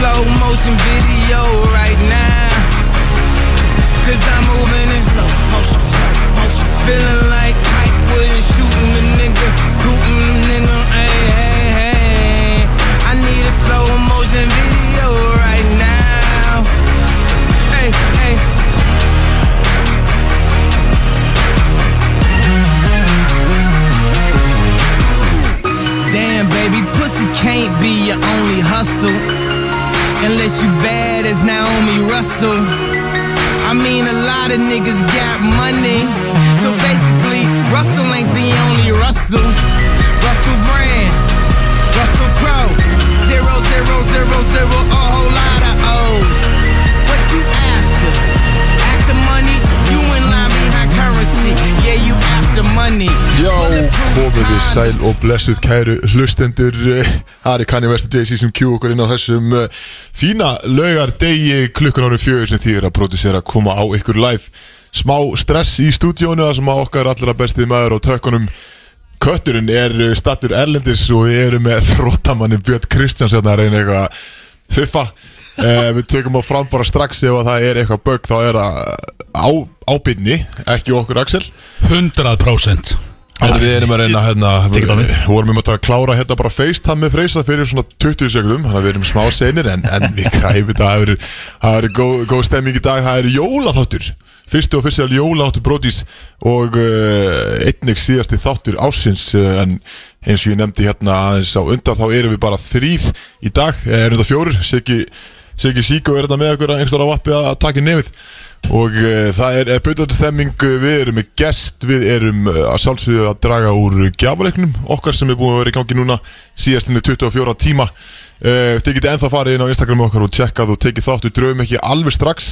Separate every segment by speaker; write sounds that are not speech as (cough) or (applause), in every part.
Speaker 1: motion video right now. Cause I'm moving in slow motion, slow motion. Feeling like Pike was shooting a nigga, booting a nigga, hey, hey, hey. I need a slow motion video right now. Hey, hey. Damn, baby, pussy can't be your only hustle. Unless you bad as Naomi Russell. I mean, a lot of niggas got money. So basically, Russell ain't the only Russell. Russell Brand, Russell Crowe. Zero, zero, zero, zero, a whole lot of O's. What you after? After money? You in line behind currency. Yeah, you after money.
Speaker 2: Já, komið við sæl og blessuð kæru hlustendur eh, Ari Kanye West og Jay-Z sem kjú okkur inn á þessum eh, fína laugar degi klukkan ánum fjögur sem þýðir að pródusera að koma á ykkur live smá stress í stúdíónu þar sem að okkar allra besti maður á tökkunum Kötturinn er stattur Erlendis og við erum með þróttamannin Björn Kristjáns hérna að reyna eitthvað að fiffa eh, Við tökum á framfara strax ef að það er eitthvað bögg þá er það á, ábyrni, ekki okkur Axel
Speaker 3: 100%
Speaker 2: En við erum að reyna hérna
Speaker 3: Tekið á mig.
Speaker 2: Við vorum um að klára hérna bara FaceTime með Freysa fyrir svona 20 sekundum Þannig að við erum smá senir en, en við kræfum þetta Það eru- það eru góð, góð stemming í dag Það eru jólaþáttur Fyrstu og fyrstu jólaþáttur Brodís Og uh, einnig síðasti þáttur ásins uh, En eins og ég nefndi hérna aðeins á undan Þá erum við bara þrýr í dag eh, Erum þetta fjórir Siggi Siggi Síko er þetta með okkur einhvers einhverjum á vappi að að taka í nefið og uh, það er, er byrjandi stemming uh, við erum með gest, við erum uh, að sjálfsögðu að draga úr gjafaleiknum okkar sem er búin að vera í gangi núna síðastinu 24 tíma uh, þið getið ennþá farið inn á Instagram okkar og tjekkað og tekið þátt, við draugum ekki alveg strax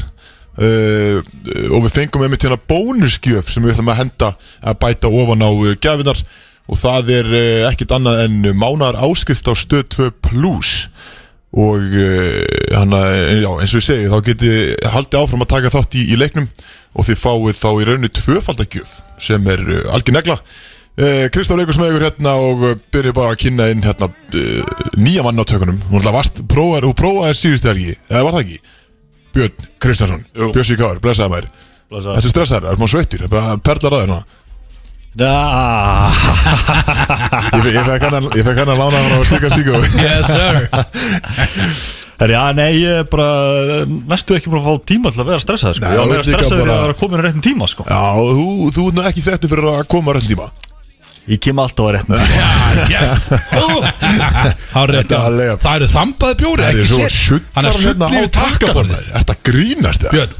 Speaker 2: Uh, og við fengum einmitt hérna bónusgjöf sem við ætlum að henda að bæta ofan á uh, gjafinar og það er uh, ekkit annað en mánar áskrift á stöð 2 plus og uh, hana, já, eins og ég segi þá geti haldið áfram að taka þátt í, í leiknum og þið fáið þá í rauninu tvöfaldagjöf sem er uh, algjör negla uh, Kristaf leikur sem eigur hérna og uh, byrja bara að kynna inn hérna uh, nýja mann á tökunum hún ætla vast, prófaði, hún prófaði síðustu helgi eða var það ekki? Björn Kristjánsson,
Speaker 4: Jú.
Speaker 2: Björn Svíkár, blessaði maður
Speaker 4: Blessaður.
Speaker 2: Þetta er stressaður, það er smá sveittir, það er bara perlar að hérna Ég, fe- ég fekk hann að- ég fekk hann að lána hann á Sika Sika
Speaker 3: Yes sir
Speaker 4: Herri, já, nei, ég er bara næstu ekki búin að fá tíma til að vera stressað sko.
Speaker 2: Nei,
Speaker 4: Ég var
Speaker 2: og líka
Speaker 4: meira stressaður
Speaker 2: bara-
Speaker 4: bara... að vera komin á réttin tíma sko.
Speaker 2: Já, þú, þú er ekki þetta fyrir að koma á réttum tíma
Speaker 4: Ég kem alltaf á réttin tíma
Speaker 2: (laughs)
Speaker 3: Yes Hárið,
Speaker 2: Þetta var lega.
Speaker 3: Það eru þambaði bjóri
Speaker 2: Það
Speaker 3: ekki
Speaker 2: er svo hérna
Speaker 3: sér. Hann
Speaker 2: sjuttar
Speaker 3: er sullið í takkaborðið
Speaker 2: Er þetta grínast það?
Speaker 3: Björn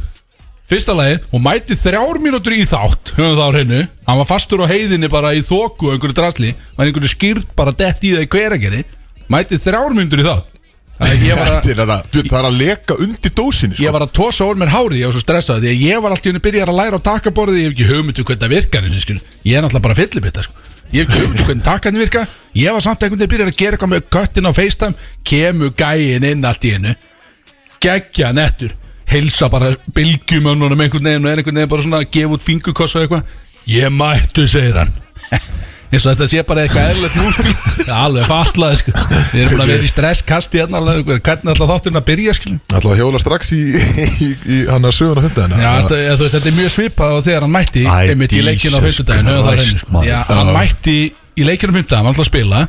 Speaker 3: Fyrsta lagi, hún mæti þrjár mínútur í þátt Höfum það á hreinu Hann var fastur á heiðinni bara í þóku og einhverju drasli Var einhverju skýrt bara dett í það í hveragerði Mæti þrjár mínútur í þátt Það er ekki, ég var að
Speaker 2: Þetta er að- Björn, það er að leka undir dósinni
Speaker 3: Ég
Speaker 2: sko.
Speaker 3: var að tosa úr mér hárið, ég var svo stressað Því að ég var alltaf henni byrjar að læra á takaborðið Ég hef ekki hugmyndu hvernig það virkar eins og skilur. Ég er náttúrulega bara fyllibitta sko. Ég hef ekki hugmyndu hvernig takarnir virka Ég var samt einhvern veginn byrjar að gera eitthvað með köttin á FaceTime Kemur gæin inn allt í hennu Geggja nettur Hilsa bara bylgjumönnunum einhvern veginn Og er einhvern veginn bara svona að gefa út fingurkossa og eitthvað Ég mættu, segir hann (laughs) eins og þetta sé bara eitthvað eðlert múlspil það er alveg fatlað sko. við erum bara að vera í stresskasti hérna alveg, hvernig alltaf þátturinn að byrja skilur
Speaker 2: Ætla að hjóla strax í, í, í hann að söguna hunda hennar
Speaker 3: Já, þetta, eða, þú veist, þetta er mjög svipað á þegar hann mætti
Speaker 4: Æ,
Speaker 3: einmitt í leikinu á
Speaker 4: Jesus
Speaker 3: fyrstudaginu
Speaker 4: Christ, maður.
Speaker 3: Já, hann mætti í leikinu á fyrstudaginu, hann ætlaði að spila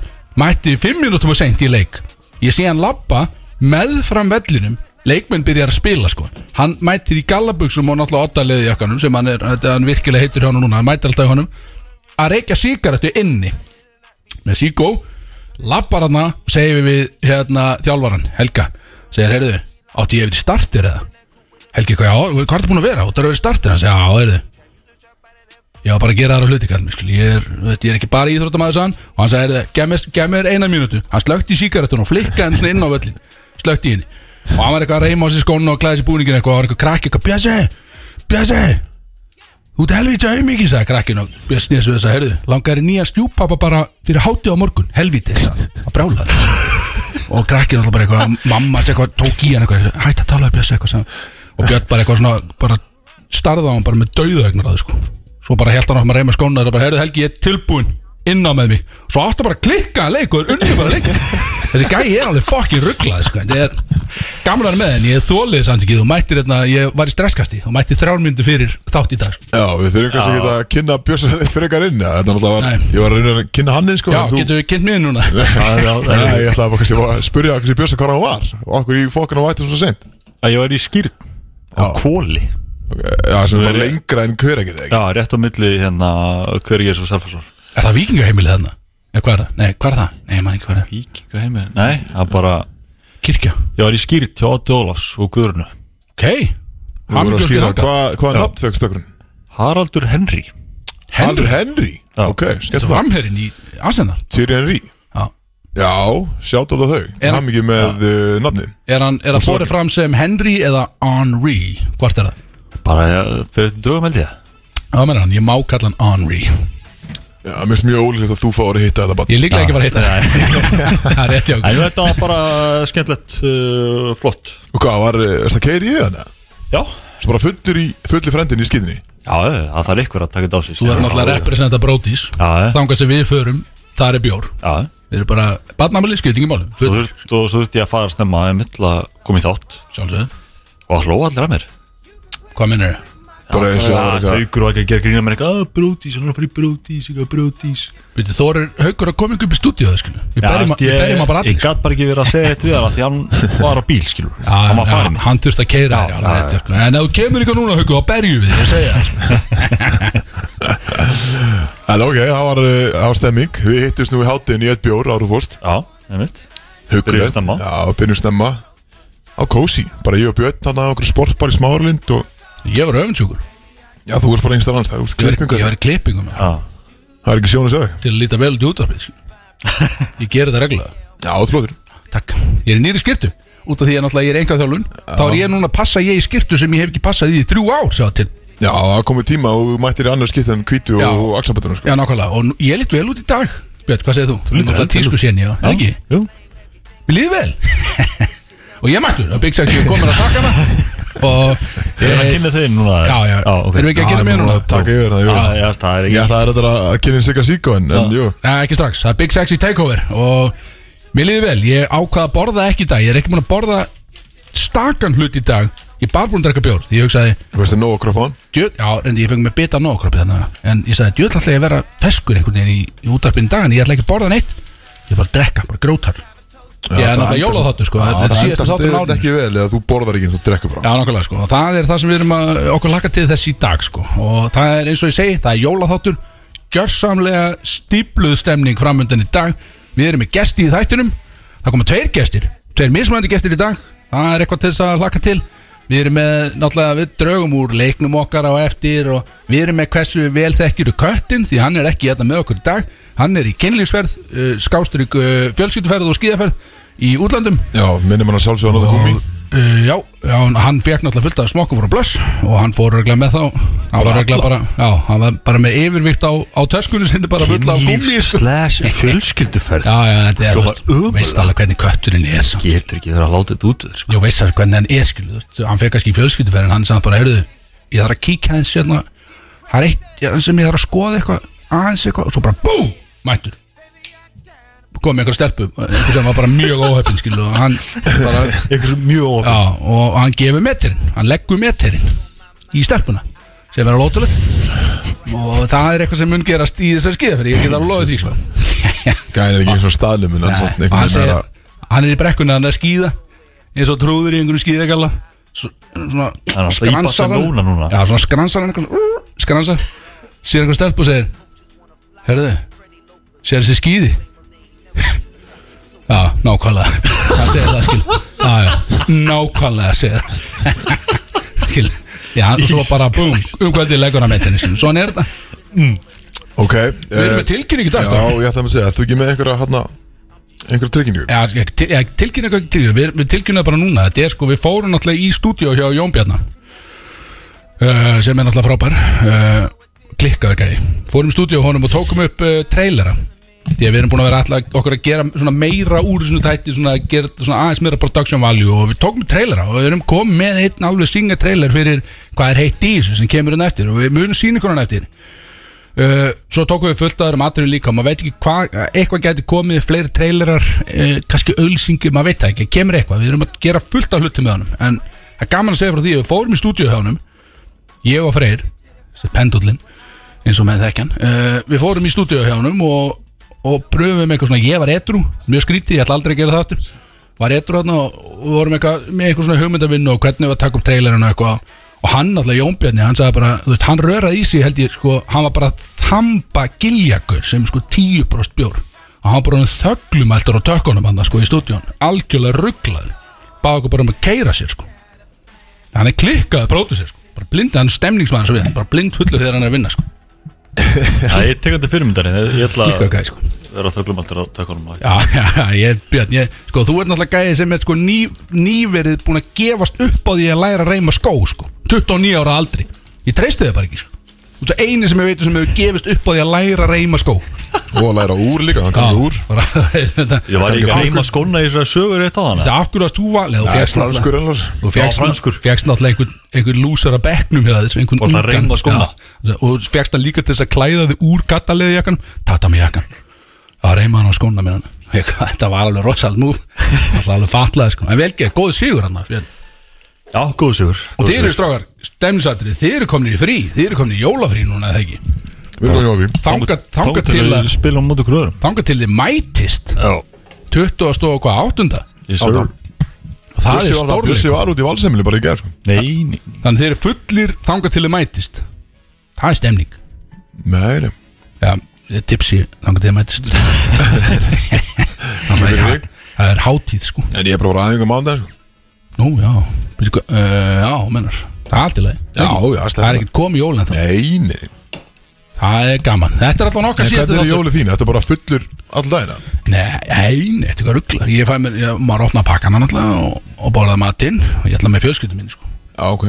Speaker 3: mætti fimm minútum og seint í leik ég sé hann labba með fram vellinum leikmenn byrjar að spila sko hann mættir í gallabuxum og náttúrulega oddaliði jakkanum sem hann, er, þetta- hann virkilega heitur hjá hann núna hann mættir alltaf hjá hann að reykja síkaretu inni með síkó lappar hann og segir við hérna, þjálfaran, Helga segir, heyrðu, átti ég yfir í startir eða Helgi, hvað, já, hvað er það búin að vera? Þú er yfir í startir, hann segir, já, heyrðu ég var bara að gera aðra hluti kallum, skil, ég, er, þú veist, ég er ekki bara íþróttamæður sann og hann sagði, gef mér- gef mér eina mínútu hann slökti í síkaretun og flikkaði hann svona inn á völlin slökti í henni og hann var eitthvað að reyma á sér skónu og klæði sér búningin eitthvað og hann var eitthvað krakki, eitthvað, Bjössi, Bjössi Þú ert helvítið að auðmikið, sagði krakkin og Björn snýr svo þess að, heyrðu, langar í nýja stjúpapa bara fyrir hátið á morgun, helvítið sagði hann, að brjála og krakkin alltaf bara eitthvað, mamma hans eitthvað tók í hann eitthvað, hætt að tala um Björn eitthvað sagði. hann. og Björn bara eitthvað svona, bara starði á hann bara með dauðaugnar að það sko svo bara held hann áfram að reyma skóna og bara, heyrðu Helgi, ég er tilbúin inn á með mig Svo áttu bara að klikka að leik og er unni bara að leik Þessi gæi er alveg fokkin rugglað sko. Þetta er gamlar með en ég þólið samt ekki Þú mættir hérna, ég var í stresskasti Þú mættir þrjármyndu fyrir þátt í dag sko.
Speaker 2: Já, við þurfum kannski ekki að kynna Björnsson eitt (laughs) frekar inn já, Þetta náttúrulega var,
Speaker 3: Nei.
Speaker 2: ég var að reyna að kynna hann inn sko,
Speaker 3: Já,
Speaker 2: en
Speaker 3: getur við kynnt mér núna
Speaker 2: (laughs)
Speaker 4: Það er- það
Speaker 2: Nei,
Speaker 4: er-
Speaker 2: ég ætlaði bara kannski að spyrja kannski Björnsson hvað hann var og okkur í fokkan á vætið svona sent
Speaker 4: að Ég var í skýrn á
Speaker 2: Já.
Speaker 4: kvóli
Speaker 2: Já, sem var lengra en hver ekkert ekki
Speaker 4: Já, rétt á milli hérna Hverjir og Selfossvar
Speaker 3: Er það vikingaheimilið þarna? Eða hvað er það? Nei, hvað er það? Nei, ég man ekki hvað er það
Speaker 4: Víkingu heimir Nei, það er bara
Speaker 3: Kirkja
Speaker 4: Ég var í skýrt hjá Otti Ólafs og Guðrunu
Speaker 3: Ok
Speaker 2: Þú voru að
Speaker 3: Hamingjuóskir
Speaker 2: skýra
Speaker 3: þangað.
Speaker 2: hvað- Hvaða nafn fegst okkur?
Speaker 4: Haraldur Henry
Speaker 2: Henry
Speaker 3: Henry
Speaker 2: Henry?
Speaker 4: Já.
Speaker 2: Ok, skemmt það
Speaker 3: Framherrin í Arsenal
Speaker 2: Thierry Henry
Speaker 3: Já
Speaker 2: Já, sjátt á það þau
Speaker 3: Er-
Speaker 2: Hann mikið með uh, nafnin
Speaker 3: Er hann, er það fórið fram sem Henry eða Henri Hvort er það?
Speaker 4: Bara eh, fyrir þetta dögum held ég
Speaker 3: Það meina hann, ég má kalla hann Henri
Speaker 2: Já, mér finnst mjög ólíkt að þú fáir að hitta þetta bara
Speaker 3: Ég er líklega ekki bara að hitta
Speaker 4: (laughs)
Speaker 3: það (laughs) Það er rétt hjá
Speaker 4: En þetta var bara skemmtilegt uh, flott
Speaker 2: Og hvað, var eh, þetta keiri í hana?
Speaker 4: Já
Speaker 2: Sem bara fullur í, fullir frendin í skinni
Speaker 4: Já, eh, það þarf ykkur að taka þetta á sig sko.
Speaker 3: Þú ert náttúrulega að representa brótis
Speaker 4: Já, já.
Speaker 3: Þangar sem við förum, það er bjór
Speaker 4: Já,
Speaker 3: Við erum bara barnamæli, skiptingi málum
Speaker 4: og
Speaker 3: Full,
Speaker 4: þurft- og svo þurfti ég að fara snemma Ég mitt að koma í þátt
Speaker 3: sjálfsögðu
Speaker 4: Og það hlóa allir að mér
Speaker 3: Hvað minnur það?
Speaker 2: Bara eins og það var
Speaker 4: Það
Speaker 2: eitthvað
Speaker 4: aukur og ekki að gera um grína mér eitthvað Brótís, "Ah, hann er að fara í brótís, eitthvað brótís
Speaker 3: Býttu, þó er haukur að koma ykkur upp í stúdíu Við berjum að- við berjum að bara
Speaker 4: Ég
Speaker 3: allir
Speaker 4: gæt bara ekki verið að segja eitt við hann
Speaker 3: (laughs)
Speaker 4: Því hann var á bíl, skilur
Speaker 3: Já,
Speaker 4: Hann var
Speaker 3: já,
Speaker 4: farin
Speaker 3: Ah, hann þurfti að keira já, já, rétt, sko. En ef þú kemur ykkur núna, Hauku, þá berjum við þig, Ég segja
Speaker 4: (laughs)
Speaker 3: það sko.
Speaker 2: En ok, það var, uh, það var stemming Við hittist nú í hátinn í eitt bjór árum fórst
Speaker 4: Já, einmitt
Speaker 2: Hugguleg.
Speaker 4: Byrjuðu snemma.
Speaker 2: Já, byrjum snemma Á kósi, bara ég og Björn Þannig að okkur sportbar í smáralind og
Speaker 3: Ég var öfundsjúkur
Speaker 2: Já, þú varst bara einhverstað annars Það er úst
Speaker 3: Ég var-
Speaker 2: klippingu
Speaker 3: ég var í klippingum
Speaker 4: Já,
Speaker 2: Það er ekki sjón að segja
Speaker 3: Til að líta vel út í útvarpið sko. Ég geri það reglulega
Speaker 2: Já, þú flóður
Speaker 3: Takk Ég er í nýri skirtu Út af því að náttúrulega ég er enga þjálun Þá er ég núna að passa ég í skirtu sem ég hef ekki passað í í þrjú ár Sá til
Speaker 2: Já, það komið tíma og þú mættir í annars skipt en kvítu
Speaker 3: Já.
Speaker 2: og axlabötunum sko.
Speaker 3: Já, nákvæmlega Og nú- ég lít vel út í dag Björn, hvað segir þú? Þú lítur
Speaker 4: vel
Speaker 3: alltaf
Speaker 4: til
Speaker 3: tísku séni, já, eða ekki?
Speaker 4: jú
Speaker 3: Mér líður vel Og ég er mættur að Big Sexy er komin að taka hana Og
Speaker 4: Ég er að kynna þeim núna
Speaker 3: Já, já,
Speaker 4: já ok.
Speaker 3: erum við ekki að gera
Speaker 2: Já,
Speaker 3: mér
Speaker 2: nú
Speaker 3: núna?
Speaker 2: að taka yfir það, jú
Speaker 4: Já, já, það er
Speaker 2: Ég
Speaker 4: ekki
Speaker 2: ætlaði þetta að kynna sig að síka en, en jú
Speaker 3: Nei, ekki strax, það er Big Sexy Takeover og mér líði vel, ég ákvað að borða ekki í dag ég er ekki múin að borða stakan hlut í dag ég er bara búin að drekka bjór því ég hugsaði,
Speaker 2: Þú veist það nóg að kroppa á hann
Speaker 3: djö, já, reyndi ég fengi mig bita á nógkropi þannig en ég sagði, djöð ætla ég að vera feskur einhvern veginn í, í útarpinu dag en ég ætla ekki að borða neitt ég er bara að drekka, bara grótar ég er náttúrulega jólaþáttur sko,
Speaker 2: Já,
Speaker 3: þetta
Speaker 2: það
Speaker 3: er
Speaker 2: endast
Speaker 3: síðast þáttur
Speaker 2: þetta
Speaker 3: náttúrulega
Speaker 2: ekki vel eða þú borðar ekki en þú drekkur bara
Speaker 3: Já, nákvæmlega, sko, og það er það sem við erum að okkur laka til þess í dag, sko, og það er eins og ég segi, það er jólaþáttur, gjörsamlega stípluð stemning framöndan í dag, við erum með gesti í þættinum, það koma tveir gestir, tveir mismunandi gestir í dag, það er eitthvað til þess að laka til, við erum með, náttúrulega, við draugum úr leiknum okkar á eftir og við erum með hversu vel þekkiru köttin, því hann er ekki hérna með okkur í dag, hann er í kynlífsferð, uh, skásturík uh, fjölskylduferð og skíðaferð í útlöndum,
Speaker 2: Já, minnum hann að sjálfsögða náttúrulega gumi
Speaker 3: Uh, já, já, hann fekk náttúrulega fullt af smokkum frá blöss og hann fór regla með þá hann var regla bara, já, hann var bara með yfirvikt á, á töskunni sinni bara fullt af gummi
Speaker 4: Kynlíf
Speaker 3: sko.
Speaker 4: slash fjölskylduferð
Speaker 3: Já, já, þetta er,
Speaker 4: Hljómar
Speaker 3: veist,
Speaker 4: ömurlega.
Speaker 3: veist alveg hvernig kötturinn er sko. samt.
Speaker 4: Getur ekki þeirra að láta þetta út úr þér, sko.
Speaker 3: Jú, veist alveg hvernig hann er skilu veist, hann fekk kannski í fjölskylduferðin, hann sagði bara heyrðu, ég þarf að kíkja aðeins hérna það er eitt ja, sem ég þarf að skoða eitthvað aðeins eitthvað, og svo bara BÚM mættur kom með einhver stelpu, einhver sem var bara mjög óhefn skilu, og hann bara
Speaker 4: (laughs) Einhver mjög ofn
Speaker 3: Já, og hann gefur metirinn Hann leggur metirinn í stelpuna sem er að lótulegt og það er eitthvað sem mun gerast í þessar skiða fyrir ég get að loða því sko. (laughs)
Speaker 2: Gæðin er ekki eins og staðnum en hann samt
Speaker 3: og
Speaker 2: einhvern
Speaker 3: hann
Speaker 2: veginn er
Speaker 3: segir
Speaker 2: að
Speaker 3: hann er í brekkunni hann er að skýða eins og trúður í einhverjum skýðagalla svona
Speaker 4: Hann er alltaf í Barcelona núna.
Speaker 3: já, svona skransar hann eitthvað, uh, skransar sér einhver stelp og segir herðu, sér þessi skýði (laughs) já, nákvæmlega hann segir það skil já, já, nákvæmlega segir hann. (laughs) skil já, og svo bara búm, um hvernig leggur hann með henni skil, svona er þetta
Speaker 2: Ok eh,
Speaker 3: við erum með tilkynning í dag sko.
Speaker 2: Já, ég ætlaði að segja, þú ekki með einhverja hérna einhverja trygginju
Speaker 3: Já, ég- til- ég- tilkynna eitthvað ekki tilkynna, við, við tilkynna bara núna Þetta er sko, við fórum náttúrulega í stúdíó hjá Jón Bjarnar uh, sem er náttúrulega frábær uh, klikkaði gæði, fórum í stúdíó honum og tókum upp uh, trailera því að við erum búin að vera alltaf okkur að gera svona meira úr þessu þætti, svona að gera þetta svona aðeins meira production value og við tókum upp trailera og við erum komið með hérna einn alveg singa trailer fyrir hvað er heitt í þessu sem kemur hann hérna eftir og við munum sína ykkur hann eftir uh, Svo tókum við fullt aðurum atriðu líka Maður veit ekki hvað, eitthvað gæti komið Fleiri trailerar, uh, kannski ölsingi Maður veit það ekki, kemur eitthvað Við erum að gera fullt af hluti með honum En það er gaman að segja frá því, að við fórum í stúdíu hjá honum Ég og Freyr, þessi pendullin eins og með þekkjan uh, Við fórum í stúdíu hjá honum og, og pröfum eitthvað svona, ég var etru mjög skrítið, ég ætla aldrei að gera það aftur var etru þarna og og vorum eitthvað með eitthvað svona hugmyndavinnu og hvernig við að taka upp trailerinu og eitthvað og hann alltaf Jón Bjarni, hann sagði bara þú veist, hann röraði í sig held ég sko, hann var bara þamba giljakur sem sko 10% bjór og hann var bara þöglum eldur á tökkunum hann sko í stúdíun, algjörlega rugglaður báði okkur bara um að keira sér sko hann er klikkaði brótið sér sko bara blind, hann er stemningsmaður sem við hann er bara blind fullur þegar hann er að vinna sko
Speaker 4: (laughs) Það er tekandi fyrirmyndarinn Ég ég ætla
Speaker 3: Líka
Speaker 4: að
Speaker 3: gæði sko
Speaker 4: vera þöglum alltaf á tökunum
Speaker 3: Já, (laughs) já, já, ég, Björn, ég, sko, þú er náttúrulega gæði sem er sko ný, nýverið búin að gefast upp á því að læra að reyma skó, sko 29 ára aldri, ég treysti þið bara ekki, sko Þú veist að eini sem ég veitur sem hefur gefist upp á því að læra að reyma skó
Speaker 2: Og að læra úr líka, hann kann ekki úr
Speaker 3: bara, (laughs) þetta
Speaker 2: Kannski
Speaker 4: Ég var líka að
Speaker 2: franskur.
Speaker 4: reyma skóna í þessari sögur eitt á hana
Speaker 3: Þessi akkur að þú var,
Speaker 2: Það er franskur sko. ennars
Speaker 3: Þú fékkst hérna-
Speaker 4: Já, franskur.
Speaker 3: fékkst náttúrulega einhvern, einhvern lúsar að bekknum hjá þér einhvern
Speaker 4: Og það
Speaker 3: ungan.
Speaker 4: reima skóna.
Speaker 3: Já, Og fékkst hann líka til þess að klæða þig úr gattaleði jakkan Tatami jakkan Það reyma hann á skóna (laughs) minna Þetta var alveg rosald múf Það var alveg fatlaði sko En velgeð, góð sigur hann Björn.
Speaker 4: Já, góð sigur
Speaker 3: Og
Speaker 4: góð
Speaker 3: þeir eru
Speaker 4: sigur.
Speaker 3: strákar, stemnisatrið Þeir eru komni í frí, þeir eru komni í jólafrí núna eða ekki
Speaker 2: Við erum hjá því
Speaker 3: Þanga, þanga
Speaker 4: Þangað
Speaker 3: til
Speaker 4: við
Speaker 3: að
Speaker 4: Spilum mútu gröðurum
Speaker 3: Þanga til þið mætist
Speaker 4: Já
Speaker 3: 20. og hvað áttunda
Speaker 4: Yes,
Speaker 2: Átta.
Speaker 4: sir.
Speaker 3: Og
Speaker 2: Bjössi
Speaker 3: Það er
Speaker 2: var það-
Speaker 3: stórleik
Speaker 2: Bjössi var út í valsemili bara í gerð sko.
Speaker 4: Nei, nei
Speaker 3: Þannig þeir eru fullir þanga til þið mætist Það er stemning
Speaker 2: Nei, nei
Speaker 3: Já, tipsi langar til að mætist Það
Speaker 2: fyrir
Speaker 3: er-
Speaker 2: þig.
Speaker 3: það er hátíð sko
Speaker 2: En ég er bara að ræðinga mándaginn sko.
Speaker 3: Nú, já, byrju, hvað, uh, já, mennar Það er allt í lagi
Speaker 2: Já, já,
Speaker 3: Það er
Speaker 2: slæm
Speaker 3: ekkert komið jólinn það
Speaker 2: Nei, nei
Speaker 3: Það er gaman Þetta er alltaf
Speaker 2: En
Speaker 3: nokkar síðast
Speaker 2: hvernig er jólið þín? Þetta er bara fullur alldæðina
Speaker 3: Nei, nei, nei, þetta er rugglar Ég fæ mér, ég, maður opna pakkana náttúrulega og, og borða matinn og ég ætla með fjölskyldum minni sko
Speaker 2: Já, ok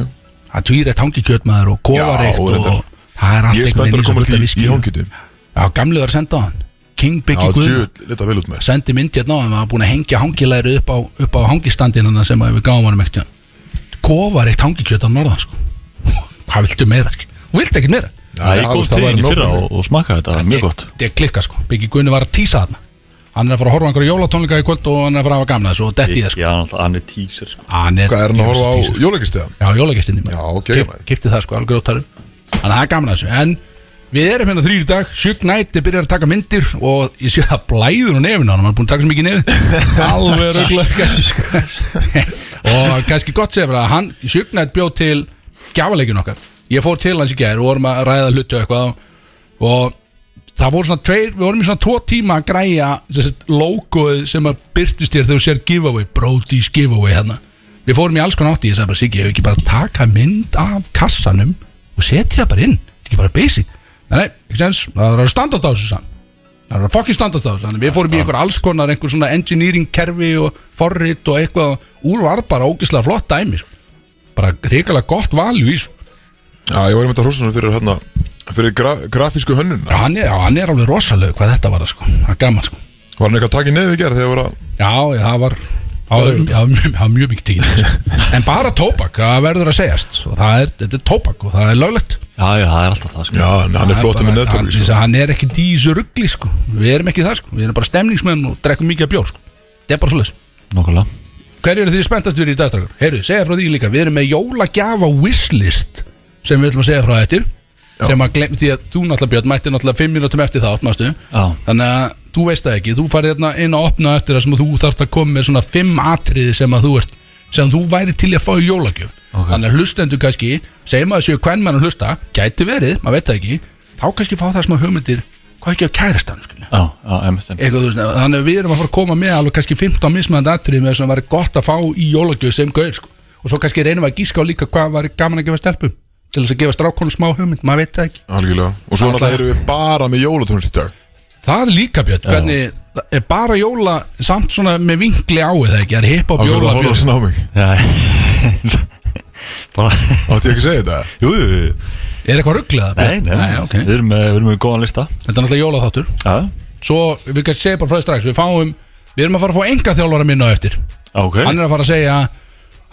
Speaker 3: Það er tvírætt hangikjötmaður og kofareikt
Speaker 2: Já,
Speaker 3: og,
Speaker 2: reyndar.
Speaker 3: það er allt
Speaker 2: Ég er spenntur
Speaker 3: einhvern
Speaker 2: að
Speaker 3: veginn sem
Speaker 2: komast
Speaker 3: fullt af
Speaker 2: í,
Speaker 3: viskíi.
Speaker 2: í hóngitum
Speaker 3: Já, gamli var að senda á hann King
Speaker 2: Já,
Speaker 3: Biggie Guðna
Speaker 2: djú, lita vel út með
Speaker 3: sendi mynd hérna á hann var búin að hengja hangilæri upp á, upp á hangistandin hann sem að við gáum hann mekti hann kofar eitt hangikjöt á norðan sko. (laughs) hvað viltu meira sko? Þú vilt ekkert meira
Speaker 4: Það er góð tíðin í fyrra og, og smaka þetta, mjög gott
Speaker 3: þetta er klikka sko Biggi Gunni var að tísa hann hann er að fara að horfa á einhverja jólatónleika í kvöld og hann er að fara að hafa gamna þessu og detti í það sko
Speaker 4: Já, náttúrulega, hann er tísir sko.
Speaker 3: Hann er-
Speaker 2: Hvað er hann að horfa á
Speaker 3: djöfull teaser. sko.
Speaker 2: jólagistegðan?
Speaker 3: já jólagestinni
Speaker 2: Já, geggjað, maður.
Speaker 3: kipti það sko alveg grótarum þannig að það er gamna þessu en við erum hérna þrýr í dag Sjök Knight er byrjar að taka myndir og ég sé það blæður og nefn á hann hann er búin að taka svo mikið
Speaker 2: (laughs)
Speaker 3: nefn alveg röglega sko. og kannski gott segir að hann Sjök Knight bjóð til gjafaleikun okkar ég fór til hans í gær og vorum að ræða hlutu eitthvað og það voru svona tveir, við vorum í svona tvo tíma að græja þessi logoið sem að byrtist þér þegar þú sér giveaway Brody's giveaway hérna við fórum í alls konar átti, ég sagði bara Siggi, ég hef ekki bara að taka mynd af kassanum og setja það bara inn, þetta er ekki bara basic nei, nei, ekki sens, það er að standa á þessu saman það er að fokkin standa á þessu þannig við fórum í einhver alls konar, einhver svona engineering kerfi og forrit og eitthvað og úr var bara ógislega flott dæmi sko. bara hrikalega gott valjú í þessu
Speaker 2: Já, ég var einmitt að hrósa hann fyrir hérna Fyrir gra grafísku hönnun
Speaker 3: já, hann er, já, hann er alveg rosalegu hvað þetta var sko. það er gaman sko
Speaker 2: Var hann eitthvað að taka í nefn í gerð þegar voru að
Speaker 3: Já, já, það var Það var, það var, mjög, það var mjög mikið
Speaker 2: (laughs)
Speaker 3: tíkin En bara tóbak, það verður að segjast og það er, þetta er tóbak og það er löglegt
Speaker 4: Já, já, það er alltaf það sko.
Speaker 2: Já, en hann er flottur með
Speaker 3: hann,
Speaker 2: netverfi
Speaker 3: hann,
Speaker 2: sko.
Speaker 3: hann er ekki dísu ruggli sko. Við erum ekki það, sko. við erum bara stemningsmenn og drekkum mikið af bjór sko. Það er bara svoleiðis
Speaker 4: Nákvæmlega
Speaker 3: Hverju eru þið spenntast fyrir í dagstrakar? Heyrðu, segja frá því líka, við erum með jólagjafa wishlist sem við ætlum að segja frá eftir sem að glemt því að þú náttúrulega Björn mætti náttúrulega 5 minútum eftir það, mástu
Speaker 4: Já.
Speaker 3: þannig að þú veist það ekki, þú farið hérna inn að opna eftir það sem þú þarft að koma með svona 5 atriði sem að þú ert sem þú væri til í að fá í jólagjöf
Speaker 4: Ok.
Speaker 3: þannig að hlustendur kannski, segjum að séu hvern mann að hlusta, gæti verið, maður veit það ekki þá kannski fá það smá hugmyndir hvað ekki á sko. kærastan, skilja
Speaker 4: Já, já, einmitt einmitt.
Speaker 3: eitthvað, þú veist, þannig að við erum að fara að koma með alveg kannski 15 mismæðan atrið með sem væri gott að fá í jólagjöf sem gauð sko. og svo kannski reynum við að gíska á líka hvað væri gaman að gefa stelpum til þess að gefa strákonu smá hugmynd, maður veit það ekki
Speaker 2: Algjörlega Og svo náttúrulega erum við bara með jólatónlist í dag
Speaker 3: Það er líka Björn, hvernig það er bara jóla samt svona með vinkli á eða ekki, það er hiphop
Speaker 2: Akkur
Speaker 3: jóla
Speaker 2: að horfa svona á mig
Speaker 4: Já, (laughs) Bara
Speaker 2: Átti ég ekki að segja þetta?
Speaker 4: Jú, jú, jú.
Speaker 3: er eitthvað rugglega
Speaker 4: nei, nei,
Speaker 3: nei ok.
Speaker 4: Við erum með, við erum með góðan lista
Speaker 3: þetta er náttúrulega jólaþáttur
Speaker 4: Já,
Speaker 3: svo við kannski segja bara frá því strax, við fáum við erum að fara að fá enga þjálfara minna á eftir
Speaker 4: ok
Speaker 3: hann er að fara að segja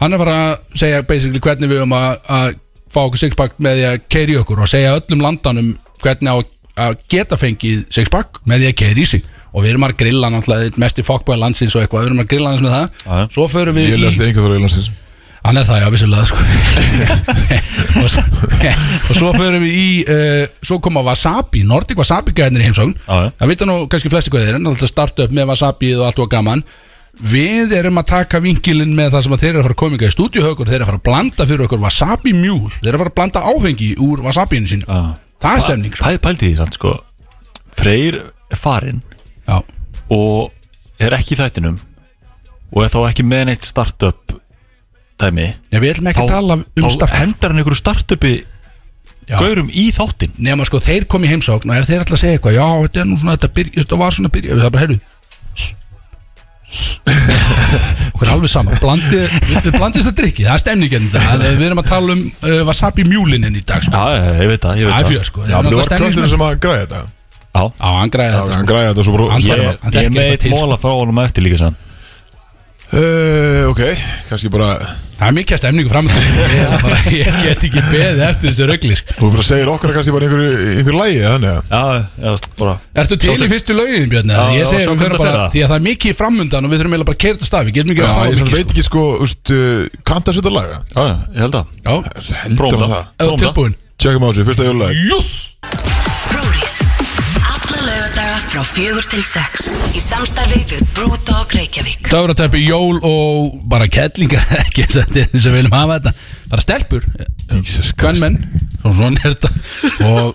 Speaker 3: hann er að fara að segja basically hvernig við um að, að fá okkur sixpack með því að keiri okkur og segja öllum landanum hvernig á að að geta fengið sexpack með því að keira í sig og við erum að grilla hann alltaf mest í fokkbæði landsins og eitthvað, við erum að grilla hans með það
Speaker 4: Já.
Speaker 3: svo förum við
Speaker 2: Ég
Speaker 3: í-
Speaker 2: lest einhvern veginn landsins
Speaker 3: Hann er það, já, vissulega sko.
Speaker 4: (laughs)
Speaker 3: og, s- og svo förum við í uh, Svo koma Wasabi, Nordic Wasabi gæðinir í heimsókn
Speaker 4: Já, já.
Speaker 3: Það vita nú kannski flesti hvað þeir En alltaf starta upp með Wasabi og allt og gaman Við erum að taka vinkilinn með það sem að þeir eru að fara að kominga í stúdíuhaukur Þeir eru að fara að blanda fyrir okkur Wasabi mjúl Þeir eru að fara að blanda áfengi úr Wasabiinu sín
Speaker 4: Já.
Speaker 3: Það er stemning sko.
Speaker 4: Pæ, Pældi því samt sko Freyr er farinn
Speaker 3: Já,
Speaker 4: og er ekki í þættinum og er þá ekki með neitt startup dæmi
Speaker 3: já við ætlum ekki
Speaker 4: þá,
Speaker 3: að tala um
Speaker 4: þá
Speaker 3: starta
Speaker 4: hendar hann einhverju startupi
Speaker 3: Já.
Speaker 4: gaurum í þáttin
Speaker 3: Nefna sko, þeir kom í heimsókn og ef þeir ætla að segja eitthvað Já, þetta er nú svona, þetta, byrja, þetta var svona byrja Það bara, heyrðu ss, ss. (laughs) Okkur er alveg sama Blandi, við, við blandist að drikki, það er stemningin það, Við erum að tala um uh, wasabi mjúlinin í dag sko.
Speaker 4: Já, já, ég veit það, ég veit
Speaker 3: Það er
Speaker 4: það
Speaker 3: fjör sko
Speaker 2: Já,
Speaker 3: Þetta er
Speaker 2: það var
Speaker 3: náttúrulega
Speaker 2: kvöldinu
Speaker 3: stemningsmenn.
Speaker 2: sem að græja þetta
Speaker 4: Já,
Speaker 3: Já, hann græði
Speaker 2: Já,
Speaker 3: þetta
Speaker 2: Hann
Speaker 3: sko.
Speaker 2: græja þetta svo bara
Speaker 3: Hann
Speaker 2: út.
Speaker 3: starfar.
Speaker 4: ég,
Speaker 3: hann
Speaker 4: ég
Speaker 3: þekkir
Speaker 4: er með
Speaker 3: eitthvað
Speaker 4: eitt
Speaker 3: til, sko.
Speaker 4: móla frá honum eftir líka sann
Speaker 2: Eh, Ok, kannski bara
Speaker 3: Það er mikið stemningu framöndið ég, er bara- (laughs) ég get ekki beðið eftir þessu röggli sko.
Speaker 2: Þú bara segir okkar kannski bara einhverju einhver lægi þannig að
Speaker 4: Já, já, bara
Speaker 3: Ertu til í
Speaker 4: Svolítið-
Speaker 3: fyrstu lögin Björn? eða?
Speaker 4: Já,
Speaker 3: ég
Speaker 4: já,
Speaker 3: segi
Speaker 4: svo
Speaker 3: við
Speaker 4: kemur
Speaker 3: fyrir bara
Speaker 4: þeirra.
Speaker 3: Því að það er mikið framundan og við þurfum eiginlega bara að keira þetta stað Við getum ekki verið að
Speaker 2: Já,
Speaker 3: fá
Speaker 2: ég svona
Speaker 3: mikið
Speaker 2: veit
Speaker 3: sko.
Speaker 2: ekki sko, úst, uh, kannta að setja laga
Speaker 4: Já, já, ég held að
Speaker 3: Já,
Speaker 2: Heldur hann það
Speaker 4: það.
Speaker 3: eða
Speaker 4: Blómda.
Speaker 3: tilbúin
Speaker 2: Tjekkum á þessu, fyrsta jólulag
Speaker 3: Júss
Speaker 5: Brúris. Alla lögadaga frá fjögur til sex. Í samstarfið við Brewdog Reykjavík.
Speaker 3: Dagratæpi, jól og bara kettlingar (laughs) ekki eins og þetta er eins og við viljum hafa þetta bara stelpur,
Speaker 2: Jesus Christ.
Speaker 3: kvennmenn og svona er þetta og,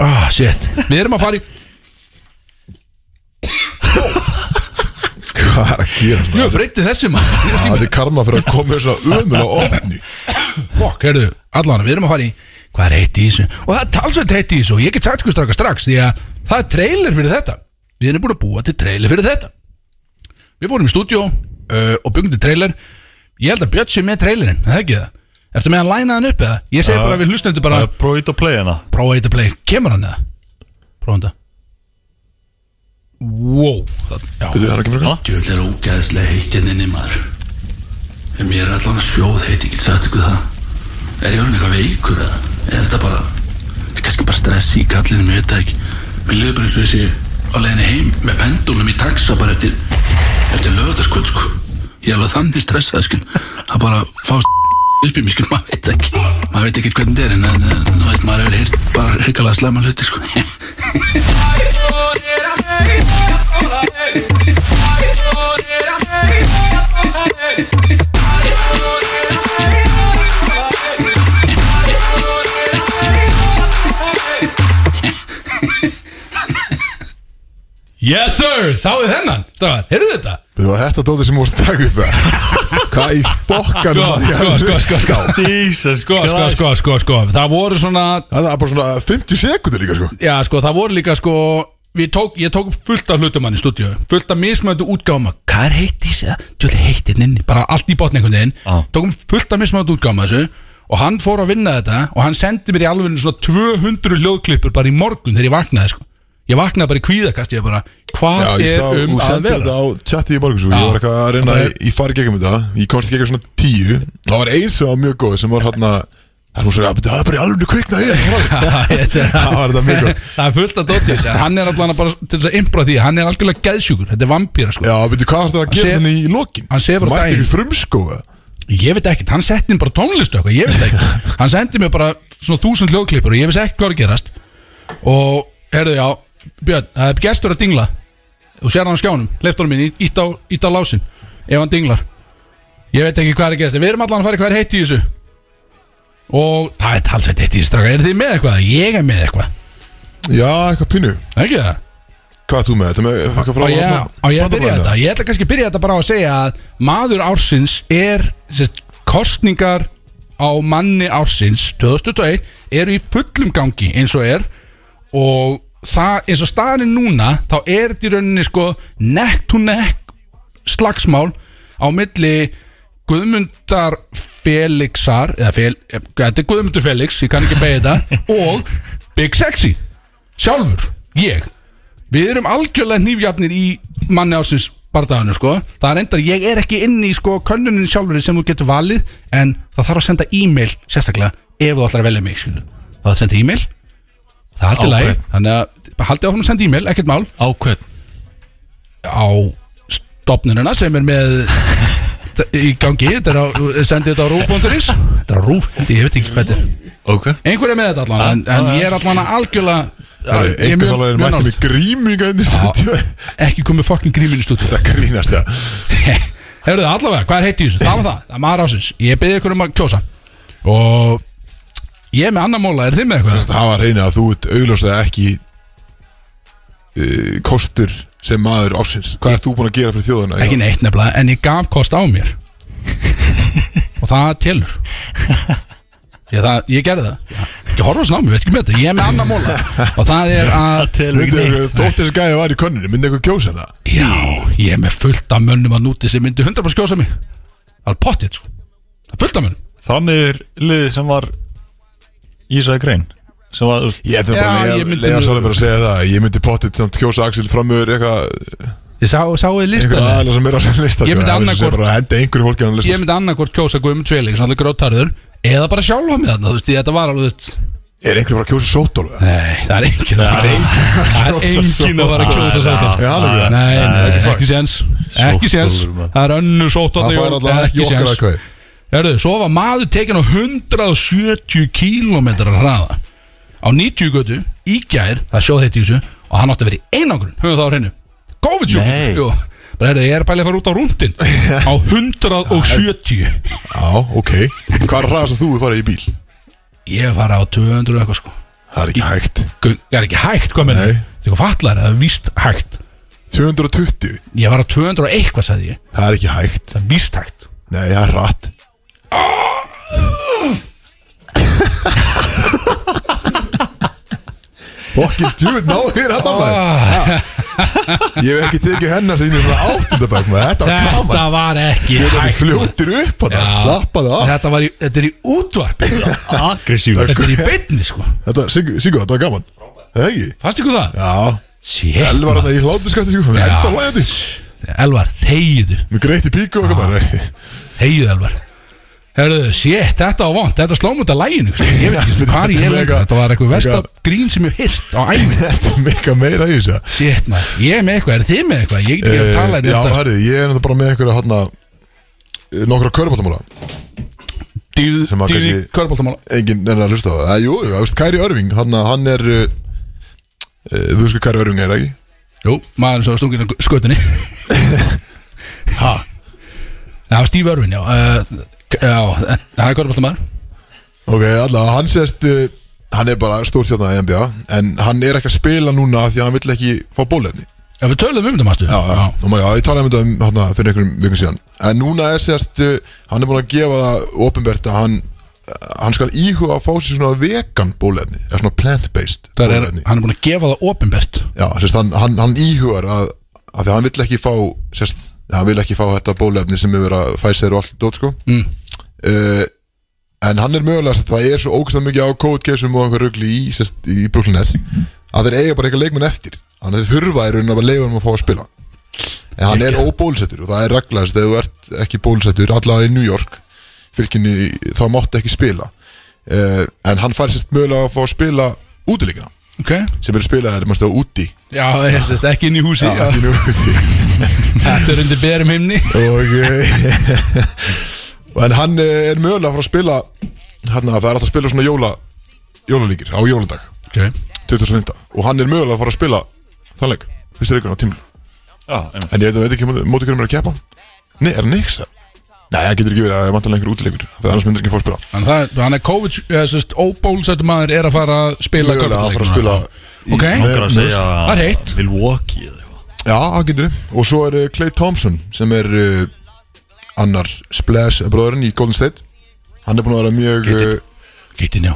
Speaker 3: ah, shit, við erum að fara í
Speaker 2: Hvað er að gera svona?
Speaker 3: mjög freytið þessi
Speaker 2: (laughs)
Speaker 3: maður
Speaker 2: Það er karma fyrir að koma þess að umul á opni
Speaker 3: fokk, heyrðu, allan, við erum að fara í hvað er heitt í þessu, og það er talsveit heitt í þessu og ég get sagt hvað straka strax, því að það er trailer fyrir þetta, við erum búin að búa til trailer fyrir þetta við fórum í stúdíó uh, og byggum til trailer ég held að Björn sé með trailerinn, er það ekki það Ertu með að læna hann upp eða? Ég segi bara að við hlustandi bara
Speaker 4: Prófið ít að playa hana
Speaker 3: Prófa eitt að play, kemur hann eða? Prófa hann það Wow það,
Speaker 2: Byrðu
Speaker 3: Já,
Speaker 2: hann að kemur eitthvað?
Speaker 6: Djöfull er ógæðslega heitin hérna inni maður En mér er allan að sljóð heit, ég get sagt ykkur það Er ég orðin eitthvað veikur eða? Er þetta bara, þetta er kannski bara stress í kallinu, mér veit það ekki Mér liður bara eins og þessi á leiðinni heim með pendulum í taxa bara eftir Eftir lögðarskvöld sko Ég er alveg þannig stressað skil Það bara fást upp í mér skil, maður veit ekki Maður veit ekki hvernig þetta er en, en, en þú veist, maður hefur heyrt bara hrikalega slæma hluti sko
Speaker 3: Yes sir, sáðu þennan Stráðar, heyrðu þetta?
Speaker 2: Byrðu að þetta dóti sem múst taka upp
Speaker 3: (laughs)
Speaker 2: það Hvað í fokkan
Speaker 3: Sko,
Speaker 2: var ég
Speaker 3: sko,
Speaker 2: að
Speaker 3: sko, sko,
Speaker 2: (laughs)
Speaker 3: sko
Speaker 4: Jesus
Speaker 3: Sko, sko, sko, sko, sko Það voru svona,
Speaker 2: Það er bara svona 50 sekundir líka sko
Speaker 3: já sko, það voru líka sko Við tók, ég tók upp fullt af hlutum hann í stúdíu Fullt af mismöndu útgáma Hvað er heitt í sig? Tjóðlega heitt inn inni Bara allt í botn einhvern veginn
Speaker 2: Ah.
Speaker 4: Já.
Speaker 3: Tókum fullt af mismöndu útgáma þessu Og hann fór að vinna þetta Og hann sendi mér í alveg svona 200 ljóðklippur Bara í morgun þegar ég vaknaði sko Ég vaknaði bara í kvíðakast Ég bara, hvað
Speaker 2: Já, ég
Speaker 3: er
Speaker 2: sá, þú
Speaker 3: um að
Speaker 2: sendir
Speaker 3: vera?
Speaker 2: þetta á chati í morgun svo
Speaker 3: Já.
Speaker 2: Ég var eitthvað að reyna
Speaker 3: Bara-
Speaker 2: í, í fari gegnum þetta Ég komst í gegnum svona 10 Það var eins og mjög góð sem var hann að Það var svo, "Já, það er bara í alveg kviknað ég
Speaker 3: það
Speaker 2: Það var þetta mjög gott.
Speaker 3: (laughs) Það er fullt af dótið þessi, en Hann er allan að bara til þess að impra því Hann er algjörlega geðsjúkur, þetta er vampýra sko.
Speaker 2: Já, veitu, hvað varst það að
Speaker 3: Hann
Speaker 2: gera
Speaker 3: sef-
Speaker 2: þannig í lokin?
Speaker 3: hann sefur á
Speaker 2: Mætti
Speaker 3: daginn.
Speaker 2: ekki frumskóa
Speaker 3: Ég veit ekkert, hann setti mér bara tónlistu eitthvað Ég veit ekkert, hann sendi mér bara Svona þúsund hljóðklippur og ég veist ekki hvað er að gerast Og, herðu já Björn, það er gestur að dingla Þú sér hann á skjánum, leiftunum mín Ítt á, ít á lásin, ef hann dinglar Ég veit ekki hvað er að gerast en Við erum allan að fara í hvað er heitt í þessu Og það er talsett heitt í þessu strákar. Eruð þið með eitthvað? Ég er með eitthvað,
Speaker 2: Já, eitthvað pínu
Speaker 3: ekki það?
Speaker 2: Hvað er þú með þetta? Með, eitthvað frá hérna?
Speaker 3: á ég,
Speaker 2: þarna?
Speaker 3: á ég að byrja
Speaker 2: Bandabræðina?
Speaker 3: þetta ég ætla kannski að byrja þetta bara á að segja að maður ársins er sérst, kostningar á manni ársins 2021 eru í fullum gangi eins og er og það eins og staðan er núna þá er þetta í rauninni sko neck to neck slagsmál á milli Guðmundar Felixar eða fel, eh, þetta er Guðmundur Felix ég kann ekki beigja þetta og Big Sexy sjálfur, ég við erum algjörlega nýfjafnir í manni ásins barðaðinu sko það er endar, ég er ekki inni í sko könnunin sjálfur sem þú getur valið en það þarf að senda e-mail sérstaklega ef þú ætlar að velja mig skilu. það þarf að senda e-mail Það er allt í lagi
Speaker 4: Ákveð.
Speaker 3: Þannig að haldið áfram að senda e-mail, ekkert mál
Speaker 4: Á hvern?
Speaker 3: á stopnunina sem er með (laughs) í gangi, þetta er á sendið þetta á rúf.is Þetta er á rúf, ég veit ekki hvað þetta er
Speaker 4: Ok
Speaker 3: Einhver er með þetta allan, en, en ég er allan algjörlega ég er
Speaker 2: Einhvern
Speaker 3: mjög-
Speaker 2: alveg er
Speaker 3: mjög
Speaker 2: mætti
Speaker 3: nálægt.
Speaker 2: með gríminga
Speaker 3: (laughs) Ekki komið fokkin gríminu í stúdíu
Speaker 2: Þetta grínast
Speaker 3: (laughs)
Speaker 2: það
Speaker 3: Hefur þið allavega, hvað er heitt í þessu? Það var það, það er maður ásins Ég byrði ykkur um að kjósa Og ég er með annar móla, er þið með eitthvað?
Speaker 2: Það var reyna að þú ert augljóslega ekki uh, kostur sem maður ásins Hvað ert þú búin að gera fyrir þjóðuna?
Speaker 3: Ekki neitt nefnilega, en ég gaf kost á mér Og það telur Ég, það, ég gerði það Ég horfa svona á mig, veit ekki með þetta Ég er með annar móla Og það
Speaker 2: (laughs)
Speaker 3: er að
Speaker 4: Telur ekki neitt
Speaker 2: Þótt þess gæði var í könnunni, myndi eitthvað kjósa hana
Speaker 3: Já, ég er með fullt af mönnum að núti sem myndi 100% kjósa mig Það er pottið, sko Það er fullt af mönnum
Speaker 4: Það meður liðið sem var Í þessari grein Sem var, þú veist,
Speaker 2: Ég er þetta
Speaker 3: Já,
Speaker 2: bara
Speaker 3: ég
Speaker 2: að
Speaker 3: myndi
Speaker 2: lega
Speaker 3: nú-
Speaker 2: svolum bara að segja það Ég myndi pottit samt kjósa Axel framöver eitthvað
Speaker 3: Ég sá, sá ég
Speaker 2: Einhver
Speaker 3: listaði
Speaker 2: aðla sem er á sem listar
Speaker 3: Ég myndi annað hvort-
Speaker 2: bara að henda einhverju fólki á sko. hann
Speaker 3: ég
Speaker 2: listar
Speaker 3: myndi annarkvort kjósa Guðmund Sveling svona grótarður eða bara sjálfa mig þarna þú veist, ég- þetta var alveg þú veist,
Speaker 2: Er einhverju bara að kjósa sótól?
Speaker 3: nei, það er engin það er engin- það er engin að fara að kjósa Sótol
Speaker 2: Já, alveg það
Speaker 3: nei, nei,
Speaker 2: Ekki
Speaker 3: ekki séns ekki séns,
Speaker 4: Sótólfur, maður.
Speaker 3: það er önnu Sótol
Speaker 2: Það fær alltaf ekki okkar að kaup
Speaker 3: Herðu, svo var maður tekin á 170 km hraða á 90 götu í gær, það sjóð þetta í þessu og hann átti að vera í einangrun, höfum það á hreinu covid
Speaker 4: Nei.
Speaker 3: sjúkling, jú bara herðu, ég er pælið að fara út á rúndin
Speaker 2: (laughs)
Speaker 3: á 170
Speaker 2: Já, ok Hvað er ræða sem þú farið í bíl?
Speaker 3: ég fara á 200 eitthvað sko
Speaker 2: Það er ekki hægt
Speaker 3: Gu- það er ekki hægt hvað menn
Speaker 2: Nei.
Speaker 3: þetta er eitthvað fallar, það er víst hægt
Speaker 2: 220
Speaker 3: ég var á 200 og eitthvað sagði ég
Speaker 2: Það er ekki hægt
Speaker 3: það er víst hægt
Speaker 2: Nei, það er rætt Fokkin djúið náðu þér hann að maður
Speaker 3: Ah.
Speaker 2: Ég hef ekki tekið hennar sem ég er svona áttundabæk maður Þetta var
Speaker 3: þetta
Speaker 2: gaman
Speaker 3: var ekki
Speaker 2: Þetta er
Speaker 3: hægt sko.
Speaker 2: fljótir upp hann
Speaker 3: Já.
Speaker 2: Slappaðu af
Speaker 3: þetta, var í, þetta er í útvarp þetta
Speaker 4: Aggressífur
Speaker 3: er í beinni sko
Speaker 2: Þetta, Siggu, Siggu, þetta var gaman Það ekki?
Speaker 3: fannst ykkur það?
Speaker 2: Já,
Speaker 3: Sjétt
Speaker 2: elvar hann í hláturskæfti Siggu Hann er
Speaker 3: Já.
Speaker 2: enda hlæðandi
Speaker 3: Elvar, þegiðu,
Speaker 2: Mér greitt í píku og eitthvað maður
Speaker 3: þegiðu Elvar Herðu, sétt, þetta var vond, þetta sló mútið að læginu sko. Ég veit ekki hvað ég er lengur Þetta var eitthvað versta grín sem ég hef hyrt á æminn
Speaker 2: (laughs) Þetta er meika meira í þessu
Speaker 3: Sétt maður, ég er með eitthvað, er þið með eitthvað? Ég get ekki að tala
Speaker 2: Eh, Já,
Speaker 3: þetta
Speaker 2: herri, ég er náttúrulega bara með einhverja hérna eh, nokkra körbáttamála
Speaker 3: Dýð,
Speaker 2: sem að
Speaker 3: dýð í
Speaker 2: kannski-
Speaker 3: körbóltamála
Speaker 2: enginn er að hlusta á það Eh, Jú, jú, þú veist, Kæri Örving, hann, hann er uh, þú veist hvað Kæri Örving er, ekki?
Speaker 3: Jú, maður sem var stungin á skötunni
Speaker 2: (laughs)
Speaker 3: (laughs)
Speaker 2: Ha?
Speaker 3: Það var Steve Irwin, já uh, Já, eh, það er körbóltamæður
Speaker 2: Ok, allavega, hann sést uh, hann er bara stórstjarnar í NBA en hann er ekki að spila núna af því að hann vill ekki fá bólefni
Speaker 3: Já, við töluðum um þetta, mástu
Speaker 2: Já, já, og maður, já, ég talaði um þetta um, hérna, fyrir einhverjum vikum síðan en núna er sérst, uh, hann er búin að gefa það ofinbært að hann eh, hann skal íhuga að fá sér svona vegan bólefni eða svona plant-based
Speaker 3: Það er,
Speaker 2: bólefni
Speaker 3: hann er búin að gefa það opinbert
Speaker 2: Já, sérst, hann, hann, hann íhugar að, að því að hann vill ekki fá sérst, hann vill ekki fá þetta bólefni sem er verið að Pfizer og allt dót sko Eh, mm. en hann er mögulega sérst, það er svo ógæslega mikið á kóðkesum og einhver rugli í, sérst, í Brooklyn Nets að þeir eiga bara eitthvað leikmenn eftir þannig að þeir þurfa í raunin að bara leifa um að fá að spila en hann er óbólsettur og það er regla þess þegar þú ert ekki bólsettur allavega í New York fylginni þá mátti ekki spila uh, en hann fær sérst mögulega að fá að spila útileikina
Speaker 3: Ok,
Speaker 2: sem eru spilaðar, mannstu á úti
Speaker 3: já, ég sést ekki inn í húsi já.
Speaker 2: ekki nú sí.
Speaker 3: (laughs) Þetta er undir berum himni
Speaker 2: og eh, en hann eh, (laughs) er mögulega að fara að spila hann, það er alltaf að spila svona jóla jólalíkir á jólandag
Speaker 3: Ok,
Speaker 2: 2005 og hann er mögulega að fara að spila þann leik, fyrstu leikurinn á tímul
Speaker 4: Já, einmitt.
Speaker 2: en ég veit, veit ekki móti móti hverjum er að keppa nei, er hann yksa? nei, það getur ekki verið að það er vantanlega einhver útileikur það annars myndir ekki fá að spila
Speaker 3: Þannig það, hann er COVID, eða sérst, óbólsættu maður er að fara að spila
Speaker 2: mögulega að fara að spila í-
Speaker 3: Ok.
Speaker 2: með-
Speaker 4: Langar að segja
Speaker 3: Það er heitt.
Speaker 4: Milwaukee eða eitthvað
Speaker 2: Já, það getur þið. Og svo er eh, Clay Thompson sem er uh, annar splash bróðurinn í Golden State Hann er búin að vera mjög
Speaker 4: Geitin.
Speaker 2: uh,
Speaker 3: Geitin, já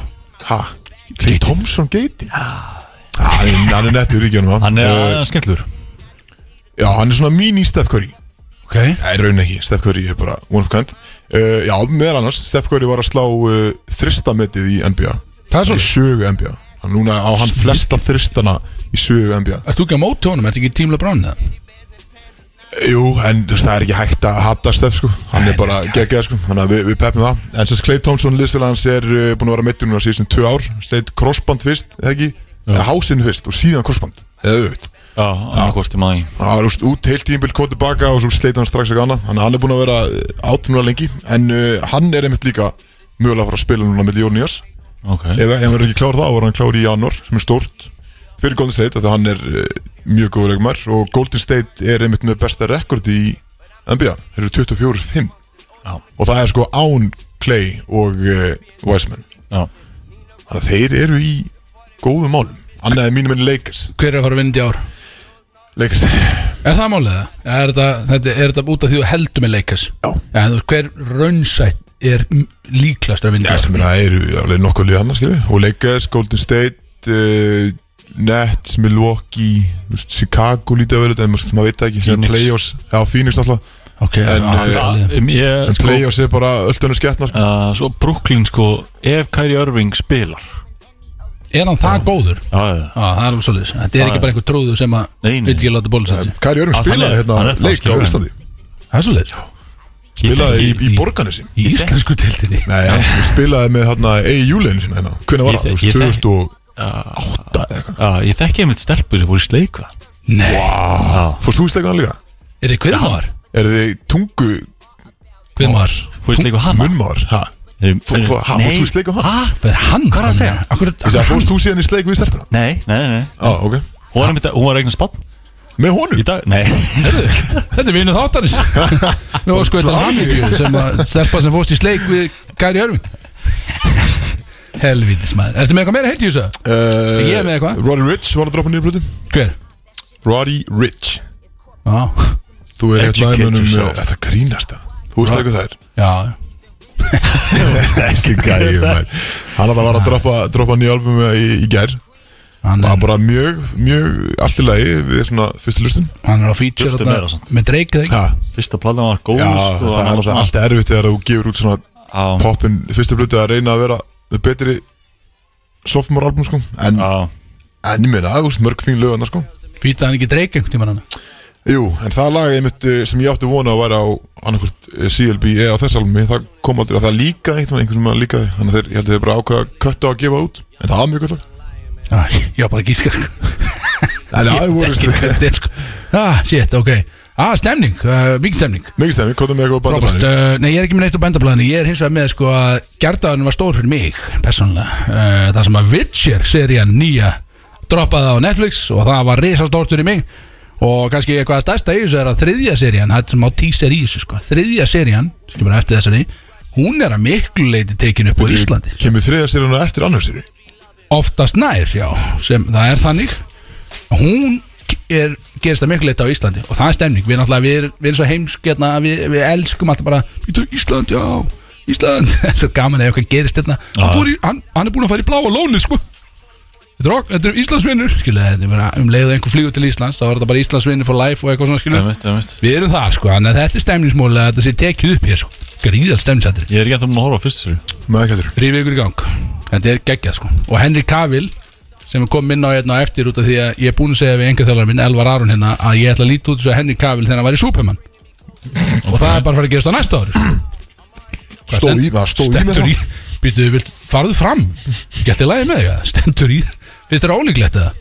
Speaker 2: Hæ? Clay
Speaker 3: Geitin.
Speaker 2: Thompson geitin? Já Hann er- hann er nettur í gjónum
Speaker 4: Hann er
Speaker 2: uh,
Speaker 4: uh, skemmtlur
Speaker 2: Já, hann er svona mini Steph Curry
Speaker 3: Ok,
Speaker 2: Nei, raun ekki, Steph Curry er bara one of a kind uh, Já, meðal annars, Steph Curry var að slá uh, þristametið í NBA
Speaker 3: það er
Speaker 2: Í
Speaker 3: svona
Speaker 2: sögu NBA Hann núna á hann flesta þristana í sögu NBA
Speaker 3: Ert þú ekki á móti honum, ert ekki tímla brán eða?
Speaker 2: Jú, en þú veist, það er ekki hægt að hata Steff sko, hann er bara geggjað sko þannig að við, við peppum það, en sérst Clay Thompson liðsfélag hans er uh, búin að vera meittur núna síðan tvö ár sleit crossband fyrst, eða ekki Eða hásinn fyrst og síðan korsband Eða auðvitað
Speaker 4: Já, annarkvort í maður
Speaker 2: Það var úst, út heilt tímbil kom tilbaka og svo sleit hann strax ekki annað Þannig að hann er búin að vera átunlega lengi En uh, hann er einmitt líka mögulega að fara að spila núna með Jón Nýjas
Speaker 4: Ok
Speaker 2: Ef ef hann verður ekki klár þá, verður hann klár í janúar sem er stórt fyrir Golden State Þannig að hann er uh, mjög góður leikmar og Golden State er einmitt með besta rekordi í NBA Þeir eru 24-5
Speaker 4: Já.
Speaker 2: og það er sko án Clay og uh, Wiseman
Speaker 4: Já.
Speaker 2: Þannig að þeir eru í góðum málum Annað er mínum enn Lakers
Speaker 3: Hver er að fara að vinna í ár?
Speaker 2: Lakers
Speaker 3: Er það málið það? Er þetta, þetta, er þetta út af því að þú heldur með leikas?
Speaker 2: Já.
Speaker 3: ja, þú veist, Hver raunsætt er m- líklegast að vinna?
Speaker 2: Já, sem það eru alveg nokkuð lið annars, skilju Og Lakers, Golden State uh, Nets, Milwaukee þú veist, Chicago lítið að vera þetta En maður maður veit það ekki, Phoenix.
Speaker 4: Phoenix.
Speaker 2: Playoffs Já, Phoenix alltaf
Speaker 3: Ok, en,
Speaker 2: En, eh,
Speaker 3: að, að,
Speaker 4: um, Ég
Speaker 2: En
Speaker 4: sko,
Speaker 2: Playoffs er bara öll önnur skettna sko.
Speaker 4: uh, Svo Brooklyn sko Ef Kyrie Irving spilar
Speaker 3: er hann það góður?
Speaker 4: Já, já, já
Speaker 3: Já, það er alveg svolítið Þetta er
Speaker 4: Já,
Speaker 3: ekki
Speaker 4: já.
Speaker 3: bara einhver tróðu sem að
Speaker 4: Nei, nei.
Speaker 3: vil ekki láta bólusætti
Speaker 2: Kæri Örnum
Speaker 4: Já,
Speaker 2: spilaði hérna
Speaker 4: þannig- hann er það,
Speaker 2: leik á
Speaker 4: skilurðu.
Speaker 2: Íslandi
Speaker 3: Það er svolítið
Speaker 2: Spilaði í,
Speaker 4: Ég,
Speaker 2: í borganessi
Speaker 3: Í
Speaker 2: (laughs)
Speaker 3: íslensku tildinni
Speaker 2: Nei, hann spilaði með hérna E.I.U.leginu sinna hérna Hvernig var
Speaker 4: Ég
Speaker 2: það?
Speaker 4: þek-
Speaker 2: Þú
Speaker 4: ég
Speaker 2: veist,
Speaker 4: þek-
Speaker 2: 2008 eða eitthvað
Speaker 4: uh, ég þekki einmitt stelpur sem voru í sleikva
Speaker 3: Nei,
Speaker 2: Fórst þú í sleikana líka?
Speaker 3: er þið kviðmáðar?
Speaker 2: Er þið tungu
Speaker 3: Kviðmáðar,
Speaker 4: Fór í sleikva hana
Speaker 2: munnmáður? Ha?
Speaker 4: Þeir-
Speaker 2: Fó- fó- ha,
Speaker 4: Nei.
Speaker 2: fórst þú í sleik á hann?
Speaker 4: Ha?
Speaker 3: fyrir hann Hvað er það að segja? Akkur,
Speaker 2: Ég
Speaker 3: akkur,
Speaker 2: sagði, Fórst þú síðan í sleik við stelpuna?
Speaker 4: Nei, nei, nei
Speaker 2: Já, ok
Speaker 4: Hún var, einmitt, hún var eignan spatt
Speaker 2: Með honum?
Speaker 4: í dag Nei
Speaker 3: herðu, þetta er vinnu
Speaker 2: (laughs)
Speaker 3: þáttanis Nú var sko þetta
Speaker 2: Bara
Speaker 3: hamingju sem að stelpa sem fóst í sleik við Kæri Örving Helvítis maður, ertu með eitthvað meira heilt í þessu?
Speaker 2: Uh,
Speaker 3: Ég er með eitthvað.
Speaker 2: Roddy Rich var að droppa nýju plötu
Speaker 3: Hver?
Speaker 2: Roddy Rich
Speaker 3: Já,
Speaker 2: Þú er hérna
Speaker 4: Educate
Speaker 2: með honum
Speaker 4: yourself.
Speaker 2: Þetta grínast það Þú veist ekki það (laughs)
Speaker 3: já,
Speaker 2: er Þessi gæði Hann alltaf var að droppa, droppa nýju album í, í gær
Speaker 3: hann
Speaker 2: Var
Speaker 3: er,
Speaker 2: bara mjög, mjög allt í lagi Við svona fyrstu lustun
Speaker 3: hann er á feature
Speaker 4: Justin
Speaker 3: þarna
Speaker 4: meira samt.
Speaker 3: með dreikið ekki
Speaker 2: Já,
Speaker 4: Fyrsta platan var góð
Speaker 2: já
Speaker 4: sko,
Speaker 2: það er alltaf
Speaker 4: svona-
Speaker 2: allt erfitt Þegar þú gefur út svona
Speaker 4: Já.
Speaker 2: poppin Fyrstu plötu að reyna að vera með betri Sophomore album sko En,
Speaker 4: Já,
Speaker 2: en ég meina, þú veist, mörg fín lögana sko
Speaker 3: Fýtaði hann ekki dreikið einhvern tímann hann
Speaker 2: Jú, en það lag einmitt eh, sem ég átti vona að væri á annarkvöld eh, CLB eða E á þess almi, það kom aldrei að það líka einhvern veginn, einhvern sem að líka þannig að þeir, ég held að þeir bara ákvaða að kötta að gefa það út en það var mjög gott lag
Speaker 3: Æ, Ég var bara að gíska sko
Speaker 2: En það voru
Speaker 3: Þetta er sko Ah, shit, ok Ah, stemning, uh, mikið stemning
Speaker 2: mikið stemmi, hvað er með eitthvað
Speaker 3: Robert,
Speaker 2: bandabræðin?
Speaker 3: uh, nei, ég er ekki með neitt á bændablaðinu Ég er hins vegar með sko að gerðaðurinn var stór fyrir mig Persónlega uh, Það sem að Witcher serían nýja Droppaði á Netflix og það var risastórt fyrir mig Og kannski eitthvað að stærsta í þessu er að þriðja serían Það er sem á teaser í þessu sko Þriðja serían, sem bara eftir þessari Hún er að miklu leiti tekin upp á Íslandi
Speaker 2: Kemur þriða seríuna eftir annar seríu?
Speaker 3: oftast nær, já, sem það er þannig hún er, gerist það miklu leitt á Íslandi og það er stemning, við náttúrulega, við, erum- við erum svo heimsk hérna, við, við elskum alltaf bara "Bíddu, Ísland, já, Ísland (laughs) það er svo gaman ef eitthvað gerist hérna hann, fór í, hann, hann er búin að fara í bláa lónið, sko þetta er, ok- þetta er Íslandsvinnur skilja, þetta er bara um leiðu einhver flýgur til Íslands þá er þetta bara Íslandsvinnur for life og eitthvað svona skilja
Speaker 4: einmitt, einmitt
Speaker 3: við erum það, sko, þannig að þetta er stemningsmól að þetta sé tekið upp hér, sko, gríðal stemningsættir
Speaker 4: Ég er ekki að það mun að horfa á fyrst sér
Speaker 2: Með ekki heldur
Speaker 3: Rífið ykkur í gang Þetta er geggjað sko Og Henry Cavill sem kom inn á hérna á eftir út af því að ég er búin að segja við enga þjálfara minn Elvar Aron hérna að ég ætla að líta út svo Henry Cavill þegar hann var í Superman og það er bara að fara að gerast á næsta ári sko.
Speaker 2: Stóð í, maður stóð í með
Speaker 3: Stendur
Speaker 2: það
Speaker 3: í Býtu, vilt, farðu fram Gætti lagi með þig að stendur í Finnst þér ólíklegt eða?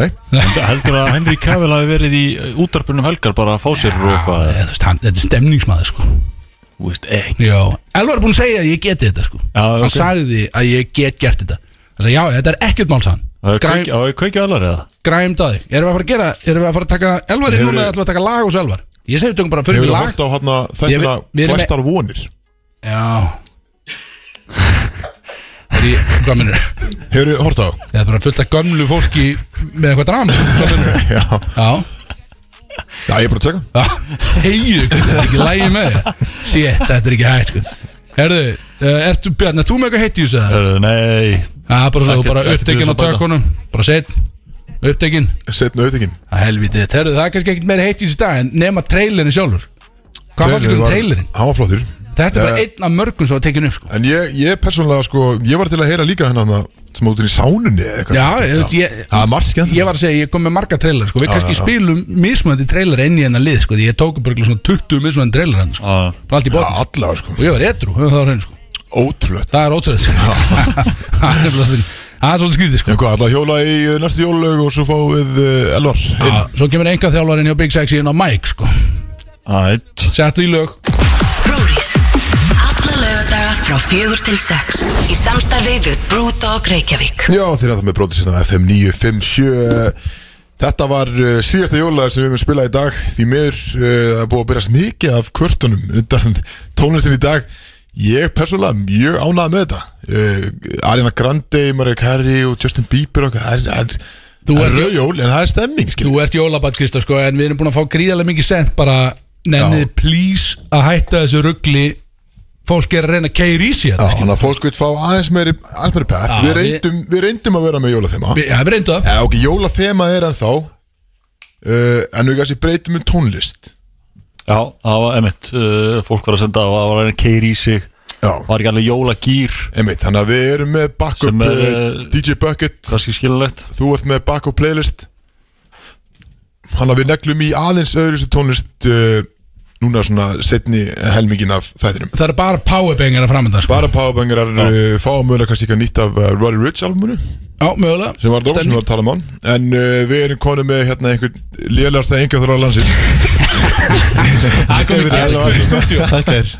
Speaker 2: Nei,
Speaker 4: Heldur að Henry Cavill hafi verið í útarpunum helgar bara að fá sér og eitthvað
Speaker 3: Eða, þú veist, hann, Þetta er stemningsmaður sko
Speaker 4: Þú veist, ekki
Speaker 3: Já, Elvar er búin að segja að ég geti þetta sko
Speaker 4: Já,
Speaker 3: Hann
Speaker 4: ok.
Speaker 3: sagði að ég get gert þetta Hann sagði, já, þetta er ekkert mál sann
Speaker 4: Á ég kveiki- á ég kveikja allar eða?
Speaker 3: græmt að þig Erum við að fara að gera, erum við að fara að taka Elvar inn
Speaker 2: Hefurðu-
Speaker 3: núna eða ætlum við að taka lag hos Elvar Ég segi við tökum bara fyrir
Speaker 2: hefur
Speaker 3: við
Speaker 2: það
Speaker 3: lag
Speaker 2: hort á hérna
Speaker 3: Ég
Speaker 2: þættina
Speaker 3: veit- við erum með-
Speaker 2: Flestar vonir
Speaker 3: Já Er ég, hvað minnur
Speaker 2: Hefur það hort á?
Speaker 3: Ég er bara fullt af gömlu fólki með eitthvað dram Hvað minnur
Speaker 2: (laughs) Já,
Speaker 3: Já,
Speaker 2: já ég er bara að tjekka
Speaker 3: já (laughs) Þegju, þetta er ekki lægi með þig Shit, þetta er ekki hægt sko Herðu, uh, ertu Bjarni, ert þú með eitthvað heitt í þessu það?
Speaker 4: Herðu, Nei,
Speaker 3: Já, bara svo,
Speaker 4: Ekkert-
Speaker 3: bara
Speaker 4: ekkert í
Speaker 3: upptekinn
Speaker 4: þessu
Speaker 3: á
Speaker 4: að bæta.
Speaker 3: tökunum Bara set, upptekinn
Speaker 2: Setna auðvitað
Speaker 3: Það helviti, herðu, það er kannski ekkert meira heitt í þessu dag En nema trailerin sjálfur Hvað fannst ykkur um trailerin?
Speaker 2: Hann var flottur
Speaker 3: Þetta er bara
Speaker 2: Eh,
Speaker 3: einn af mörgum sem var tekin upp sko.
Speaker 2: En ég, ég persónulega sko, ég var til að heyra líka hennan að- sem áttur í sánunni eða eitthvað
Speaker 3: Já, ég, ég,
Speaker 2: Það er margt skemmt
Speaker 3: ég var að segja, ég kom með marga trailer sko. Við kannski
Speaker 2: já, já.
Speaker 3: spilum mismunandi trailer inn í hennar lið sko. Því ég tók upp örugglega svona 20 mismunandi trailer hennar sko.
Speaker 4: Já.
Speaker 3: Bara Allt í
Speaker 2: Já,
Speaker 3: bótt
Speaker 2: allavega sko
Speaker 3: Og ég var edru, það var henni sko
Speaker 2: Ótrúlega (laughs)
Speaker 3: Það er ótrúlega sko. Það er nefnilega þannig. það er svolítið skrítið sko
Speaker 2: En hvað, alltaf hjóla í uh, næstu jólög og svo fáið uh, Elvar inn
Speaker 3: Já, Svo kemur enga þjálfarinn hjá Big Sexy inn á Mike sko
Speaker 4: Ætt
Speaker 3: Settu í lög
Speaker 5: Brúris Alla lögadaga frá fjögur til sex Í samstarfi við Brewdog Reykjavík
Speaker 2: Já, þeir að það með brótið sinna FM 957 Þetta var uh, síðasta jólaður sem við höfum spilað í dag Því miður uh, það er búið að byrjast mikið af kvörtunum undan (laughs) tónlistin í dag Ég persónulega mjög ánægð með þetta uh, Ariana Grande, Mariah Carey og Justin Bieber og hvað Það er,
Speaker 3: Þú
Speaker 2: er, er
Speaker 3: ert-
Speaker 2: rauðjól en það er stemming skil.
Speaker 3: Þú ert jólabatt Krista sko En við erum búin að fá gríðarlega mikið sent bara Nennið
Speaker 2: Já.
Speaker 3: please að hætta þessu ruggli Fólk er að reyna að keira í sér
Speaker 2: Já, þannig að fólk vil fá aðeins meiri, aðeins meiri pepp
Speaker 3: Já,
Speaker 2: við,
Speaker 3: við-
Speaker 2: reyndum, við reyndum að vera með jólathema
Speaker 3: Við- Já, við reyndu það
Speaker 2: Já, ok, jólathema er ennþá uh, En við kannski breytum um tónlist
Speaker 4: Já, það var emitt uh, Fólk var að senda og það var að reyna að keira í sig
Speaker 2: Já,
Speaker 4: Var ekki alveg jólagýr
Speaker 2: einmitt, þannig að við erum með
Speaker 4: Sem
Speaker 2: backup
Speaker 4: er, uh,
Speaker 2: er, DJ Bucket,
Speaker 4: Kannski skilulegt
Speaker 2: þú ert með backup playlist Þannig að við neglum í aðeins öðru sem tónlist uh, Núna svona setni helmingin af þættinum
Speaker 3: Það eru bara powerbangar að framönda sko
Speaker 2: Bara powerbangarar uh, fá að mögulega kannski eitthvað nýtt af uh, Roddy Rich albumunu
Speaker 3: Já, mögulega
Speaker 2: sem var dómar sem
Speaker 3: Stemning.
Speaker 2: við varum að tala um án en uh, við erum konum með hérna einhvern lélegasta enga þróa landsins
Speaker 3: Það kom í gæst
Speaker 2: Elvar (laughs)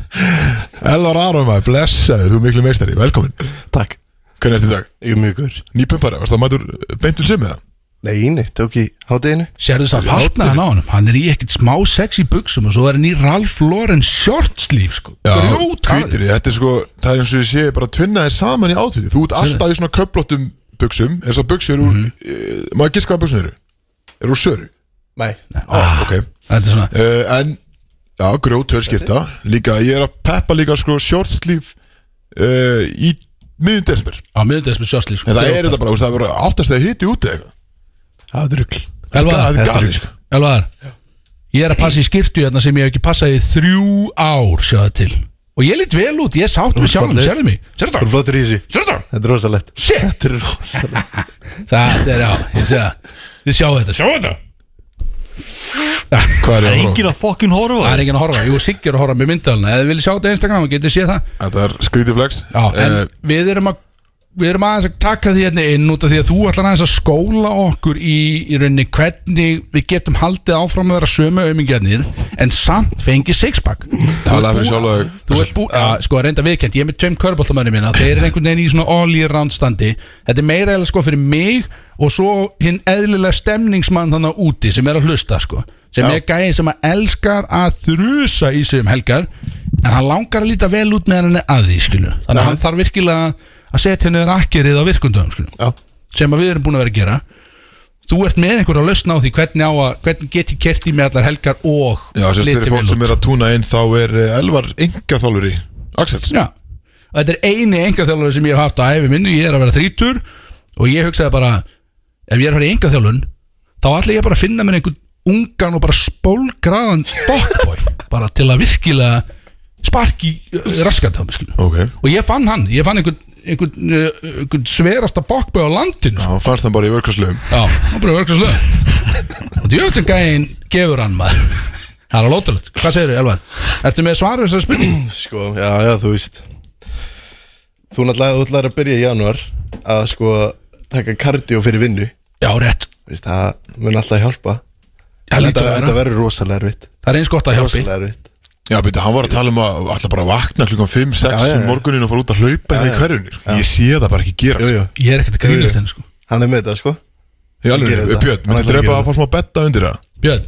Speaker 2: Elvar Aron maður, blessaður, þú er miklu meistari, velkomin
Speaker 7: Takk,
Speaker 2: hvernig ertu í dag?
Speaker 7: ég er mjög gur
Speaker 2: Nýpumpari, varst það mætur beintul sem eða?
Speaker 7: Nei, nei, tók í hátteginu
Speaker 3: Sérðu þess að fatna hann á hann Hann er í ekkert smá sexy buksum Og svo er hann í Ralph Lauren shorts líf sko Grjótarður.
Speaker 2: kvítri, þetta er sko það er eins og ég sé bara tvinnaði saman í átfiti þú ert alltaf í svona köplóttum buksum þessar buksur eru úr, mm má ég giska hvað buksur eru? eru úr söru?
Speaker 7: Nei
Speaker 2: Ah, ok
Speaker 3: Þetta er svona
Speaker 2: uh, En Já, grjótör skipta Líka, ég er að peppa líka sko short sleeve uh, Í miðjum desember
Speaker 3: á miðvitaðis með shorts líf sko
Speaker 2: En það er þetta bara, þú veist, það er bara áttast að hiti úti eða eitthvað
Speaker 7: Það er rugl
Speaker 3: Elvar,
Speaker 2: Það er galið sko
Speaker 3: Elvar Ég er að passa í skiptu hérna sem ég hef ekki passað í þrjú ár Sjáðu til Og ég lít vel út, ég er sátt með sjálfum,
Speaker 7: falleg.
Speaker 3: sérðu mig Sérðu
Speaker 7: Þú er
Speaker 3: það,
Speaker 7: flottur í þessu
Speaker 3: sérðu það
Speaker 7: Þetta er rosalegt
Speaker 3: Shit.
Speaker 7: Þetta er rosalegt
Speaker 3: Það er já, ég sé það Þið sjáu þetta, sjáu þetta
Speaker 2: Hvað
Speaker 4: Það
Speaker 2: er ég
Speaker 4: er
Speaker 2: að horfa?
Speaker 4: enginn að fokkin horfa
Speaker 3: Það er enginn að horfa, jú Siggi er að horfa með myndalina Ef þið viljið sjá þetta á Instagram, þá getið séð það
Speaker 2: Þetta er skrítið flex
Speaker 3: Já, en
Speaker 2: Eh,
Speaker 3: við erum að Við erum aðeins að taka því hérna inn út af því að þú ætlar aðeins að skóla okkur í, í rauninni hvernig við getum haldið áfram að vera sömu aumingjarnir en samt fengið sixpack
Speaker 2: Talaði fyrir sjálf að
Speaker 3: Þú ert búið, já, sko reynda viðkend, ég er með tveim körbóltamönnum minna Þeir eru einhvern veginn í svona all year round standi Þetta er meira eða sko fyrir mig Og svo hinn eðlilega stemningsmann þannig úti sem er að hlusta sko Sem er gæði sem að elskar að þrusa í sig um helgar En hann langar að líta vel út með hann er að því skilu Þannig að hann þarf virkilega að setja henni rakkerið á virkundum skilu
Speaker 7: Já
Speaker 3: Sem að við erum búin að vera að gera Þú ert með einhverja lausn á því hvernig, á að, hvernig get ég kert í mig allar helgar og
Speaker 2: Já, sérst
Speaker 3: litið
Speaker 2: fyrir fólk
Speaker 3: vel
Speaker 2: sem
Speaker 3: út.
Speaker 2: er að túna inn Þá er eh, Elvar enga þálfur í Axels
Speaker 3: Já, og þetta er eini engaþjálfur sem ég hef haft á æfi minni, ég er að vera þrítur og ég hugsaði bara ef ég er að fara í engaþjálfun þá ætla ég bara að finna mér einhvern ungan og bara spólgraðan fuckboy (laughs) bara til að virkilega sparki raskat á mig skilu
Speaker 2: Ok
Speaker 3: og ég fann hann, ég fann einhvern, einhvern, uh, einhvern sverasta fuckboy á landinu sko.
Speaker 2: Þá fannst hann bara í örkarslöfum
Speaker 3: Já, hann bara verður slöð og djöfn sem gæinn gefur hann maður það er alveg ótrúlegt, hvað segirðu Elvar? Ertu með svara þessari spurning?
Speaker 7: (clears throat) Sko, já, já, þú veist Þú náttúrulega, þú ætlaðir að byrja í janúar Að sko taka kardio fyrir vinnu
Speaker 3: Já, rétt
Speaker 7: Veist, það mun alltaf hjálpa
Speaker 3: Það
Speaker 7: Þetta,
Speaker 3: hlýtur að
Speaker 7: þetta
Speaker 3: vera.
Speaker 7: verður rosalega erfitt
Speaker 3: Það er eins gott að hjálpi
Speaker 7: Rosalega erfitt
Speaker 2: Já, beti, hann var að tala um að alltaf bara vakna klukkan 5-6
Speaker 7: Já, já,
Speaker 2: um
Speaker 7: já.
Speaker 2: morgunin og fara út að hlaupa eða í hverjunni sko. Ég sé það bara ekki gera
Speaker 7: Jú, jú,
Speaker 3: Ég er ekkert að grínast henni sko
Speaker 7: hann er með þetta, sko
Speaker 2: Ég alveg,
Speaker 7: Gerir þetta.
Speaker 2: Björn,
Speaker 7: Hann ætlar
Speaker 2: maður
Speaker 7: að
Speaker 2: drepa
Speaker 7: gera
Speaker 2: að fá smá betta undir það
Speaker 3: Björn,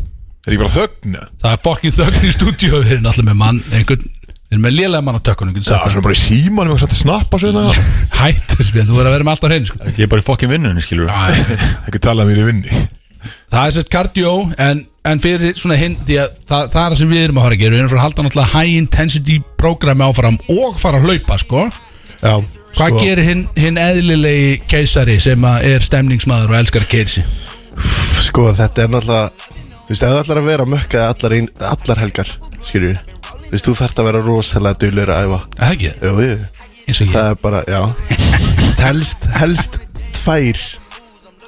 Speaker 2: Er ég bara þögn? eða?
Speaker 3: það er fokkin þögn í stúdíu Við erum alltaf með mann, einhvern Við erum með lélega mann á tökkunum einhvern
Speaker 2: Já,
Speaker 3: sagt
Speaker 2: svona bara í símanum eitthvað að snappa sér það
Speaker 3: það. (laughs) Hættu Björn, þú verður að vera með allt á hreinu sko
Speaker 4: Ég er bara í fokkin vinnunni skilur
Speaker 3: Æ,
Speaker 2: Ekki tala um mér í vinni
Speaker 3: Það er sérst kardió en, en fyrir svona hinn Því að það, það er það sem við erum að fara að gera Við erum að fara að halda náttúrulega high intensity programmi áfram Og fara að hlaupa sko
Speaker 7: Já
Speaker 4: sko.
Speaker 3: Hvað gerir hinn hin eðlilegi keisari Sem að er stemningsmaður og elskar að keiri sig
Speaker 7: Sko, þetta er náttúrulega Þú veist, ef þú ætlar að vera mökkaði allar, ein, allar helgar Skilju Þú veist, þú þarft að vera rosalega dullur að æfa
Speaker 3: Er Það ekki,
Speaker 7: Jú, jú
Speaker 3: eins og ég
Speaker 7: Það er bara, já Helst, helst tvær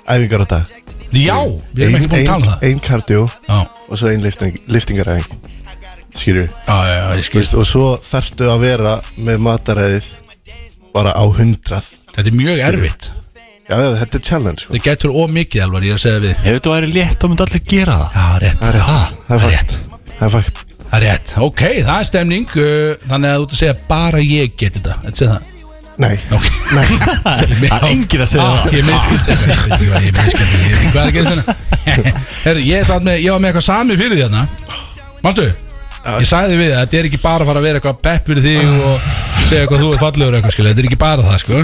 Speaker 7: Æfingar á dag
Speaker 3: Já, við erum ekki búin að tala um það
Speaker 7: Einn kardió
Speaker 3: Já,
Speaker 7: og svo einn lifting, liftingaræfing Skilju
Speaker 3: já, já, já, ég skil
Speaker 7: Veist, Og svo þarftu að vera með mataræðið Bara á hundrað
Speaker 3: Þetta er mjög erfitt
Speaker 7: Já, já, þetta er challenge sko.
Speaker 3: Það getur of mikið alvar, ég er að segja við
Speaker 4: Ef þetta væri létt, þá myndi allir gera það
Speaker 3: Já, rétt
Speaker 7: Það er rétt
Speaker 3: Það er rétt
Speaker 7: Það er fakt
Speaker 3: Það er rétt Ok, það er stemning uh, Þannig að þú ert að segja bara ég geti þetta Þetta segja það
Speaker 7: Nei
Speaker 3: Ok (laughs)
Speaker 7: Nei
Speaker 4: Það er enginn að segja
Speaker 3: það Ég minnskilt eitthvað Ég minnskilt eitthvað Ég veit ekki hvað er að gera
Speaker 4: (laughs)
Speaker 3: þarna Herru, ég, satt með, ég var með eitthvað sami fyrir því þarna Manstu? Ég sagði við að þetta er ekki bara að fara að vera eitthvað pepp fyrir þig og segja eitthvað þú er fallegur eitthvað skilja, þetta er ekki bara það sko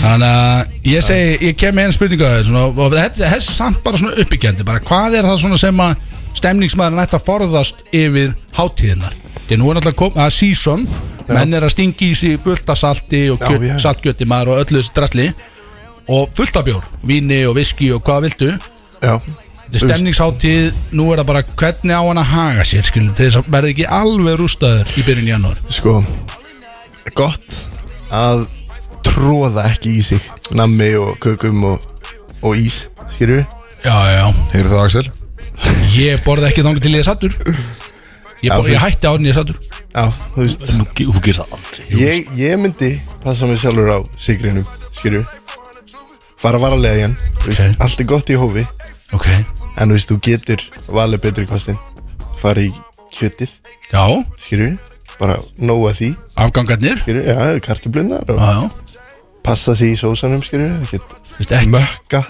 Speaker 3: Þannig að ég segi, ég kem með einn spurningu að þetta og þetta þetta er samt bara svona uppbyggjandi bara hvað er það svona sem að stemningsmaðurinn ætti að forðast yfir hátíðinnar Þegar nú er náttúrulega kom, að season, menn er að stingi í sig fullt af salti og kjöt,
Speaker 7: já.
Speaker 3: saltgjöti maður og öllu þessu dralli og fullt af bjór, víni og viski og hvað viltu
Speaker 7: Já
Speaker 3: Þetta er stemningsháttíð, nú er það bara hvernig á hann að haga sér skilum þess að verði ekki alveg rústaður í byrjun janúar
Speaker 7: Sko Gott Að tróða ekki í sig Nammi og kökum og, og ís Skilju
Speaker 3: Já, já, já,
Speaker 2: Heyrðu það Axel?
Speaker 3: ég borði ekki þangar til ég er sattur Ég, borði, ég
Speaker 7: fyrst-
Speaker 3: hætti árin ég er sattur
Speaker 7: Já, þú veist
Speaker 4: Nú, ge- Þú gerir það aldrei
Speaker 7: Ég, ég myndi passa mig sjálfur á sigrinum Skilju Fara varlega í hann Þú veist,
Speaker 3: Ok.
Speaker 7: allt er gott í hófi
Speaker 3: Ok,
Speaker 7: En þú veist, þú getur valið betri kostin Fara í kjötið
Speaker 3: já,
Speaker 7: Skilju Bara nóa því
Speaker 3: afgangarnir
Speaker 7: Skilju, já, kartublunar og
Speaker 3: Já, já,
Speaker 7: passa sig í sósanum Skilju, ekkert
Speaker 3: veist ekki,
Speaker 7: mökka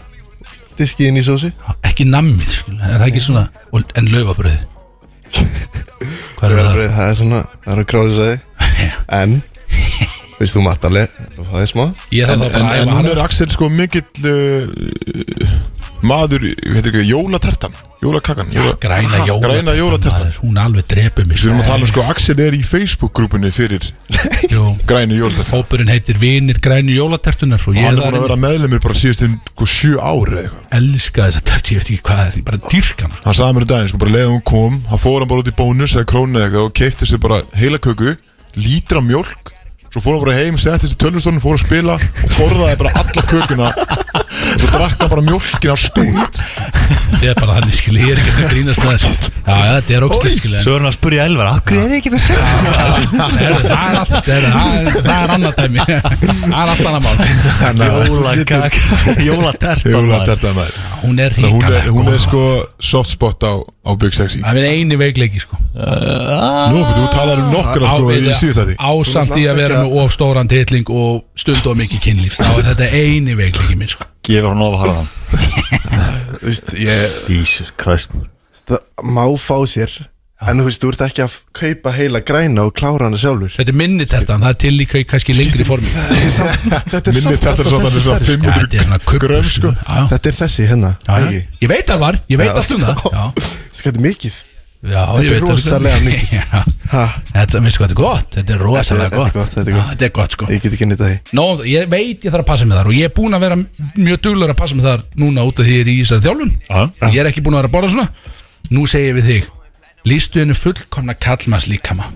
Speaker 7: diskið inn í sósi
Speaker 3: ekki nammið skilum, er það ekki svona og- En laufabröð Hvað eru það?
Speaker 7: Rauðbrauð, það er svona, það er að krása
Speaker 3: (laughs) Já.
Speaker 7: þig en, veist þú matta alveg það er smá,
Speaker 3: Ég
Speaker 2: En,
Speaker 3: þarf það
Speaker 2: en,
Speaker 3: bara að
Speaker 2: en
Speaker 3: æfa
Speaker 2: núna
Speaker 3: hana
Speaker 2: er Axel sko mikill uh, maður, heitir ekki, jólatertan Jólakakkan jóla,
Speaker 3: Ah, Græna jólatertan
Speaker 2: Græna jólatertan
Speaker 3: maður, Hún alveg drepur mig
Speaker 2: Við erum að tala um sko, Axel er í Facebook-grúpunni fyrir
Speaker 3: Jú,
Speaker 2: grænu jólatertan
Speaker 3: hópurinn heitir Vinir grænu jólatertunar Og
Speaker 2: Og
Speaker 3: ég
Speaker 2: hann
Speaker 3: er
Speaker 2: er búin
Speaker 3: þar
Speaker 2: að
Speaker 3: inni.
Speaker 2: vera meðlemið bara síðast inn sko, sjö ári eða eitthvað
Speaker 3: elska þessa tertu, ég veit ekki hvað er, ég bara dýrkan
Speaker 2: Hann sagði mér um daginn, sko, bara leiði hún kom Hann fór hann bara út í bónus eða krónu eða eitthvað Og keipti sér bara heila köku Lítra mjólk Svo fór hann bara heim, setti sér tölvustórnum, fór að spila Og borðaði bara alla kökuna Og svo drakk hann bara mjólkina á stund
Speaker 3: þetta er bara þannig skilja, ég er ekki að grínast með
Speaker 2: (laughs)
Speaker 3: þessu já, já, þetta er ógslið skilja
Speaker 4: Svo er hann að spurja Elvar "Ah, Akkur er ekki með sex
Speaker 3: það er það er allt, það er- það er- það er annað (laughs) dæmi það er allt annað mál
Speaker 4: Jólakak Jólatert
Speaker 2: Jóla þetta maður
Speaker 3: hún er
Speaker 2: Hún
Speaker 3: ríkalega
Speaker 2: er, hún
Speaker 3: góð,
Speaker 2: er
Speaker 3: maður.
Speaker 2: sko soft spot á, á Big Sexy
Speaker 3: það er eini veikleiki sko
Speaker 2: Nú, betur, þú talar um nokkura sko í síðast þetta
Speaker 3: ásamt í að vera með of stóran titling og stund og mikið kynlíf þá er þetta eini veikleiki minn sko
Speaker 4: Gefur hann ofa harðan
Speaker 3: (laughs)
Speaker 7: þú veist, ég
Speaker 4: Jesus Christ
Speaker 7: það, má fá sér en þú veist, þú ert ekki að kaupa heila græna og klára hana sjálfur
Speaker 3: þetta er minni tertan, það er til líka í kannski lengri
Speaker 7: (laughs)
Speaker 3: formi
Speaker 7: þetta
Speaker 2: Minni þetta er svo þannig svona
Speaker 3: Já, þetta er svona
Speaker 2: 500
Speaker 3: kubbur
Speaker 2: grömm sko
Speaker 3: sko Já, já.
Speaker 7: þetta er þessi hérna,
Speaker 3: Já, já.
Speaker 7: ekki
Speaker 3: ég veit alvar, ég veit
Speaker 7: Já.
Speaker 3: allt um það já
Speaker 7: Veistu hvað þetta er mikið
Speaker 3: Já,
Speaker 7: Þetta er
Speaker 3: ég veit um það. (laughs)
Speaker 7: rosalega mikið.
Speaker 3: Já.
Speaker 7: ha,
Speaker 3: Þetta, veistu hvað, þetta er gott Þetta er rosalega
Speaker 7: Þetta er- þetta er
Speaker 3: gott
Speaker 7: gott, þetta er gott.
Speaker 3: Já, Þetta er gott, sko
Speaker 7: ég get ekki nýta því
Speaker 3: Nó, ég veit ég þarf að passa mig þar og ég er búin að vera mjög duglur að passa mig þar núna út af því ég er í Ísar þjálfun
Speaker 4: Já.
Speaker 3: Ég er ekki búin að vera að borða svona Nú segi ég við þig Lýstu henni fullkomna kallmanns líkama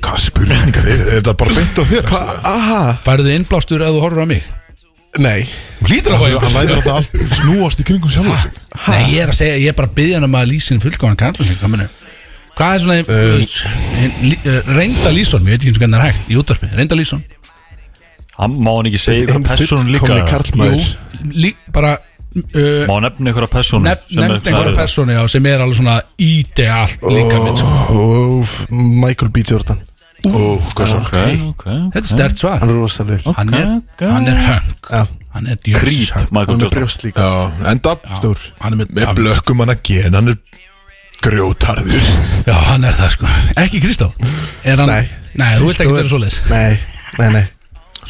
Speaker 2: Hvað spurningar er, er þetta bara beint á þér? Axel?
Speaker 7: aha,
Speaker 3: Færðu innblástur ef þú horfur á mig
Speaker 7: nei
Speaker 3: Þú hlýtur að fá
Speaker 2: Hann
Speaker 3: innblástur
Speaker 2: lætur alltaf allt snúast í kringum sjálf sig
Speaker 3: Nei, ég er að segja, ég er bara að byggja henni um að lýsa henni fullkomna kallmanns líkama Hvað er svona um, reynda lýsson, ég veit ekki eins og hvernig það er hægt í útvarpi, reynda lýsson
Speaker 4: Hann má hann ekki segja
Speaker 7: Hinn
Speaker 4: eitthvað persónu líka
Speaker 7: fullkomni
Speaker 3: Jú,
Speaker 7: karlmaður
Speaker 3: lí, bara uh,
Speaker 4: Má hann nefna einhverja persónu
Speaker 3: nef, nefnd einhverja persónu já, sem er alveg svona íti allt líka minn sko.
Speaker 7: Óf, Michael B. Jordan
Speaker 2: Ó, hvað svo
Speaker 4: persónu Ok, ok
Speaker 3: Þetta er stert svar
Speaker 7: hann er rosalur
Speaker 3: Hann er,
Speaker 4: ok.
Speaker 3: hann er höng
Speaker 7: Já.
Speaker 3: Hann er djöfis
Speaker 4: Creed,
Speaker 3: höng.
Speaker 4: Michael
Speaker 7: hann er
Speaker 4: Jordan
Speaker 7: brjóst líka
Speaker 2: Já, enda
Speaker 7: stór.
Speaker 3: Já, Hann er með,
Speaker 2: með
Speaker 3: já,
Speaker 2: blökkum hann að gen Hann er grjótarður
Speaker 3: já, hann er það sko Ekki Kristof Er hann
Speaker 7: Nei.
Speaker 3: Nei, þú vilt ekki vera svoleiðis
Speaker 7: nei, nei, nei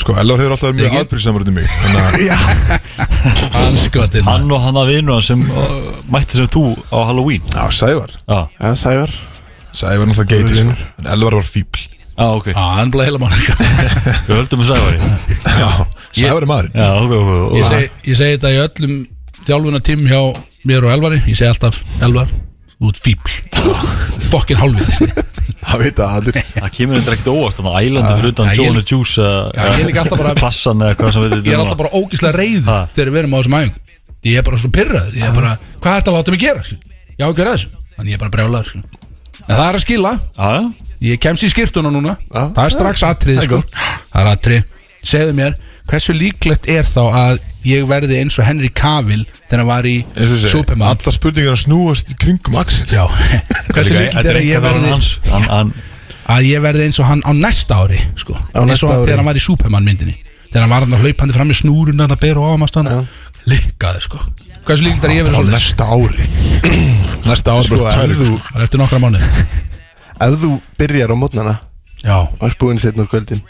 Speaker 2: Sko, Elvar hefur alltaf verið mjög
Speaker 3: Siggi?
Speaker 2: aðbyrðsamur til mig Þannig að
Speaker 3: Hann sko, skotinn
Speaker 4: Hann og hann að vinu hann sem uh, mætti sem þú á Halloween
Speaker 2: Já, Sævar
Speaker 4: Já,
Speaker 7: ja, Sævar
Speaker 2: Sævar er náttúrulega geitir sko. En Elvar var fíbl
Speaker 4: já ok,
Speaker 3: Já, hann er bara heila sko. mánu
Speaker 4: við höldum við Sævari
Speaker 2: Já, Sævar er maðurinn
Speaker 4: Já, ok, ok, ok
Speaker 3: Ég segi ég segi þetta í öllum Þjálfuna tím hjá mér og Elvari Ég segi alltaf Elvar Þú ert
Speaker 2: (laughs)
Speaker 3: fíbl Fokkin hálfvitist
Speaker 2: (laughs) Það veit að allir
Speaker 4: Það kemur þetta ekkert óvart Þannig að ælandi fyrir utan
Speaker 3: Já, ég-
Speaker 4: John and Juice eða-
Speaker 3: Já, ég er líka alltaf bara-
Speaker 4: Passan eða hvað sem við
Speaker 3: ég er alltaf bara ógíslega reyð
Speaker 4: Ha.
Speaker 3: þegar við erum á þessum æfingum ég er bara svo pyrraður, ég er bara hvað ertu að láta mig gera, skil? ég á ekki að gera þessu þannig ég er bara brjálaður skil. en það er að skila,
Speaker 4: Já, já
Speaker 3: ég kemst í skýrtuna núna það er strax atrið, sko það er atrið, segðu mér hversu líklegt er þá að ég verði eins og Henry Cavill þegar hann var í
Speaker 2: eins og ég segi,
Speaker 3: Superman
Speaker 2: allar spurningar snúast í kringum Axel (laughs)
Speaker 3: Já, hversu líklegt er að ég verði
Speaker 4: hans hann, hann,
Speaker 3: að ég verði eins og hann á næsta ári sko. eins
Speaker 7: næsta
Speaker 3: og hann
Speaker 7: ári.
Speaker 3: þegar hann var í Superman myndinni þegar hann var hann hlaupandi fram í snúrun hann að bera og ámast hann líkaði sko hversu líklegt er að ég
Speaker 2: á
Speaker 3: verði svolítið
Speaker 2: næsta
Speaker 3: (clears throat)
Speaker 2: ári næsta ári
Speaker 3: sko,
Speaker 2: bara
Speaker 3: ef
Speaker 2: tælir
Speaker 3: þú- bara eftir nokkra mánu
Speaker 7: Ef þú byrjar á mótnana
Speaker 3: já,
Speaker 7: og er búinn setna á kvöldin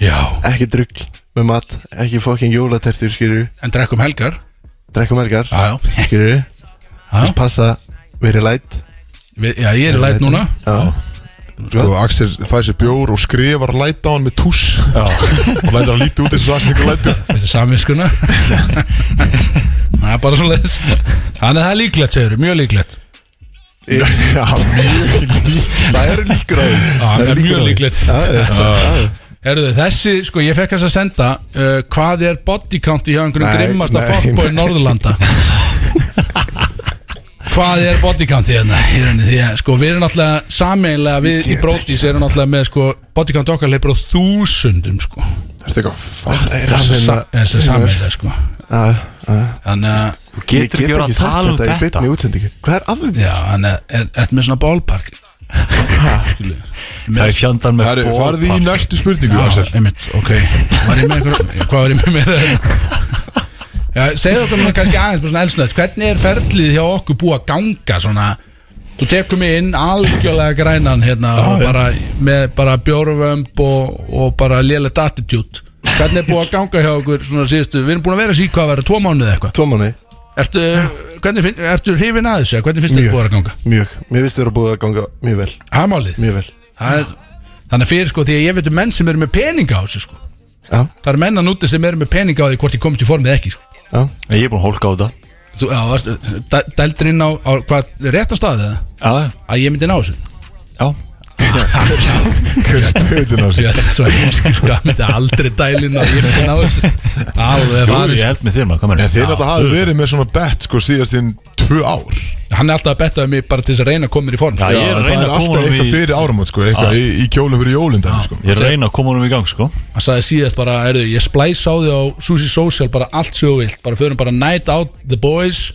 Speaker 3: já,
Speaker 7: Ekki drugg með mat Ekki fokkin jólatertur skilur
Speaker 3: en drekkum helgar
Speaker 7: Drekkum ergar
Speaker 3: já, já,
Speaker 7: Skilur
Speaker 3: já,
Speaker 7: Passa Verið
Speaker 3: (laughs)
Speaker 7: læt
Speaker 3: Við- já ég er læt núna
Speaker 7: Já
Speaker 2: sko, Axel fæði sér bjór og skrifar læt á hann með túss og lætur hann lítið út eins og Axel ykkur lætur
Speaker 3: fyrir samvinskuna það er bara svo leiðis þannig að það er líklegt segur, mjög líklegt
Speaker 2: já, mjög lík það eru líkur á því
Speaker 3: Já, það er mjög líklegt
Speaker 7: já.
Speaker 3: Herruðu, þessi, sko, ég fekk þess að senda uh, Hvað er body count í hjá einhverjum
Speaker 7: Nei,
Speaker 3: grimmasta
Speaker 7: nei.
Speaker 3: fólkbói Norðurlanda? Hvað er body count í hérna? Í rauninni, Því að, sko, við erum náttúrulega sameinlega Við í Brótis erum náttúrulega með, sko Body count okkar leipur á þúsundum, sko
Speaker 2: Ertu eitthvað, fuck,
Speaker 7: Það er að finna
Speaker 3: Þessi sameinlega, sko Þannig að,
Speaker 4: þú getur ekki verið að
Speaker 7: Ég get ekki
Speaker 4: tala um
Speaker 7: sagt þetta
Speaker 4: þetta
Speaker 7: í byrni útsendingu Hvað er að því?
Speaker 3: já, þannig að er- Ertu með svona ballpark? Skilu
Speaker 4: það er fjandan með
Speaker 2: Herri, farði í
Speaker 4: ballpark.
Speaker 2: næstu spurningu,
Speaker 3: Já,
Speaker 2: Axel
Speaker 3: einmitt, ok var ég með einhver, (laughs) Hvað var ég með mér? Já, segðu okkur núna kannski aðeins bara svona elsnöð Hvernig er ferlið hjá okkur búið að ganga svona Þú tekur mig inn algjörlega grænan hérna og bara, með bara bjórvömb og, og bara lélegt attitude Hvernig er búið að ganga hjá okkur svona síðustu Við erum búin að vera sík hvað að vera, tvo mánuð eða eitthvað
Speaker 7: Tómanni
Speaker 3: Ertu, hvernig, finn- ertu hrifin að þessu? eða Hvernig finnst þetta búið að vera að ganga?
Speaker 7: Mjög Mér finnst þér að búið að ganga mjög vel
Speaker 3: Hæmálið
Speaker 7: Mjög vel
Speaker 3: Þannig að fyrir sko því að ég veit um menn sem eru með peninga á þessu sko
Speaker 7: Já
Speaker 3: Það eru menn að núti sem eru með peninga á því hvort ég komist í formið ekki sko.
Speaker 7: Já
Speaker 4: Nei, ég er búin að hólka á þetta
Speaker 3: Þú, já, varst, dældir inn á, á hvað, réttan staðið eða?
Speaker 4: já,
Speaker 3: Að ég myndi ná þessu
Speaker 4: já
Speaker 2: hver er stöðin á
Speaker 3: Því
Speaker 2: sig
Speaker 3: að það er svo heimsk, sko, að myndi aldrei dælinn að ég myndi ná þessu Alveg
Speaker 4: Jú,
Speaker 3: farið, sko.
Speaker 4: ég held með þér maður, hvað
Speaker 2: en
Speaker 4: mennir
Speaker 2: þeir náttúrulega hafi verið með svona bett (laughs) sko síðast inn tvö ár
Speaker 3: sko. hann er alltaf að betta um mig bara til þess að reyna að koma mér í form sko.
Speaker 4: Já, ég
Speaker 2: en
Speaker 4: er að
Speaker 2: það er
Speaker 4: reyna að koma
Speaker 2: alltaf
Speaker 4: honum
Speaker 2: eitthvað
Speaker 4: í
Speaker 2: fyrir áramót sko, eitthvað í, í kjólum fyrir jólinn dæmi, sko.
Speaker 4: Ég er að reyna að koma honum í gang, sko
Speaker 3: Hann sagði síðast bara, erðu, ég splæs á því á Susi Social bara allt sem þú vilt Bara förum bara night out the boys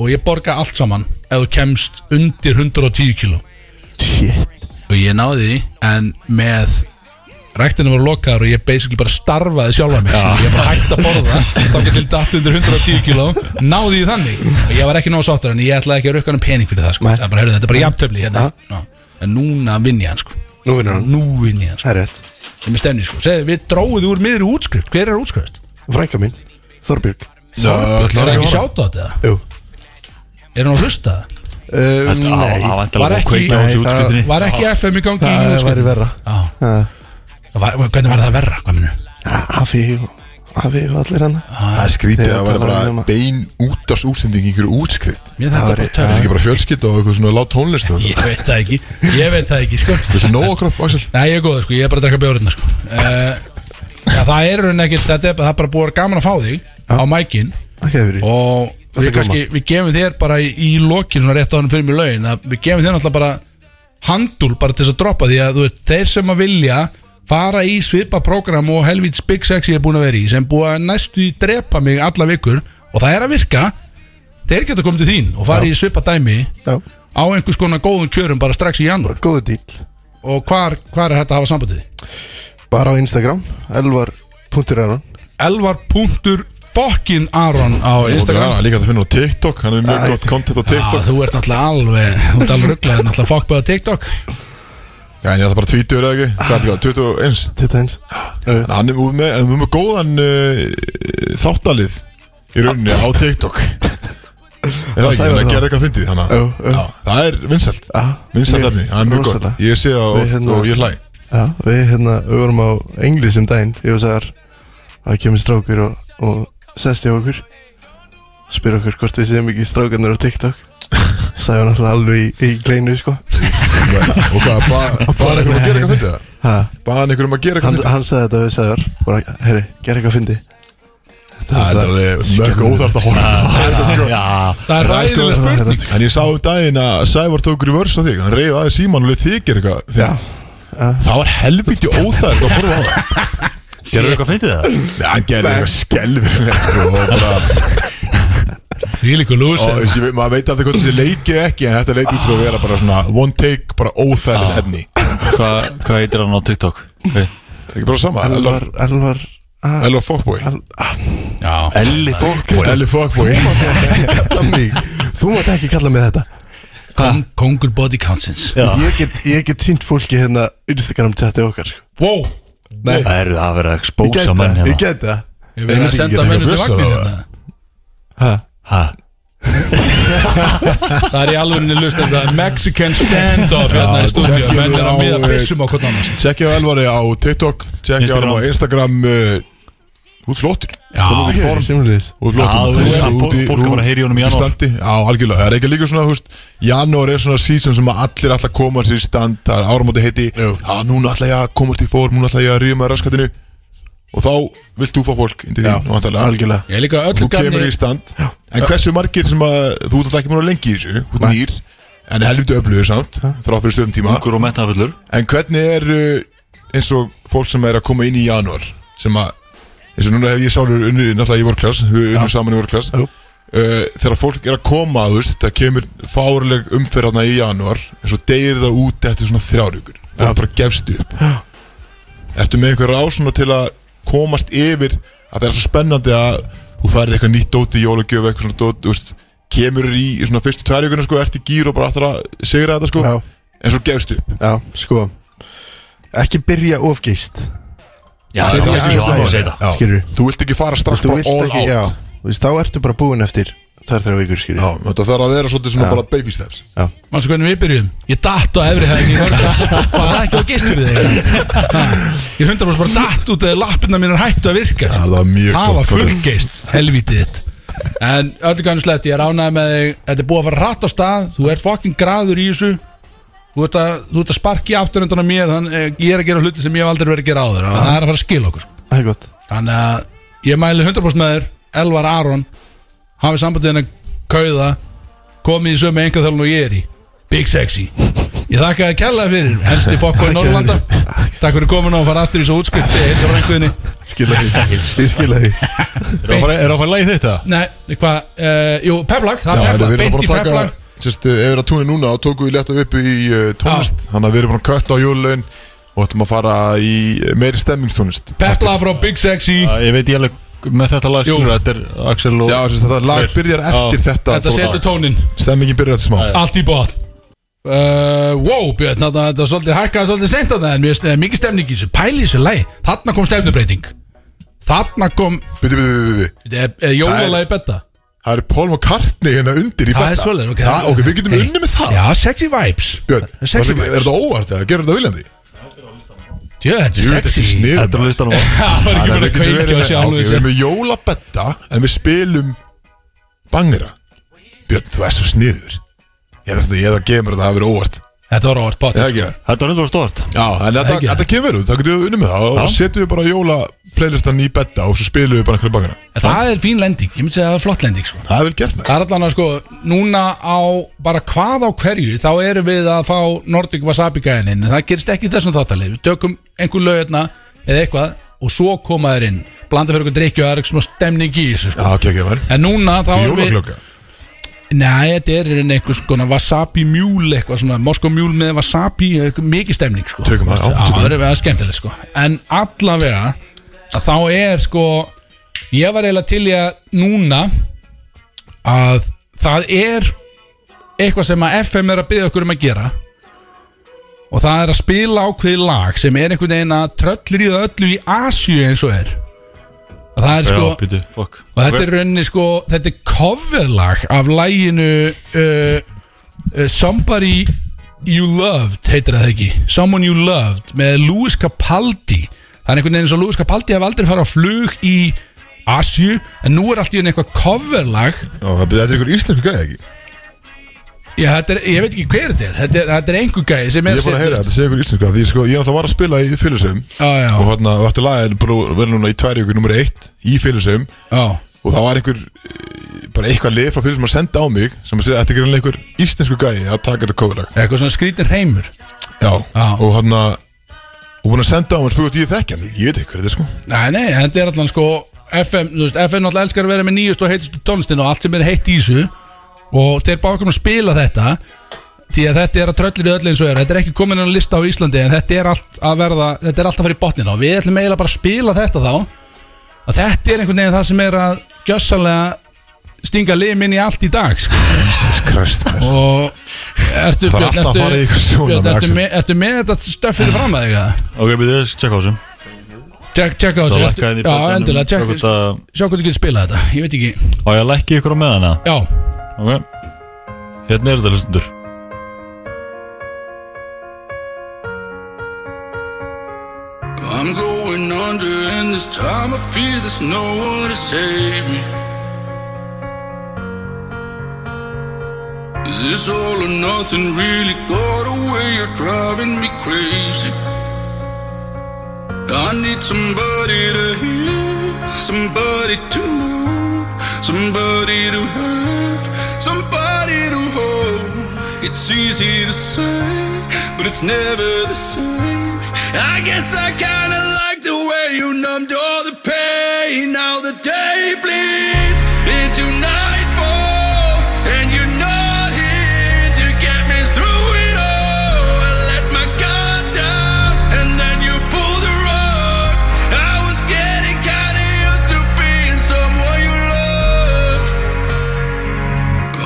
Speaker 3: Og ég borga allt saman Ef þú kemst undir 110 kíló
Speaker 7: Shit
Speaker 3: og ég náði því en með ræktinu voru lokaðar og ég basically bara starfaði sjálfa mig ja. ég bara hægt að borða þá getur til datt undir 110 kíló náði ég þannig og ég var ekki nóg sáttur en ég ætlaði ekki að rukka hann um pening fyrir það sko.
Speaker 7: Nei.
Speaker 3: það er bara, heyrðu, þetta er bara jafntöfli hérna. ja. en núna vinn ég hann sko.
Speaker 7: Nú vinnur hann
Speaker 3: nú vinn ég hann sko.
Speaker 7: Það er rétt
Speaker 3: sem er stemni sko. Segðu, við dróðum úr miðri útskrift hver er útskrift?
Speaker 7: Frænka mín Þorbjörg
Speaker 3: Þorbjörn, er það ekki sjátt á þetta?
Speaker 7: Jú
Speaker 3: er hann að hlusta?
Speaker 7: Um,
Speaker 4: Þetta á-
Speaker 7: Nei
Speaker 4: á
Speaker 3: Var
Speaker 4: vantilega að
Speaker 3: ekki-
Speaker 4: kveika á
Speaker 7: Nei,
Speaker 4: þessu
Speaker 7: það-
Speaker 4: útskiptinni
Speaker 3: var ekki FM í gangi í
Speaker 7: Það væri
Speaker 3: útskrift?
Speaker 7: verra
Speaker 3: Já.
Speaker 7: Já.
Speaker 3: Það var- hvernig var það verra? hvað minnur?
Speaker 7: Afi Afi og allir hann
Speaker 3: Ah.
Speaker 2: það er skrítið
Speaker 7: Þegar
Speaker 2: að vera
Speaker 7: talar við um
Speaker 2: bara
Speaker 7: að-
Speaker 2: bein útars útsending í einhverju útskrift
Speaker 3: mér þetta
Speaker 2: það
Speaker 3: bara töff
Speaker 2: er ekki bara fjölskyld og eitthvað svona látt tónlist og
Speaker 3: Ég
Speaker 2: þetta.
Speaker 3: veit það ekki, ég veit það ekki sko
Speaker 2: Viltu nóg okkur upp, Axel?
Speaker 3: Nei, ég er góð sko, ég er bara að drekka bjórna sko uh, Já, það er raun ekkert þetta er, það er bara búið að vera gaman að fá þig á mækin
Speaker 7: Takk fyrir
Speaker 3: og við
Speaker 7: Þetta er
Speaker 3: kannski, við gefum þér bara í, í lokin svona rétt á hann fyrir mig laun að við gefum þér náttúrulega bara handúl bara til þess að droppa því að þú veist, þeir sem að vilja fara í svipa program og helvíts Big Sexy er búin að vera í sem búið að næstu í drepa mig alla vikur og það er að virka þeir geta komið til þín og fara í svipa dæmi
Speaker 7: Já
Speaker 3: á einhvers konar góðum kjörum bara strax í janúar
Speaker 7: Góðu dýl
Speaker 3: og hvar, hvar er þetta að hafa sambandið?
Speaker 7: Bara á Instagram Elvar.aron
Speaker 3: Elvar.aron á Instagram
Speaker 2: Og líka að finna á TikTok, hann er mjög gott content á
Speaker 3: Já,
Speaker 2: TikTok
Speaker 3: þú ert náttúrulega alveg Þú ert alveg rugglaðið náttúrulega fokkbæða TikTok
Speaker 2: Já, en ég ætla bara 20 eða ekki, hvað er þetta, 21
Speaker 7: Þetta eins
Speaker 2: En hann er með, en við erum með góðan uh, þáttalið í rauninni á
Speaker 7: (laughs)
Speaker 2: TikTok Er það ekki,
Speaker 7: sagði
Speaker 2: hann
Speaker 7: það.
Speaker 2: gerði eitthvað fyndið þannig
Speaker 7: Jú,
Speaker 2: að-
Speaker 7: jú.
Speaker 2: Já, Það er vinsælt,
Speaker 7: Já,
Speaker 2: vinsælt
Speaker 7: mjög,
Speaker 2: efni, það er mjög gott
Speaker 7: rosalega.
Speaker 2: Ég sé það
Speaker 7: Ah, Við
Speaker 2: oft
Speaker 7: hérna-
Speaker 2: og ég hlæ
Speaker 7: Já, við hérna, við vorum á Englis um daginn, ég og sagðar það kemur strákur og, og sest hjá okkur spyr okkur hvort við séum ekki strákarnir á
Speaker 2: (laughs)
Speaker 7: TikTok sagði hann alltaf alveg í, í gleinu sko
Speaker 2: Og hvað, ba- bara einhverjum um að gera eitthvað fyndið það?
Speaker 7: ha,
Speaker 2: Bara einhverjum um að gera eitthvað
Speaker 7: hann,
Speaker 2: fyndið
Speaker 7: hann sagði þetta við sagðar bara, herri, gera eitthvað fyndi
Speaker 2: Það er alveg mörg óþart að horfa á þetta, sko.
Speaker 4: Já,
Speaker 3: Það er
Speaker 2: Það er sko-
Speaker 3: ræðilega spurning
Speaker 2: En ég sá um daginn að Sævar tókur í vörs á þig Hann reyði aðeins síman og leið þig gera eitthvað
Speaker 7: Já,
Speaker 2: Það var helviti óþægt að horfa á það
Speaker 4: Gerðu eitthvað fyndið það?
Speaker 2: Nei, hann gerði eitthvað skelvilega sko og bara,
Speaker 3: Því líka
Speaker 2: og
Speaker 3: lúsið
Speaker 2: þessi, maður veit aldrei hvort þessi leikið ekki en þetta leit út frá að vera bara svona one take, bara óþægilegt efni Það
Speaker 4: Hvað hva heitir hann á TikTok?
Speaker 2: er ekki bara sama,
Speaker 7: Elvar,
Speaker 2: Elvar
Speaker 7: Elvar ah,
Speaker 2: Elvar Fokkbói
Speaker 7: Al- ah,
Speaker 3: Já,
Speaker 4: Elli Þorkbói
Speaker 2: Elvar Fokkbói
Speaker 7: kalla mig Þú
Speaker 2: (laughs)
Speaker 7: mátt ekki kalla mig þetta
Speaker 3: Kong, kongur body countsins
Speaker 7: Ég get, ég get sínt fólki hérna Instagram chati okkar sko.
Speaker 3: Wow,
Speaker 7: Nei,
Speaker 4: Það eru það að vera að
Speaker 7: ég get
Speaker 4: expósa menn
Speaker 7: það, ég
Speaker 4: hérna
Speaker 7: get það
Speaker 3: ég verið
Speaker 7: Einmitt,
Speaker 3: að
Speaker 7: ég
Speaker 3: senda
Speaker 7: get
Speaker 3: menn til
Speaker 2: eitthvað
Speaker 3: vagnir
Speaker 2: blessað,
Speaker 3: hérna
Speaker 7: Ha?
Speaker 4: Ha?
Speaker 3: Það er í alvörinni lust að það er Mexican
Speaker 7: ah.
Speaker 3: standoff hérna
Speaker 2: Já,
Speaker 3: í stúdíu
Speaker 2: checkjum
Speaker 3: Menn er
Speaker 2: á,
Speaker 3: að miða
Speaker 2: eh,
Speaker 3: byssum á hvort annars
Speaker 2: Tjekkja á Elvari eh, á TikTok Tjekkja á hann á Instagram uh, Út flottur
Speaker 3: Já,
Speaker 7: Ég er Simliðis
Speaker 2: Út
Speaker 4: Já,
Speaker 2: flottur
Speaker 4: þú veist, fólk- fólk er bara að heyra í honum í janúar.
Speaker 2: standi Já, algjörlega Það er ekki líka svona, þú veist Janúar er svona season sem að allir alltaf koma sér í stand Það er áramóti heiti Já, núna ætla ég að komast í form Núna ætla ég að ríða með raskatinu Og þá vilt þú fá fólk indi því náttúrulega.
Speaker 7: Algjörlega
Speaker 3: ég er líka
Speaker 2: Þú
Speaker 3: öllu
Speaker 2: kemur
Speaker 3: gamni
Speaker 2: í stand En hversu margir sem að Þú ert alltaf ekki múin að lengi í þessu Þú ert nýr En helviti öflugur samt Þrá fyrir stöðum tíma
Speaker 4: Ungur og metnafullur
Speaker 2: En hvernig er uh, eins og fólk sem er að koma inn í janúar sem að, eins og núna hef ég sálur unni náttúrulega í vorklass, við unnum saman í vorklass uh,
Speaker 7: Jú.
Speaker 2: þegar fólk er að koma þú veist, þetta kemur fárleg umferðarna í janúar, eins og deyir það út eftir svona þrjárhugur, það bara gefst upp Já. Ertu með einhver rásuna til að komast yfir að það er svo spennandi að þú færið eitthvað nýtt dóti í jólagjöf eitthvað svona dóti, þú veist kemur í, í svona fyrstu tværjuguna sko, ert í gýr og bara ætlar að segra þetta sko
Speaker 7: Já.
Speaker 2: en svo gefst upp
Speaker 7: Já, sko Ekki byrja ofgeist
Speaker 4: Já,
Speaker 2: Það er ekki
Speaker 7: aðeins
Speaker 2: svona
Speaker 7: lægir.
Speaker 2: segja þetta.
Speaker 7: Skilurðu?
Speaker 2: Þú vilt ekki fara strax
Speaker 7: Þú
Speaker 2: bara
Speaker 7: vilt
Speaker 2: all
Speaker 7: ekki, já
Speaker 2: out
Speaker 7: Þú veist, þá ertu bara búinn eftir Tvær þrjá vikur, skilur
Speaker 2: Já, þetta þarf að vera svolítið svona bara baby steps
Speaker 3: Manstu hvernig við byrjum? Ég datt á efri hæðin í hörka Bara ekki á gistur við þig Ha, Ég hundar bara datt út eða lappirna mín er hættu að virka
Speaker 2: Það var mjög
Speaker 3: Það var
Speaker 2: gott kvöld.
Speaker 3: fullgeist, helvítið þitt En öllu kannu slett, ég er ánægð með þig Þetta er búið að fara rætt á stað Þú ert fokkin graður í þessu Þú ert að, þú ert að sparki afturöndan á mér Þannig eh, ég er að gera hluti sem ég hef aldrei verið að gera áður og Það er að fara að skila okkur sko.
Speaker 7: Það er gott
Speaker 3: Þannig að ég mæli 100% með þér Elvar Aron Hafið sambandin að kauða Komið í sömu einhver þalun og ég er í Big Sexy Ég þakka þér kærlega fyrir, helsti fokkur í Norrlanda Takk fyrir komin og fara aftur í svo útskrift Heilsa frænguðinni
Speaker 7: Skilja
Speaker 4: (laughs)
Speaker 7: því Ég skilja því
Speaker 4: Er það að fara- er það að fara lægi þetta?
Speaker 3: Nei, hvað, uh, jú, peplag
Speaker 2: Já,
Speaker 4: Hérna,
Speaker 3: Það er
Speaker 2: en við
Speaker 3: peplag,
Speaker 2: erum
Speaker 3: beint í
Speaker 2: bara að taka
Speaker 3: peplag
Speaker 2: eh, Sérst, ef við erum að túnir núna þá tókum við létta upp í uh, tónlist Þannig að við erum bara að kötta á jólun og ætlum að fara í eh, meiri stemmingstónlist
Speaker 3: Peplag frá Big Sexy
Speaker 4: Já, Ég veit ég alveg með þetta lag
Speaker 3: Jú.
Speaker 4: skilur Þetta
Speaker 3: (laughs)
Speaker 4: er Axel og
Speaker 2: Já, sérst, þetta lag byrjar eftir þetta,
Speaker 3: Þetta setur tónin,
Speaker 2: Stemmingin byrjar eftir smá
Speaker 3: allt í bótt uh, Wow, Björn, þarna- þetta er svolítið hækkaði svolítið seint að það En mér er mikið stemning í þessu, pæli í þessu læg Þarna kom stefnubreiting Þarna kom,
Speaker 2: Byrju, byrju, byrju, byrju
Speaker 3: eh, jólalagi betta
Speaker 2: Það er Paul McCartney hérna undir í
Speaker 3: Það
Speaker 2: betta.
Speaker 3: er svolítið, ok.
Speaker 2: Það- ok, við getum
Speaker 3: Hey.
Speaker 2: unni með það
Speaker 3: Já, sexy vibes
Speaker 2: Björn,
Speaker 3: er sexy
Speaker 2: var þetta-
Speaker 3: vibes.
Speaker 2: er þetta óvart eða gerir þetta viljandi?
Speaker 3: Djö, þetta
Speaker 2: Jú,
Speaker 3: er
Speaker 2: þetta er
Speaker 3: sexy
Speaker 2: sniðum
Speaker 4: Þetta er listanum á-
Speaker 3: (laughs) Það
Speaker 2: Þannig að við
Speaker 3: var ekki bara
Speaker 2: getum verið
Speaker 3: að kveikja
Speaker 2: með,
Speaker 3: og sjá
Speaker 2: ok,
Speaker 3: alveg
Speaker 2: við
Speaker 3: sér
Speaker 2: erum með jólabetta en við spilum bangera Björn, þú ert svo sniður Ég er það, ég er það gefur að það hafi verið óvart
Speaker 3: Þetta var óvart bótt
Speaker 2: Eða ekki?
Speaker 4: Þetta er hundur stort
Speaker 2: Já, en þetta,
Speaker 3: ekki?
Speaker 2: þetta kemur út, það getum við unnum með það og
Speaker 4: Já.
Speaker 2: setjum við bara jóla playlistan í betta og svo spilum við bara einhverja bangera
Speaker 3: Það er fín lending, ég myndi segja að það er flott lending sko
Speaker 2: Það er vel gert með
Speaker 3: Það er allan að sko, núna á bara hvað á hverju, þá erum við að fá Nordic Wasabi gæðin inn, en það gerist ekki í þessum þáttalið, við tökum einhver lögirna eða eitthvað og svo koma þér inn blanda fyrir eitthvað drikju og það er eitthvað svona stemning í þessu sko.
Speaker 2: Já, ok, ok, verð
Speaker 3: en núna þá erum við
Speaker 2: Jólaklokka
Speaker 3: nei, þetta er einhvern einhvers konar Wasabi mjúl eitthvað svona, Moskó mjúl með Wasabi eitthvað mikið stemning sko
Speaker 2: Tökum það, já,
Speaker 3: Já,
Speaker 2: tökum
Speaker 3: það er verið skemmtilegt sko En allavega að Þá er sko Ég var eiginlega til ég að núna Að það er Eitthvað sem að FM er að byggja okkur um að gera Og það er að spila ákveði lag Sem er einhvern veginn að tröllir í það öllu í Asju eins og er Og það er
Speaker 4: Já,
Speaker 3: sko
Speaker 4: býtu, fuck
Speaker 3: Og þetta er rauninni sko, þetta er coverlag af læginu uh, uh, Somebody You Loved, heitir það ekki Someone You Loved með Louis Capaldi Það er einhvern veginn eins og Louis Capaldi hef aldrei farið á flug í Asju En nú er allt í henni eitthvað coverlag
Speaker 2: Já, það- Þetta er einhver íslensku gæði ekki
Speaker 3: Já, þetta er, ég veit ekki hver þetta er Þetta er, þetta er einhver gæði sem
Speaker 2: Ég
Speaker 3: er
Speaker 2: er bara að heyra,
Speaker 3: setja-
Speaker 2: þetta sé einhver íslensku gæði Því sko, ég náttúrulega var að spila í Fylisum
Speaker 3: Já, já.
Speaker 2: Og hérna, við ætti lagið bara verið núna í tvær ykkur nummer eitt Í Fylisum
Speaker 3: Já,
Speaker 2: og það var einhver eh, bara eitthvað lið frá fyrir sem að senda á mig sem að segja, þetta er greinlega einhver íslensku gæði að taka þetta kóðlag
Speaker 3: eitthvað svona skrítin reymur
Speaker 2: já,
Speaker 3: Já.
Speaker 2: og hann að og búin að senda á hann og spurði hvort ég þekki hann ég veit ekki hvað þetta er sko
Speaker 3: Nei, nei, þetta er allan sko FM, þú veist, FM náttúrulega elskar að vera með nýjust og heitist tónlistin og allt sem er heitt í þessu og þeir bákum að spila þetta því að þetta er að tröllir í öll eins og er þetta er ekki komin að lista á Íslandi en þetta er allt að verða, þetta er allt að fara í botnin og við ætlum eiginlega bara að spila þetta þá að þetta er einhvern veginn það sem er að gjössalega stinga limin í allt í dag sko.
Speaker 2: Jesus Christ mér
Speaker 3: og ertu
Speaker 2: Það er alltaf að fara í ykkur sjónarmið,
Speaker 3: Björn, ertu,
Speaker 2: Axel.
Speaker 3: með, ertu með þetta stöff fyrir fram að þig að
Speaker 4: Ok, við þess, tjekka á þessum
Speaker 3: Check, check á
Speaker 4: Það
Speaker 3: þessu,
Speaker 4: lækkaði
Speaker 3: ertu-
Speaker 4: henni í
Speaker 3: já,
Speaker 4: bókanum.
Speaker 3: endilega,
Speaker 4: Sjá
Speaker 3: check,
Speaker 4: hvort að-
Speaker 3: sjá hvað þú getur spilað þetta, ég veit ekki
Speaker 4: Á ég að lækki ykkur á meðan eða?
Speaker 3: Já,
Speaker 4: Ok Hérna er þetta hlustundur
Speaker 6: I'm going under, and this time I fear there's no one to save me. Is this all or nothing really got away? You're driving me crazy. I need somebody to hear, somebody to know, somebody to have, somebody to hold. It's easy to say, but it's never the same. I guess I kinda like the way you numbed all the pain. Now the day bleeds into nightfall, and you're not here to get me through it all. I let my guard down, and then you pulled the rug. I was getting kinda used to being someone you loved.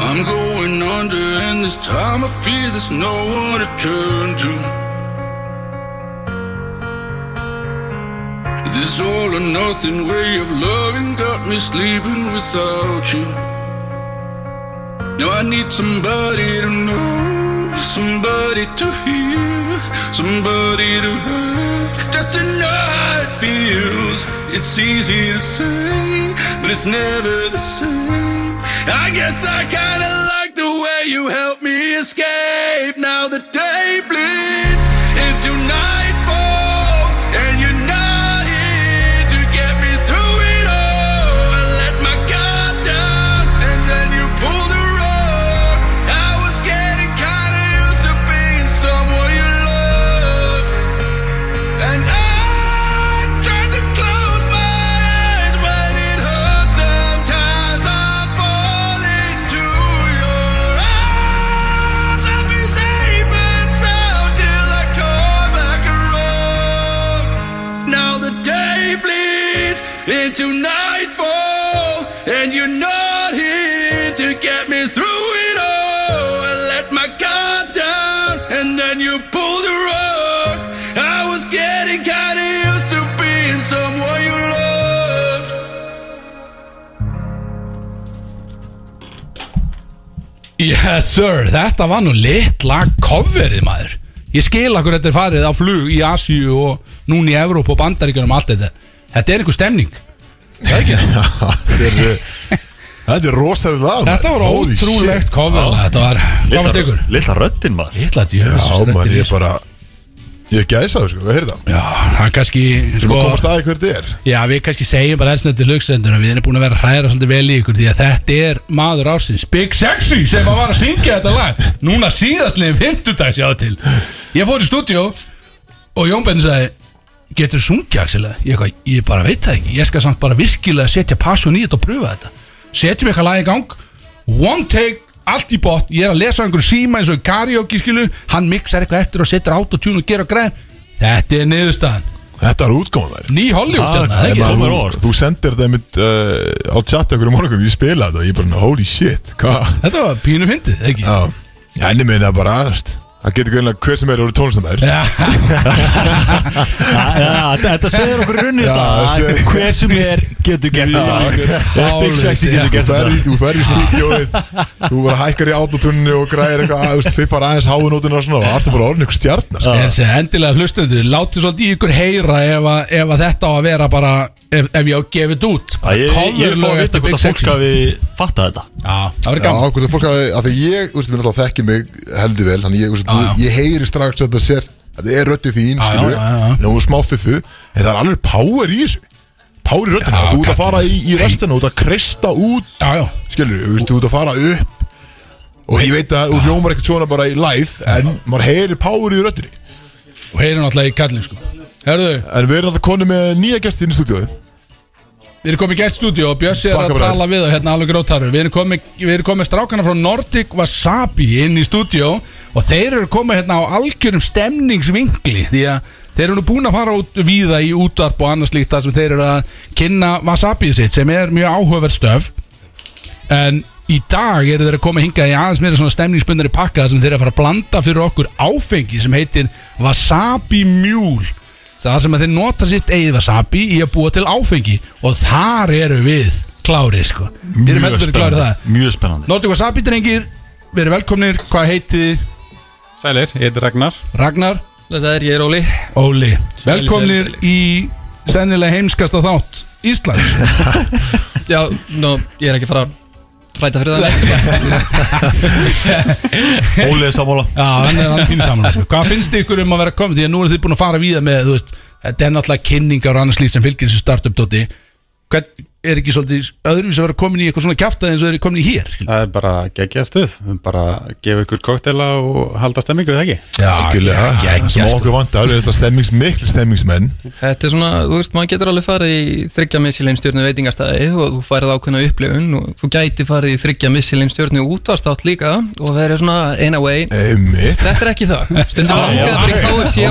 Speaker 6: I'm going under, and this time I fear there's no one to turn to. This all or nothing way of loving got me sleeping without you. Now I need somebody to know, somebody to hear, somebody to have, just to know how it feels. It's easy to say, but it's never the same. I guess I kinda like the way you helped me escape. Now the day bleeds into nightfall, and you're not here to get me through it all. I let my guard down, and then you pulled the rug. I was getting kinda used to being someone you love. And I tried to close my eyes, but it hurts sometimes. I fall into your arms. I'll be safe and sound till I come back around. Now the day bleeds into nightfall, and you're not here to get me through it all. I let my guard down, and then you pulled the rug. I was getting kinda used to being someone you loved.
Speaker 3: Yes sir, þetta var nú litla coverið maður Ég skil akkur þetta er farið á flug í Asíu og núna í Evróp og Bandaríkjunum og allt þetta Þetta er einhver stemning
Speaker 2: Þetta er, eh, Þetta er rosalega lag maður.
Speaker 3: Þetta var
Speaker 2: Holy shit.
Speaker 3: ótrúlegt cover Þetta var, hvað var stegur?
Speaker 4: Lilla röddinn maður
Speaker 3: Litla
Speaker 2: Já,
Speaker 3: djöfis
Speaker 2: maður, ég er bara Ég gæsa það sko, við heyrðum það
Speaker 3: Já, hann kannski
Speaker 2: Við
Speaker 3: sko,
Speaker 2: maður komast aðeins hver þetta er
Speaker 3: Já, við kannski segjum bara elsnöndi lögstendur að við erum búin að vera að hræra svolítið vel í ykkur því að þetta er maður ársins Big Sexy sem að var að syngja þetta lag núna síðastliðin 50 dags já til Ég fór í stúdíó og Jón Benn sagði getur þú sungja Axel eða?" ég, eitthvað, ég bara veit það ekki, ég skal samt bara virkilega setja passion í þetta og pröfa þetta setjum eitthvað lag í gang one take, allt í bot, ég er að lesa á einhverju síma eins og í karaoke skilu, hann mixar eitthvað eftir og setur autotune og gera græn þetta er niðurstaðan,
Speaker 2: Þetta er útgáðan þær
Speaker 3: ný Hollywood stjarna,
Speaker 4: Ah,
Speaker 3: það ekki?
Speaker 4: Kom
Speaker 2: Þú,
Speaker 4: mér á óvart.
Speaker 2: þú sendir það mitt uh, á chati okkur í morgun, ég spila þetta Ég bara, holy shit, hvað?
Speaker 3: Þetta var pínu fyndið, ekki?
Speaker 2: Já, henni minna bara aðast Það getur greinlega hver sem er úr tónlistamæður
Speaker 3: Já,
Speaker 4: Já, já, þetta- þetta segir okkur runni
Speaker 2: Já, það segir-
Speaker 4: þetta Hver sem er getur gert þetta
Speaker 3: Alveg,
Speaker 4: Big Sexy
Speaker 3: já.
Speaker 2: Þú
Speaker 4: getur gert
Speaker 2: ferð
Speaker 4: þetta
Speaker 2: í- Þú ferð í stúdíóið Þú bara hækkar í autotunni og græðir eitthvað að, þú veist, Fippar aðeins háinótinu og svona Og allt er bara orðin ykkur stjarnar sko.
Speaker 3: ég er að segja, endilega hlustendur Láttu svolítið í ykkur heyra ef, að, ef að þetta á að vera bara Ef, ef ég á að gefa þetta út
Speaker 4: Æ, Ég ég vil fá að vita hvort að fólk
Speaker 3: Já,
Speaker 4: hafi fattað þetta
Speaker 3: það verður
Speaker 2: Já,
Speaker 3: gaman
Speaker 2: hvort að fólk hafi, að því ég, þú veist, við náttúrulega þekki mig heldur vel, þannig ég, þú veist,
Speaker 3: Já, já.
Speaker 2: þú- ég heyri strax að þetta sér, þetta er röddið þín,
Speaker 3: Já,
Speaker 2: skilur
Speaker 3: já, já, já.
Speaker 2: við, nú smá fiffu, en það er alveg power í þessu, power í röddina,
Speaker 3: Já,
Speaker 2: þú ert að
Speaker 3: kallinn.
Speaker 2: fara í, í restina, þú ert að kreista út,
Speaker 3: Já, já,
Speaker 2: skilur við, þú veist, þú ert að fara upp, og ég veit að þú hljómar ekkert svona bara í live, en maður heyri power í röddinni,
Speaker 3: og heyri náttúrulega í kallin sko Herðu,
Speaker 2: En við erum alltaf konu með nýja gesti inn í stúdíói
Speaker 3: við erum komið í gæststúdíu og Bjössi er
Speaker 2: Takk,
Speaker 3: að
Speaker 2: bræður.
Speaker 3: tala við og hérna alveg grótarur Við erum komið, við erum komið strákana frá Nordic Wasabi inn í stúdíu og þeir eru komið hérna á algjörum stemningsvingli því að þeir eru nú búin að fara út víða í útvarp og annars líkt þar sem þeir eru að kynna Wasabi sitt sem er mjög áhugaverð stöf En í dag eru þeir að koma hingað í aðeins meira svona stemningsbundari pakka þar sem þeir eru að fara að blanda fyrir okkur áfengi sem heitir Wasabi Mule Það sem að þeir nota sitt eigið Wasabi í að búa til áfengi og þar eru við klárið sko Við erum heldur að klára það
Speaker 4: Mjög spennandi
Speaker 3: Nordic Wasabi drengir, við erum velkomnir, hvað heitið þið?
Speaker 8: Sælir, ég heiti Ragnar
Speaker 3: Ragnar,
Speaker 9: Lesaður, ég er Óli
Speaker 3: Óli
Speaker 9: Sælir,
Speaker 3: Velkomnir
Speaker 9: sælir,
Speaker 3: í sennilega heimskasta þátt Íslands
Speaker 9: (laughs) Já, nú, ég er ekki að fara að flæta fyrir (laughs) það sko.
Speaker 2: (laughs)
Speaker 4: Óliði sammála
Speaker 3: Já, hann er hann pínu saman sko. Hvað finnst ykkur um að vera komið? Því að nú eru þið búin að fara víða með þú veist, Þetta er náttúrulega kynningar og annars líf sem fylgir þessu startup dóti Hvern er ekki svolítið öðruvís að vera komin í eitthvað svona kjaftaði eins og þeir eru komin í hér skilur?
Speaker 8: Það er bara geggjað stuð Við bara gefa ykkur koktela og halda stemmingu eða ekki
Speaker 3: Já,
Speaker 2: Algjörlega,
Speaker 3: já, já,
Speaker 2: sem
Speaker 3: já, sko.
Speaker 2: okkur vantar Við erum alltaf stemmings, miklu stemmingsmenn
Speaker 9: Þetta er svona, þú veist, maður getur alveg farið í þryggja missilinn stjórnu veitingastæði og þú færið ákveðna upplifun og þú gæti farið í þryggja missilinn stjórnu útvarstátt líka og verið svona in a way
Speaker 2: Einmitt
Speaker 9: Þetta er ekki það, stundum langað fyrir KFC á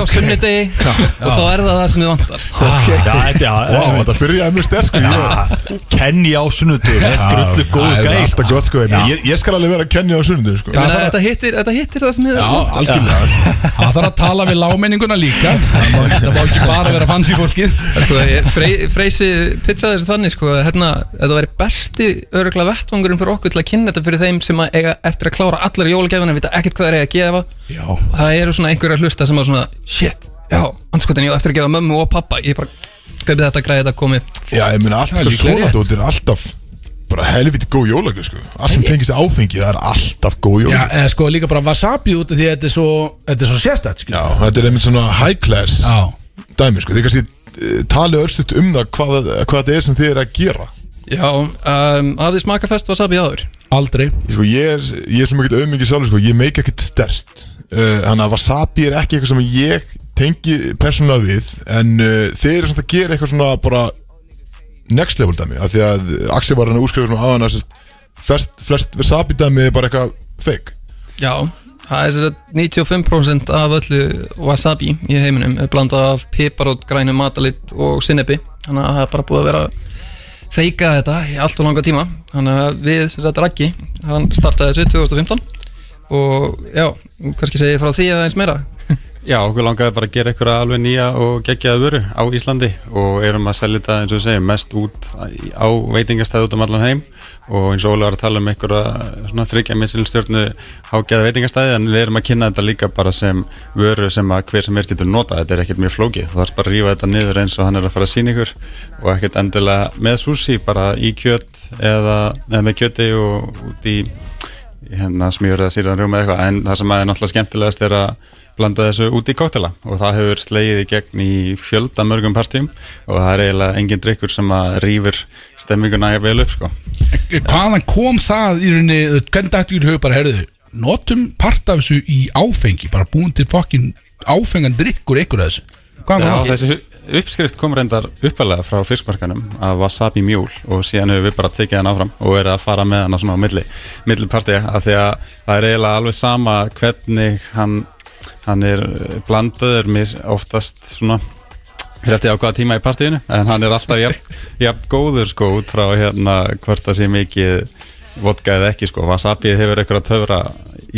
Speaker 9: sunnudegi og þá er það það sem þið vantar
Speaker 4: Já, þetta
Speaker 2: Vá,
Speaker 4: já,
Speaker 2: þetta byrjaði mjög sterk sko, ég var-
Speaker 4: Kenny á sunnudur Grullu góð
Speaker 2: Það er
Speaker 4: gæl
Speaker 2: alltaf gott sko en ég, ég skal alveg vera að kenja á sundu sko.
Speaker 9: Ég meina, þetta hittir, þetta hittir það sem þið vantar
Speaker 2: Algjörlega
Speaker 3: Það þarf að tala við lámenninguna líka Það má- það má ekki bara vera fanns í fólkið
Speaker 9: Sko, ég- Frey- Freysi pizzaði þessu þannig sko, að hérna, að það væri besti örugla vettvangurinn fyrir okkur til að kynna þetta fyrir þeim sem að eiga eftir að klára allar jólagefina vita ekkert hvað það er að gefa
Speaker 3: Já,
Speaker 9: það eru svona einhverjar hlusta sem að svona shit, já, anskotin ég á eftir að gefa mömmu og pappa ég bara, kaupið þetta græði þetta komið
Speaker 2: Já, ég meina allt
Speaker 3: Það er
Speaker 2: sko
Speaker 3: líklega
Speaker 2: svona
Speaker 3: rétt.
Speaker 2: Þetta er alltaf bara helviti góð jólagur sko Allt sem tengist áfengi, það er alltaf góð
Speaker 3: já
Speaker 2: jólagur
Speaker 3: eða sko líka bara wasabi út af því að þetta er svo, þetta er svo sérstætt skilur.
Speaker 2: Já, þetta er einmitt svona high class
Speaker 3: Já,
Speaker 2: dæmi sko Þið kannski eh, talið örstuðt um það hvað, hvað þetta er sem þið er að gera
Speaker 9: já, um, að þið smaka fest wasabi áður
Speaker 3: aldrei
Speaker 2: Ég, sko, ég, er, ég er svo mikið auðmikið sjálfur sko, ég meik ekkert stert Þannig að wasabi er ekki eitthvað sem ég tengi persónulega við En uh, þeir eru samt að gera eitthvað svona bara next level dæmi af Því að Axel var hann að útskrifa um aðan að sérst, flest, flest wasabi dæmi er bara eitthvað fake
Speaker 9: já, það er sér að 95% af öllu wasabi í heiminum er blandað af piparot, grænum matalit og sinnebi þannig að það er bara búið að vera að feika þetta í allt og langa tíma þannig að við, sem sagt, Raggi hann startaði þessu 2015 og já, og kannski segi ég frá því aðeins meira
Speaker 8: Já, okkur langaði bara að gera ykkur alveg nýja og geggjaða vöru á Íslandi og erum að selja þetta eins og við segjum mest út á veitingastæð út um allan heim og eins og Óli var að tala um ykkur svona þryggja missilstjórnu hágæða veitingastæði en við erum að kynna þetta líka bara sem vöru sem að hver sem er getur nota þetta er ekkert mjög flókið, þú þarfst bara að rífa þetta niður eins og hann er að fara að sína ykkur og ekkert endilega með sushi, bara í kjött eða, eða með kjöti og út í í hérna smjör eða sýrðan rjóma eða eitthvað en það sem er náttúrulega skemmtilegast er að blanda þessu út í kóttela og það hefur slegið í gegn í fjölda mörgum partíum og það er eiginlega engin drikkur sem að rýfur stemminguna að vel upp sko.
Speaker 3: hvaðan kom það í rauninni þú veist, hvernig dættu ykkur höfðu bara herðu notum part af þessu í áfengi bara búin til fokkin áfengan drikkur ykkur af þessu hvaðan
Speaker 8: Já,
Speaker 3: kom það?
Speaker 8: þessi uppskrift kom reyndar uppalega frá fiskmarkanum af wasabi mjúl og síðan hefur við bara tekið hann áfram og er að fara með hann svona á milli, milli partíja af því að það er eiginlega alveg sama hvernig hann, hann er blandaður mis, oftast svona fyrir eftir á hvaða tíma í partíinu en hann er alltaf jafn, jafn góður sko út frá hérna hvort það sé mikið vodka eða ekki sko, wasabi hefur eitthvað að töfra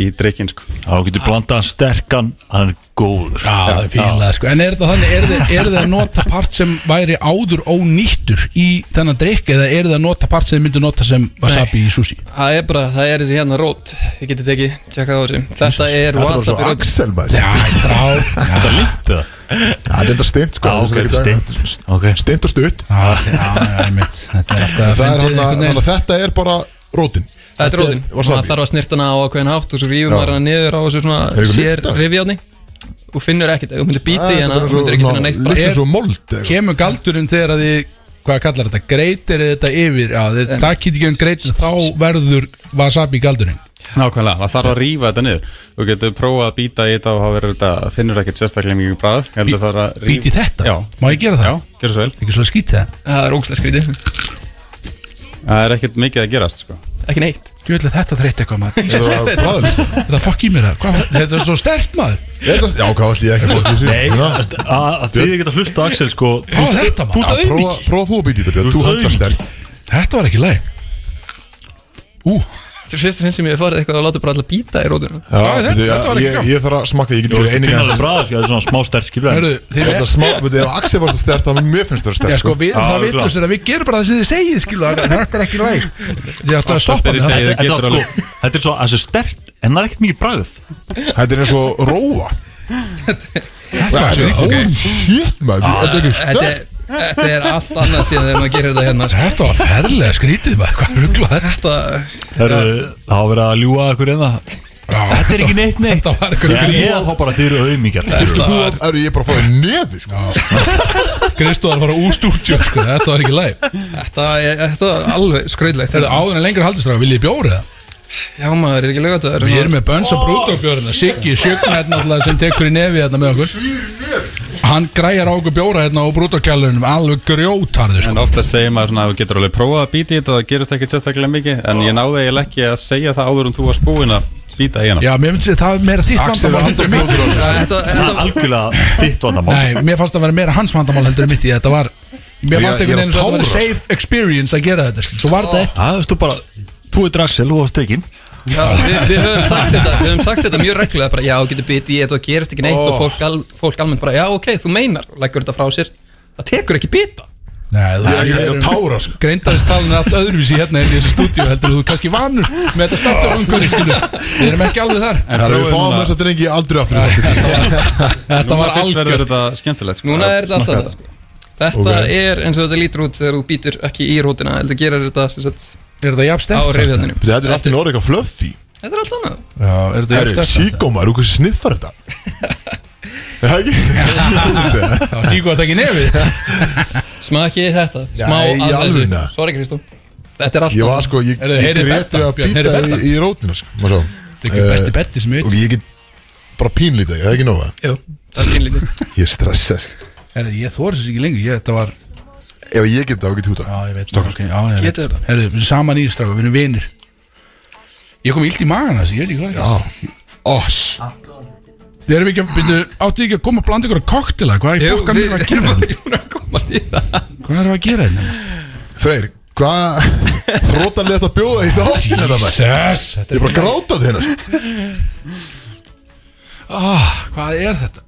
Speaker 8: í drikkin sko
Speaker 4: Þá getur blandaðan sterkan Hann er góður
Speaker 3: Já, það er fílað sko En er það þannig, er þið, er þið að nota part sem væri áður ónýttur í þennan drikk eða er þið að nota part sem þið myndu nota sem wasabi í sushi?
Speaker 9: Það er bara, það er þessi hérna rót Ég geti tekið, tjekka á þessu Þetta er
Speaker 2: Þetta var svo
Speaker 9: wasabi rót
Speaker 2: Axel maður
Speaker 3: Já, strá Já,
Speaker 4: Þetta lítið það
Speaker 2: Já, Þetta er þetta steint sko
Speaker 4: Já, Ah, ok, steint, ok.
Speaker 2: Steint og stutt
Speaker 3: já, Ah, já, já, einmitt. Þetta er alltaf
Speaker 2: Það er
Speaker 3: fyndið
Speaker 2: hann
Speaker 3: einhvern
Speaker 2: að
Speaker 3: veginn.
Speaker 2: þetta er bara rótin
Speaker 9: Þetta er rótin og
Speaker 2: wasabi.
Speaker 9: Það þarf að snirta hana á ákveðin hátt og svo rífum maður hana niður á þessu
Speaker 2: Er
Speaker 9: svona
Speaker 2: ykkur
Speaker 9: sér
Speaker 2: lykt af?
Speaker 9: rifjáni og finnur ekkert, ef þú myndir bíti í hana
Speaker 2: Þetta er
Speaker 9: þú myndir ekki finna neitt bara
Speaker 2: Lítur
Speaker 3: Er-
Speaker 2: svo mold eða eitthvað.
Speaker 3: Kemur galdurinn þegar að þið hvað kallar þetta, greitir þetta yfir já, þið takkið ekki um greitir þá verður wasabi galdurinn
Speaker 8: Nákvæmlega, það þarf að rífa þetta niður Þú getur prófað að býta í þetta og þá verður þetta finnur ekkert sérstaklega mikið bræð
Speaker 3: Bít- bít í þetta?
Speaker 8: Já,
Speaker 3: Má ég gera það?
Speaker 8: já, gerðu svo vel
Speaker 3: Ekki svolítið skítið það
Speaker 9: Það er ógæslega skrítið
Speaker 8: Það er ekkert mikið að gerast sko.
Speaker 9: Ekki neitt
Speaker 3: Gjöldlega þetta þreytt eitthvað maður
Speaker 2: Það var
Speaker 3: sko.
Speaker 2: bræðin
Speaker 3: Þetta fokk í mér það Hvað- Þetta er svo stert maður
Speaker 2: Já, hvað ætlum ég ekki að bóta í
Speaker 4: Nei,
Speaker 2: þessu?
Speaker 4: að að þið geta hlusta á Axel sko
Speaker 3: Hvað var þetta maður?
Speaker 4: Púta
Speaker 2: Prófa
Speaker 4: auðvík
Speaker 2: prófa þú að býta í þetta Björn,
Speaker 4: Þú
Speaker 2: þú
Speaker 4: ert
Speaker 2: höndlar stert
Speaker 3: Þetta var ekki læg Ú,
Speaker 9: Þetta er fyrsta sinn sem ég hef farið eitthvað að láta bara alltaf býta í rótunum
Speaker 2: Já,
Speaker 3: Já, þetta-
Speaker 2: veitu,
Speaker 3: þetta
Speaker 2: já,
Speaker 3: var ekki
Speaker 2: ég-
Speaker 3: gaman.
Speaker 2: Ég þarf að smakka, ég get
Speaker 4: Þú
Speaker 2: fyrir
Speaker 4: veist,
Speaker 2: eininga
Speaker 4: finnaðu bræða, sko, það er svona smá stert skilur
Speaker 3: hörru, þið
Speaker 2: Þetta smá, veitu, ef Axel var svo stert, þannig mér finnst það
Speaker 3: Já,
Speaker 2: stert
Speaker 3: sko, við,
Speaker 4: Já,
Speaker 3: það
Speaker 4: örugglega.
Speaker 3: vitlaust er að við gerum bara það sem þið segið, skilu, þetta er ekki læg. Þið áttu að stoppa
Speaker 8: er ég
Speaker 3: mig það.
Speaker 8: segið-
Speaker 4: Þetta
Speaker 8: getur
Speaker 4: er sko,
Speaker 8: alveg.
Speaker 4: þetta er svo, þessi stert en það er ekkert mikið bræð
Speaker 2: Þetta er eins og róa
Speaker 3: Þetta var svo-
Speaker 2: Holy shit, maður, þetta er ekki
Speaker 9: Þetta
Speaker 2: stert
Speaker 9: er- þetta er allt annað síðan þegar maður gerir þetta hérna sko.
Speaker 3: Þetta var ferlega skrítið maður, hvað ruggla þetta?
Speaker 9: Þetta
Speaker 4: Það hafa verið að ljúa ykkur
Speaker 3: (laughs)
Speaker 4: eða Þetta er ekki neitt neitt
Speaker 3: Þetta var eitthvað
Speaker 4: Ég er þá bara að þið eru auðmíkjar
Speaker 2: Þú eru ég bara að fá þér neðu, sko
Speaker 3: Kristóðar var úr stúdíu, sko, þetta var ekki læg.
Speaker 9: Þetta er þetta er alveg skröðlegt
Speaker 3: Þetta er áður en lengra haldistráð, vil ég bjóra það?
Speaker 9: Já maður, er ekki lögat að
Speaker 3: Við erum með Bönns og Brútókbjórna, Siggi, sjögna hérna alltaf sem tekur í nefi hérna með okkur. Hann græjar á okkur bjóra hérna á Brútókjálunum, alveg grjótarðu, sko.
Speaker 8: En ofta segir maður svona að þú getur alveg prófað að býta í þetta og það gerist ekkert sérstaklega mikið En ég náði eiginlega ekki að segja það áður en þú varst búinn að býta í hana
Speaker 3: Já, mér myndi segja það er meira þitt
Speaker 2: Axel var
Speaker 3: vandamál.
Speaker 2: alltaf fljótur á þessu
Speaker 9: Þetta
Speaker 4: Það er
Speaker 9: þetta-
Speaker 4: algjörlega þitt vandamál
Speaker 3: Nei, mér fannst það að vera meira hans vandamál heldur en mitt í þetta var Mér
Speaker 2: Ég-
Speaker 3: fannst
Speaker 2: ég er að
Speaker 3: einhvern veginn að það var
Speaker 2: tárast.
Speaker 3: safe
Speaker 9: sko.
Speaker 3: experience að gera þetta skil. Svo var þetta ekki
Speaker 4: Það veist þú bara, þú er Draxel, þú varst tekin
Speaker 9: Já, við, við höfum sagt þetta Við höfum sagt þetta mjög reglulega bara, Já, getur bitið í þetta og gerist ekki neitt Og fólk, al, fólk almennt bara, já, ok, þú meinar Læggur þetta frá sér Það tekur ekki bita
Speaker 3: Nei, þú
Speaker 2: Ég er ekki að tára, sko
Speaker 3: Greindaðistalinn er allt öðruvísi
Speaker 9: (laughs)
Speaker 3: hérna en í þessu stúdíu heldur en þú er kannski vanur með þetta startur umhverju skilu Við erum ekki alveg þar
Speaker 8: En
Speaker 2: Það
Speaker 8: prófum
Speaker 2: eru við fáum
Speaker 8: núna.
Speaker 2: þess að drengi aldrei aftur í þetta
Speaker 3: Þetta
Speaker 8: Núna
Speaker 3: var
Speaker 8: fyrst verður
Speaker 3: algjör
Speaker 8: þetta skemmtilegt sko.
Speaker 9: Núna er þetta alltaf
Speaker 8: Smakka
Speaker 9: þetta sko. Þetta
Speaker 2: Ok.
Speaker 9: er eins og þetta lítur út Þegar þú býtur ekki í rótina Þetta gerir þetta sem sagt,
Speaker 3: Er
Speaker 9: á
Speaker 3: þetta jafnstert?
Speaker 9: reyfjöðninu
Speaker 2: Þetta er alltaf norðið eitthvað fluffy
Speaker 9: Þetta er allt annað
Speaker 3: Já, er þetta
Speaker 2: Það eru
Speaker 3: jafnstert?
Speaker 2: síkó, maður, þú kannski sniffar
Speaker 3: (laughs)
Speaker 2: þetta Er Það ekki?
Speaker 3: (laughs) Það var síkó að taka í nefið
Speaker 9: (laughs) Smakið þetta Smá
Speaker 2: Nei, í
Speaker 9: af þessu.
Speaker 2: alvöruna.
Speaker 9: Sorry, Kristó Þetta er allt
Speaker 2: Ég var sko, ég
Speaker 3: Heyrðu,
Speaker 2: ég
Speaker 3: heyrið
Speaker 2: grét
Speaker 3: þetta,
Speaker 2: við að
Speaker 3: Björn, heyrið
Speaker 2: pýta í,
Speaker 3: þetta?
Speaker 2: í rótina sko. Má sjá.
Speaker 3: Þetta er besti betti sem
Speaker 2: Eh,
Speaker 3: við
Speaker 2: Og ég get bara pínlítið, ég hef ekki nóga
Speaker 9: Jú, það er fínlítið
Speaker 2: Ég stressa sko.
Speaker 3: Herðu, ég þóri þessu ekki lengur, ég, þetta var
Speaker 2: Ef ég get það, þá get þú það
Speaker 3: Já, ég veit okay, já, ég veit.
Speaker 9: Getið þetta.
Speaker 3: Herðu, við erum saman í strafa, við erum vinir Ég kom illt í magan þessi, ég veit ekki hvað
Speaker 2: Já, oss
Speaker 3: Við erum ekki að, byrju, áttu ekki að koma að blanda ykkur að koktela, hvað er
Speaker 9: Jú,
Speaker 3: bókan
Speaker 9: við
Speaker 3: við að
Speaker 9: erum
Speaker 3: gera?
Speaker 9: bara búin að komast í það
Speaker 3: Hvað erum við að gera hérna?
Speaker 2: Freyr, hvað
Speaker 3: (laughs)
Speaker 2: þrótanlega þetta bjóða í þáttin þetta maður?
Speaker 3: Jesus, þetta
Speaker 2: Ég er
Speaker 3: er,
Speaker 2: bara grátað hérna sko.
Speaker 3: ah, hvað er þetta?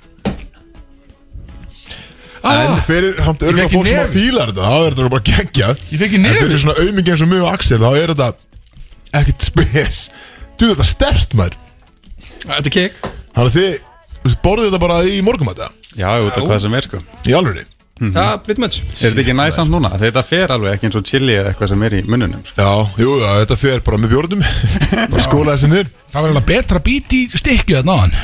Speaker 2: En
Speaker 3: Ah,
Speaker 2: fyrir samt
Speaker 3: ég
Speaker 2: örgulega
Speaker 3: fekk í
Speaker 2: fólk sem að
Speaker 3: nefið.
Speaker 2: fílar þetta Þá er þetta bara geggjað
Speaker 3: Ég fekk í
Speaker 2: En fyrir
Speaker 3: nefið.
Speaker 2: svona aumingi eins og mjög Axel Þá er þetta ekkert spes Þú þetta er stert maður
Speaker 9: Ah, Þetta er kekk
Speaker 2: Þannig að þið þú veist, borðið þetta bara í morgumata
Speaker 8: þetta. Já, út af hvað sem er sko Er
Speaker 2: Í alveg
Speaker 9: Já, pretty much
Speaker 8: þetta ekki næsans núna? Þetta fer alveg ekki eins og chili eða eitthvað sem er í mununum sko.
Speaker 2: Já, jú, já, þetta fer bara með bjórnum
Speaker 8: (laughs)
Speaker 2: Bara skóla þessi niður
Speaker 3: Það var eiginlega betra bít í stykkið að náðan,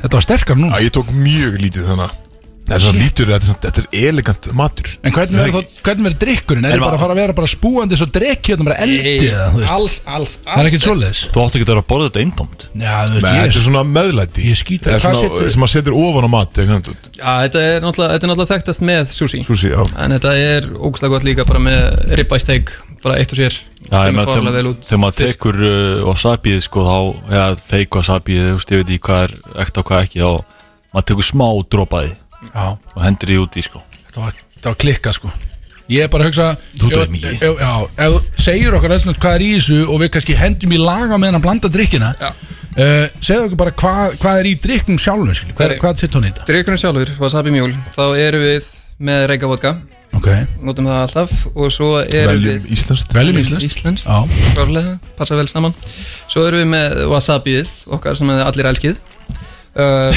Speaker 3: þetta var sterkar
Speaker 2: Já,
Speaker 3: núna.
Speaker 2: ég tók mjög lítið þannig að- Þetta er svona lítur, þetta er, svona- þetta er elegant matur
Speaker 3: En hvernig verður þá, hvernig verður drikkurinn?
Speaker 4: En
Speaker 3: Er það bara
Speaker 4: var-
Speaker 3: að fara að vera bara spúandi svo drekki hérna bara eldi eða, þú veist?
Speaker 9: Alls, alls,
Speaker 3: Það er ekkert svoleiðis.
Speaker 4: Þú átt ekki að vera að borða þetta eindamt
Speaker 3: Já, þú
Speaker 2: Men, Þetta
Speaker 3: veist,
Speaker 2: er
Speaker 3: ég
Speaker 2: svona meðlæti
Speaker 3: Ég skýt það.
Speaker 2: Eða
Speaker 3: Hvað
Speaker 2: svona,
Speaker 3: setur-
Speaker 2: Sem maður setur ofan á mat eða hvernig þetta-
Speaker 9: Já, þetta er náttúrulega, þetta er náttúrulega þekktast með sushi
Speaker 2: Sushi, já
Speaker 9: En þetta er ógustlega gott líka bara með ribeye steak Bara eitt og sér
Speaker 4: Já, ég meina,
Speaker 9: Kemur fárlega vel
Speaker 4: þegar
Speaker 9: út
Speaker 4: þegar maður tekur uh, wasabiðið sko þá, já, fake wasabiðið, þú veist, ég veit í hvað er ekta og hvað ekki, þá maður tekur smá dropaði
Speaker 3: Já,
Speaker 4: og hendur því út í sko.
Speaker 3: þetta var, þetta var klikka sko Ég er bara að hugsa
Speaker 4: Þú
Speaker 3: ef-
Speaker 4: dreymir mikið.
Speaker 3: ef- Já, ef þú segir okkur eða hvað er í þessu og við kannski hendum í laga meðan að blanda drikkina
Speaker 9: Já.
Speaker 3: uh, segðu okkur bara hvað, hvað er í drikknum sjálfum skil,
Speaker 9: Það
Speaker 3: hvað,
Speaker 9: er-
Speaker 3: hvað sitt hún í þetta
Speaker 9: Drykkurinn sjálfur, wasabi mjól Þá erum við með reikavodka
Speaker 3: Ok,
Speaker 9: Notum það alltaf Og svo erum
Speaker 2: Veljum
Speaker 9: við
Speaker 2: íslenskt
Speaker 3: veljum íslenskt
Speaker 9: Íslenskt
Speaker 3: Já.
Speaker 9: Klárlega, passa vel saman Svo erum við með wasabið Okkar sem þið allir
Speaker 4: (laughs)
Speaker 9: elskið (laughs) uh,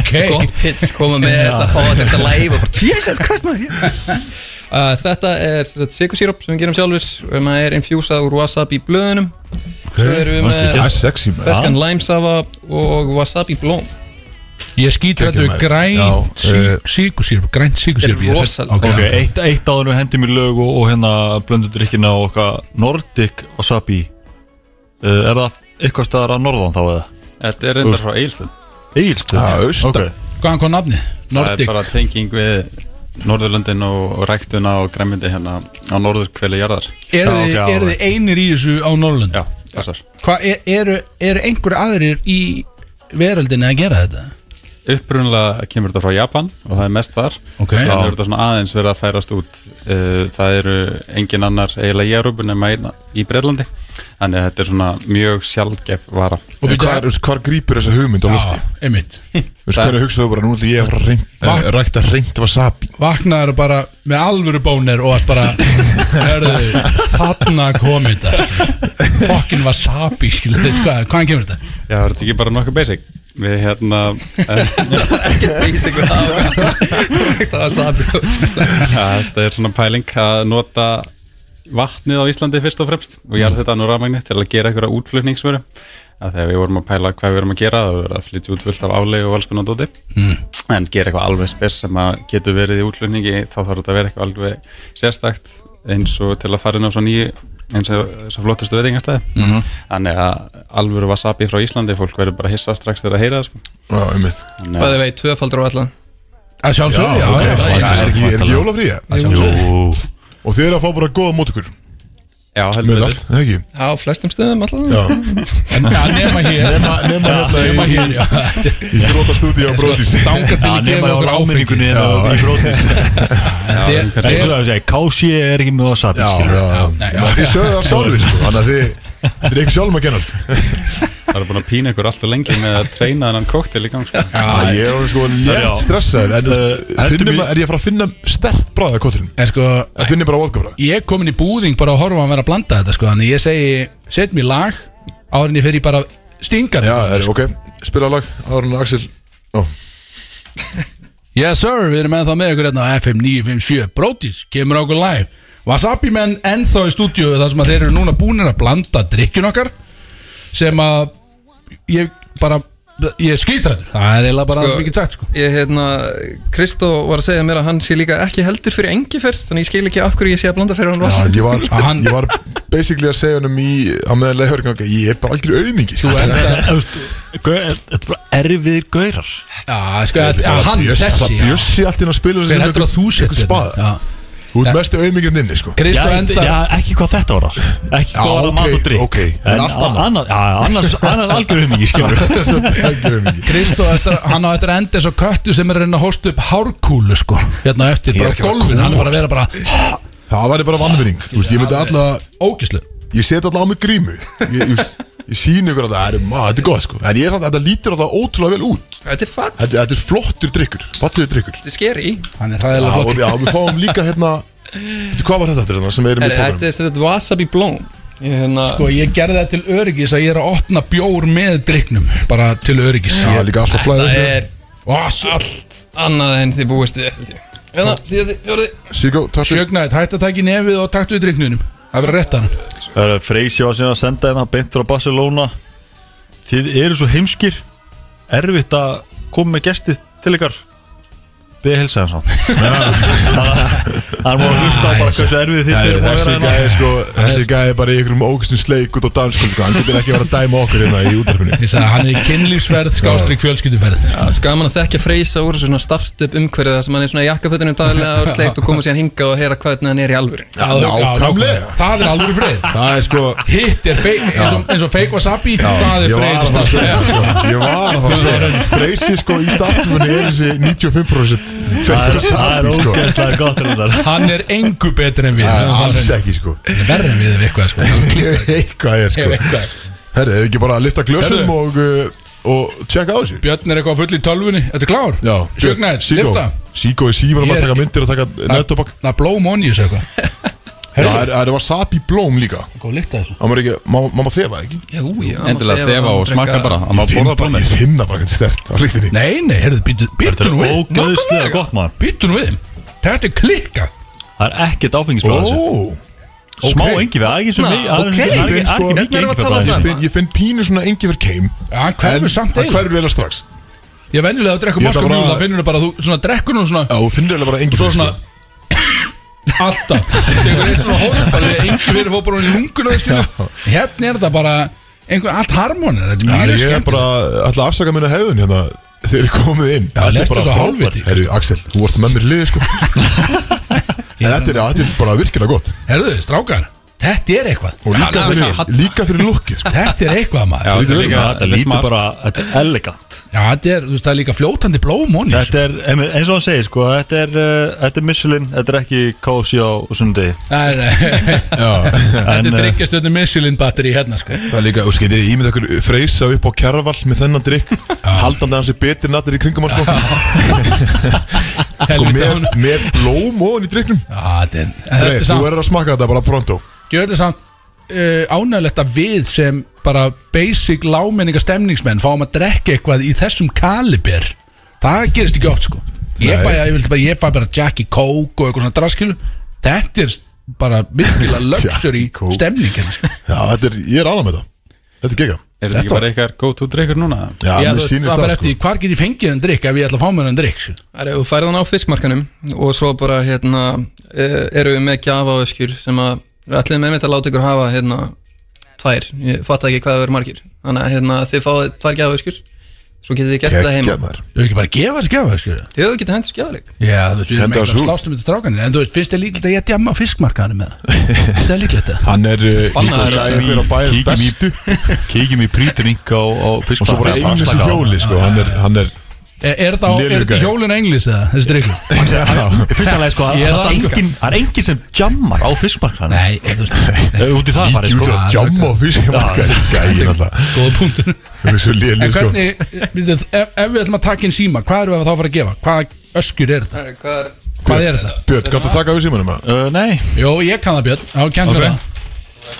Speaker 3: okay.
Speaker 9: Gott pitch koma með þetta Fá að þetta live og bara Jesus Christ maður ég- uh, Þetta er sikursíróp sem við gerum sjálfur um, Það er infjúsað úr wasabi blöðunum Svo erum við
Speaker 4: Mannstu
Speaker 9: með
Speaker 2: Það er sexy maður
Speaker 9: feskan limesafa og wasabi blóm
Speaker 3: Ég skýt þetta
Speaker 2: Geggjum, maður.
Speaker 3: grænt
Speaker 2: Já, eh,
Speaker 3: síkusýrp Grænt síkusýrp
Speaker 9: Þetta er rosalega.
Speaker 3: Ok,
Speaker 4: Ok, eitt, eitt áður við hendum í lög og, og hérna blöndu drikkina og okkar Nordic wasabi uh, Er það eitthvað staðar að norðan þá eða?
Speaker 8: Þetta er reyndar frá Egilstum
Speaker 4: Egilstu?
Speaker 2: Það er austan.
Speaker 3: hvaðan kom nafnið?
Speaker 8: Það
Speaker 3: Nordic
Speaker 8: er bara tenging við Norðurlöndin og og ræktuna og græmindi hérna á norðurkveli jarðar
Speaker 4: Já,
Speaker 3: Eru þið-
Speaker 4: ok, já,
Speaker 3: eru þið einir í þessu á Norrlund?
Speaker 8: Já, þessar
Speaker 3: Hvað er- eru er einhver aðrir í veröldinni að gera þetta?
Speaker 8: Upprunlega kemur þetta frá Japan og það er mest þar
Speaker 3: Ok.
Speaker 8: Svo
Speaker 4: Já.
Speaker 8: er þetta svona aðeins verið að færast út Uh, Það eru engin annar eiginlega í Európu nema eina í Breitlandi Þannig að þetta er svona mjög sjálfgef vara
Speaker 2: Og hvar, þú veist, hvar grýpur þessa hugmynd á listi?
Speaker 3: Já, einmitt
Speaker 2: Þú veist, hvernig hugsaðu bara, nú ætla ég að fara að reynt-
Speaker 3: Va-
Speaker 2: eh, rækta reynd wasabi
Speaker 3: Vaknaður bara með alvöru bónir og að bara Hörðu, þarna komið þetta Fokkin wasabi, skilu hvað, Hvaðan kemur þetta?
Speaker 8: Já, er þetta ekki bara nokkuð basic? Við hérna
Speaker 9: basic við það (laughs) (laughs) Það var sabi
Speaker 8: (laughs) Ja, Þetta er svona pæling að nota vatnið á Íslandi fyrst og fremst og ég er
Speaker 9: Mm.
Speaker 8: þetta nú rafmagni til að gera einhverja útflutningsveru að þegar við vorum að pæla hvað við erum að gera það vorum að flytja út fullt af álegu og alls konar dóti mm. en gera eitthvað alveg spes sem að getur verið í útflutningi þá þarf þetta að vera eitthvað alveg sérstakt eins og til að fara inn á svo nýju eins og svo flottustu veitingastæði
Speaker 9: Mhm.
Speaker 8: þannig að alvöru wasabi frá Íslandi fólk verður bara hissa strax þegar að heyra það sko.
Speaker 2: Já, einmitt
Speaker 8: Þannig að-
Speaker 9: Bæði vei, tvöfaldur á allan
Speaker 3: Að sjálfsögðu, já,
Speaker 2: Ah, ok.
Speaker 3: já, já,
Speaker 2: Já, Er ekki- er ekki jólafríða?
Speaker 4: Jú,
Speaker 2: Og þið eru að fá bara góða mót ykkur
Speaker 8: Já, heldur
Speaker 2: Með
Speaker 8: betur.
Speaker 2: allt, eða ekki?
Speaker 9: Já, á flestum stöðum allan
Speaker 2: Já
Speaker 3: En að nema hér
Speaker 2: Nema nema hérna
Speaker 3: Nema
Speaker 2: í-
Speaker 3: hér, já Þetta er-
Speaker 2: í þrótastúdíu á Brótis
Speaker 3: Stanga til
Speaker 4: Já,
Speaker 3: að
Speaker 4: nema á
Speaker 3: gefa okkur áfengi
Speaker 4: ráminningunni eða hérna í brótis
Speaker 3: (laughs) Þeir-
Speaker 4: Það er
Speaker 3: þeir-
Speaker 4: svona að segja, kási er ekki með wasabi
Speaker 2: Já,
Speaker 4: skilur
Speaker 2: já,
Speaker 4: við.
Speaker 2: já
Speaker 3: Nei, já.
Speaker 2: Nei, Þið sögðu það sjálfið, sko Þannig að þið Þið er ekki sjálfum að kenna sko.
Speaker 8: Það er búin að pína ykkur alltaf lengi með að treyna þennan koktel í gang sko.
Speaker 2: Æ, Ég er alveg sko létt stressaður En
Speaker 4: Eh,
Speaker 2: uh,
Speaker 4: heldur
Speaker 2: finnum
Speaker 4: við-
Speaker 2: að Er ég að fara að finna stert bræða kottilin
Speaker 3: En sko,
Speaker 2: Það finnir bara vodka bræða
Speaker 3: ég er komin í búðing bara að horfa að vera að blanda þetta sko Þannig ég segi, set mér lag Árin ég fer í bara stingar
Speaker 2: Já, er, ok Spila lag Árun og Axel Ó,
Speaker 3: Yes sir, við erum ennþá með ykkur hérna á FM 957 Brótis, kemur á okkur live Wasabi menn ennþá í stúdíu þar sem að þeir eru núna búinir að blanda drikkjun okkar Sem að Ég bara, ég er skýtrættur Það er eiginlega bara
Speaker 9: Sko-
Speaker 3: sko, mikið sagt sko
Speaker 9: Ég, hérna, Kristó var að segja mér að hann sé líka ekki heldur fyrir engiferð Þannig ég skil ekki af hverju ég sé að blanda fyrir hann
Speaker 2: já,
Speaker 9: vasabi
Speaker 2: ég var
Speaker 9: (laughs)
Speaker 2: (laughs)
Speaker 3: Hann-
Speaker 2: Ég var basically að segja hennum í Á meðan leiðhörg Ég er bara algjör auðmingi sko. (laughs)
Speaker 3: Þú ert
Speaker 4: Þetta
Speaker 3: að,
Speaker 4: er- þú veist, gau- Þetta er bara erfiðir gaurar
Speaker 3: já, sko, að, að hann
Speaker 2: Bjössi-
Speaker 3: þessi
Speaker 2: það
Speaker 3: já.
Speaker 2: Bjössi allt inn að spila
Speaker 3: Hver heldur að þú
Speaker 2: Ykkur
Speaker 3: setur hérna?
Speaker 2: spaða
Speaker 3: Já.
Speaker 2: Þú ert mestu auðmingin inni, sko
Speaker 4: Já,
Speaker 3: Kristó
Speaker 4: þetta-
Speaker 3: endar
Speaker 4: já, ekki hvað þetta var Ekki
Speaker 2: Já,
Speaker 4: hvað var að
Speaker 2: ok,
Speaker 4: mat og drikk
Speaker 2: ok. En
Speaker 4: En
Speaker 2: allt annað.
Speaker 4: a- annað- já, annars Annars algjör um ekki,
Speaker 2: (laughs)
Speaker 4: skilur við.
Speaker 2: Þessi algjör auðmingi
Speaker 3: Kristó, eftir, hann á eftir að enda eins og köttu sem er að reyna að hósta upp hárkúlu sko hérna á eftir,
Speaker 2: Ég er
Speaker 3: bara
Speaker 2: ekki að vera
Speaker 3: gólfin,
Speaker 2: kúl,
Speaker 3: hann er bara að vera bara
Speaker 2: Það væri bara vannvinning Þú veist, ég myndi alltaf
Speaker 3: ógislu
Speaker 2: Ég set alltaf á mig grímu Ég, ég, ég síni ykkur að það er maður, þetta er gott sko En ég er samt að þetta lítur alltaf ótrúlega vel út
Speaker 9: Þetta er fatt,
Speaker 2: Þetta, þetta er flottur drikkur, fallegur drikkur
Speaker 9: þetta er skeri
Speaker 3: hann er
Speaker 2: Já,
Speaker 3: hræðilega
Speaker 2: og
Speaker 3: flott
Speaker 2: já, við fáum líka hérna Veitu, Hvað var þetta eftir hérna sem erum í
Speaker 9: Þetta
Speaker 2: programum?
Speaker 9: er þetta wasabi blóm Ég, hérna,
Speaker 3: sko, ég gerði það til öryggis að ég er að opna bjór með driknum, bara til öryggis
Speaker 2: Já, líka alltaf flæður
Speaker 9: Það er
Speaker 3: all
Speaker 9: annað en þið búist við held ég. Hérna, síðasti, fjóruði
Speaker 2: Siggo, takk fyrir
Speaker 3: sjögnaðið, hætt að taka í nefið og taktu í driknunum það verður rétt hann
Speaker 4: Það er Freysi var síðan að senda hérna beint frá Barcelona Þið eru svo heimskir Erfitt að koma með gesti til ykkar Við helsa hans hann
Speaker 2: (laughs)
Speaker 4: Það er maður að hlusta á bara hversu erfið þitt
Speaker 2: Nei,
Speaker 4: er búin að
Speaker 2: Þessi
Speaker 4: vera hérna
Speaker 2: gæði sko, þessi gæði bara í einhverjum ógustum sleik út á danskun sko Hann getur ekki verið að dæma okkur hérna í útarpinu
Speaker 3: ég sagði, hann er í kynlífsverð, skástrík fjölskylduferð
Speaker 9: Skaman sko, að þekkja freysa úr svona startup umhverfið þar sem hann er svona í jakkafötunum daglega og sleikt og koma síðan hinga og heyra hvað hann er í alvörin
Speaker 3: Já,
Speaker 2: nákvæmlega.
Speaker 3: nákvæmlega. það er alveg freyð
Speaker 2: Það er sko
Speaker 3: hitt er feik, eins og, eins og fake wasabi það er
Speaker 2: Ég var
Speaker 3: freyð
Speaker 2: að fara að segja sko, Ég var að fara að segja Freysi sko í startumunni er þessi 95%
Speaker 4: Það
Speaker 2: feitur
Speaker 4: er- Það er
Speaker 2: sapi sko
Speaker 4: ógæðslega gott hérna
Speaker 3: hann er engu betur en við
Speaker 2: Það er
Speaker 3: Það er
Speaker 2: alls ekki sko
Speaker 3: Hann er verri en við ef eitthvað sko.
Speaker 2: Ég veit hvað er sko
Speaker 3: Ef eitthvað er.
Speaker 2: Herri, hefur ekki bara að lista glösum
Speaker 3: Herðu.
Speaker 2: og, uh, og checka á þessu?
Speaker 3: Björn er eitthvað full í tölvunni Þetta er klár
Speaker 2: Já,
Speaker 3: Sjögnæð,
Speaker 2: Siggo.
Speaker 3: lifta
Speaker 2: Siggo er síman að
Speaker 3: Ég
Speaker 2: bara
Speaker 3: er-
Speaker 2: taka myndir og taka nettobak
Speaker 3: Það er um blóm onni þessu eitthvað
Speaker 2: Já, það er- það er wasabi blóm líka
Speaker 3: Góð líkta þessu
Speaker 2: Það var ekki, má má maður þefa ekki?
Speaker 9: Jú, já
Speaker 8: Endilega þefa og smaka bara að maður
Speaker 2: Finn
Speaker 8: borða
Speaker 2: bara,
Speaker 8: blómið
Speaker 2: ég finna bara hvernig stert á hlýttinni
Speaker 3: Nei, nei, heyrðu, býtu
Speaker 4: Þetta
Speaker 3: býtu
Speaker 4: er
Speaker 3: nú við
Speaker 4: ógæðslega gott maður
Speaker 3: Býtu nú við Þetta er klikka
Speaker 4: Það er ekkert áfengisblóð þessu
Speaker 2: Ó,
Speaker 4: Smá engi við, það er ekki svo
Speaker 9: Na,
Speaker 4: mikið það er
Speaker 9: ok.
Speaker 4: ekki- það er
Speaker 2: Finn,
Speaker 4: ekki-
Speaker 2: sko,
Speaker 4: það er ekki
Speaker 9: hérna erum við að
Speaker 4: engi
Speaker 9: tala
Speaker 4: fyrir
Speaker 9: saman.
Speaker 4: það
Speaker 2: Finn- ég finn pínu svona engi verð keim
Speaker 3: Já, hann hverfur
Speaker 2: En
Speaker 3: samt
Speaker 2: hann
Speaker 3: eiginlega.
Speaker 2: hverfur eiginlega strax
Speaker 3: Ég er venjulega að drekka
Speaker 2: Ég ætla
Speaker 3: moska mjúl
Speaker 2: bara-
Speaker 3: Þá finnur þú bara, að þú svona drekkur nú svona
Speaker 2: Já, þú finnir eiginlega bara engin
Speaker 3: Svo
Speaker 2: fyrir,
Speaker 3: svona
Speaker 2: sko.
Speaker 3: Alltaf Þegar eitt svona hóst Bara engi verið fór bara í lunguna skilur. Hérna er þetta bara Einhver allt harmonir Þetta
Speaker 2: Já,
Speaker 3: er mjög
Speaker 2: Ég er
Speaker 3: skemmt
Speaker 2: bara alltaf afsaka minna hegðun hérna Þeir eru komið inn
Speaker 3: Já, lestu svo
Speaker 2: frábært.
Speaker 3: hálfviti.
Speaker 2: Herru, Axel, þú varst með mér liði
Speaker 3: (laughs)
Speaker 2: sko En þetta er, þetta er bara virkilega gott
Speaker 3: Herðu, strákar Þetta er eitthvað
Speaker 2: Og líka
Speaker 3: Já,
Speaker 2: fyrir, líka fyrir lukkið sko
Speaker 3: Þetta er eitthvað maður
Speaker 8: Já,
Speaker 3: Já,
Speaker 8: þetta er líka,
Speaker 4: Þetta
Speaker 8: þetta er
Speaker 4: lítur
Speaker 8: smart
Speaker 4: bara, þetta er elegant
Speaker 3: þetta er, þú veist, það er líka fljótandi blóm honi
Speaker 4: Þetta er, em- eins og hann segir sko, þetta er, uh, þetta er Michelin, þetta er ekki KFC á sundi
Speaker 3: Nei,
Speaker 4: (laughs)
Speaker 3: nei. Þetta
Speaker 4: En,
Speaker 3: er
Speaker 4: eh,
Speaker 3: dryggjastöðni Michelin batteri hérna sko
Speaker 2: Það er líka, þú veist, getur ímynd okkur freysa upp á kjarval með þennan drikk Haldandi að hans er betur nattir í kringum hann sko (laughs) Sko,
Speaker 3: Helvita
Speaker 2: með,
Speaker 3: honum
Speaker 2: með blóm ofan í drikknum
Speaker 3: Já, þetta er- þetta
Speaker 2: Freyr,
Speaker 3: er
Speaker 2: þú
Speaker 3: samt
Speaker 2: verður að smakka þetta bara pronto
Speaker 3: Gjöðu samt uh, ánægilegt að við sem bara basic lámenninga stemningsmenn fáum að drekka eitthvað í þessum kaliber það gerist ekki oft sko ég
Speaker 2: Nei.
Speaker 3: fæ, ég, vildi bara, ég fæ bara Jackie Coke og eitthvað svona draskilu þetta er bara virkilega
Speaker 2: (laughs)
Speaker 3: luxury
Speaker 2: Jackie Coke.
Speaker 3: stemning hérna, sko.
Speaker 2: Já, þetta er, ég er ánað með þetta Þetta er gegga
Speaker 8: Er þetta
Speaker 3: Þetta
Speaker 8: ekki
Speaker 3: var-
Speaker 8: bara eitthvað go-to drikkur núna?
Speaker 2: Já,
Speaker 3: Ég,
Speaker 2: mér
Speaker 3: þú-
Speaker 2: sýnist
Speaker 3: það
Speaker 2: það
Speaker 3: fer
Speaker 2: sko
Speaker 3: eftir hvar get ég fengið en drikk ef ég ætla að fá mér en drikk sko.
Speaker 9: Það er ef þú færið hann á fiskmarkanum og svo bara hérna eh, eru við með gjafaöskjur sem að við ætlum með mitt að láta ykkur hafa hérna tvær, ég fatt ekki hvað það eru margir þannig að hérna þið fáið tvær gjafaöskjur svo getið þið gert það heima
Speaker 2: Gegga
Speaker 9: Þau
Speaker 2: maður
Speaker 3: þau ekki bara að gefa þessi gefa sko.
Speaker 9: getið hendur skjáleik
Speaker 3: já, þú veist, við erum
Speaker 2: Henda
Speaker 3: ekki að
Speaker 2: þessu út.
Speaker 3: slástum þetta strákanir en þú veist, finnst þið líklegt að ég djamma á fiskmarkaðanum með það finnst þið líklegt það
Speaker 2: Hann er uh,
Speaker 9: Bannað er
Speaker 2: líka
Speaker 9: að-
Speaker 2: gæði fyrir að bæða
Speaker 4: Kíkjum í-
Speaker 2: bestu
Speaker 4: Kíkjum í prýtrink á, á
Speaker 2: og svo bara
Speaker 4: fiskmarkað
Speaker 2: einu sem hjóli sko, hann er, hann er
Speaker 3: er, Eh, er þetta á- er
Speaker 2: Lélegur
Speaker 3: þetta í
Speaker 2: gæi.
Speaker 3: hjólun englis eða
Speaker 2: (laughs)
Speaker 3: þessi drikk
Speaker 4: Í fyrsta lagi sko,
Speaker 3: Ég er
Speaker 4: það er
Speaker 3: danska.
Speaker 4: engin, það er engin sem jammar á fiskmarkaðan
Speaker 3: Nei, þú
Speaker 4: (laughs)
Speaker 3: veist
Speaker 4: Út í það farið
Speaker 2: líkjum
Speaker 4: sko
Speaker 2: út að djamma á fiskmarkaði gæði alltaf
Speaker 3: Góða punktur En
Speaker 2: hann er svo lélir sko
Speaker 3: hvernig, byrju, ef, ef við ætlum að taka inn síma Hvað eru við þá að fara að gefa? Hvað öskur er þetta?
Speaker 9: Hvað er
Speaker 3: Hvað er þetta?
Speaker 2: Björn, kannst að taka við símanum að
Speaker 4: Uh, Nei,
Speaker 3: Jó, ég kann það Björn, á kemur okay.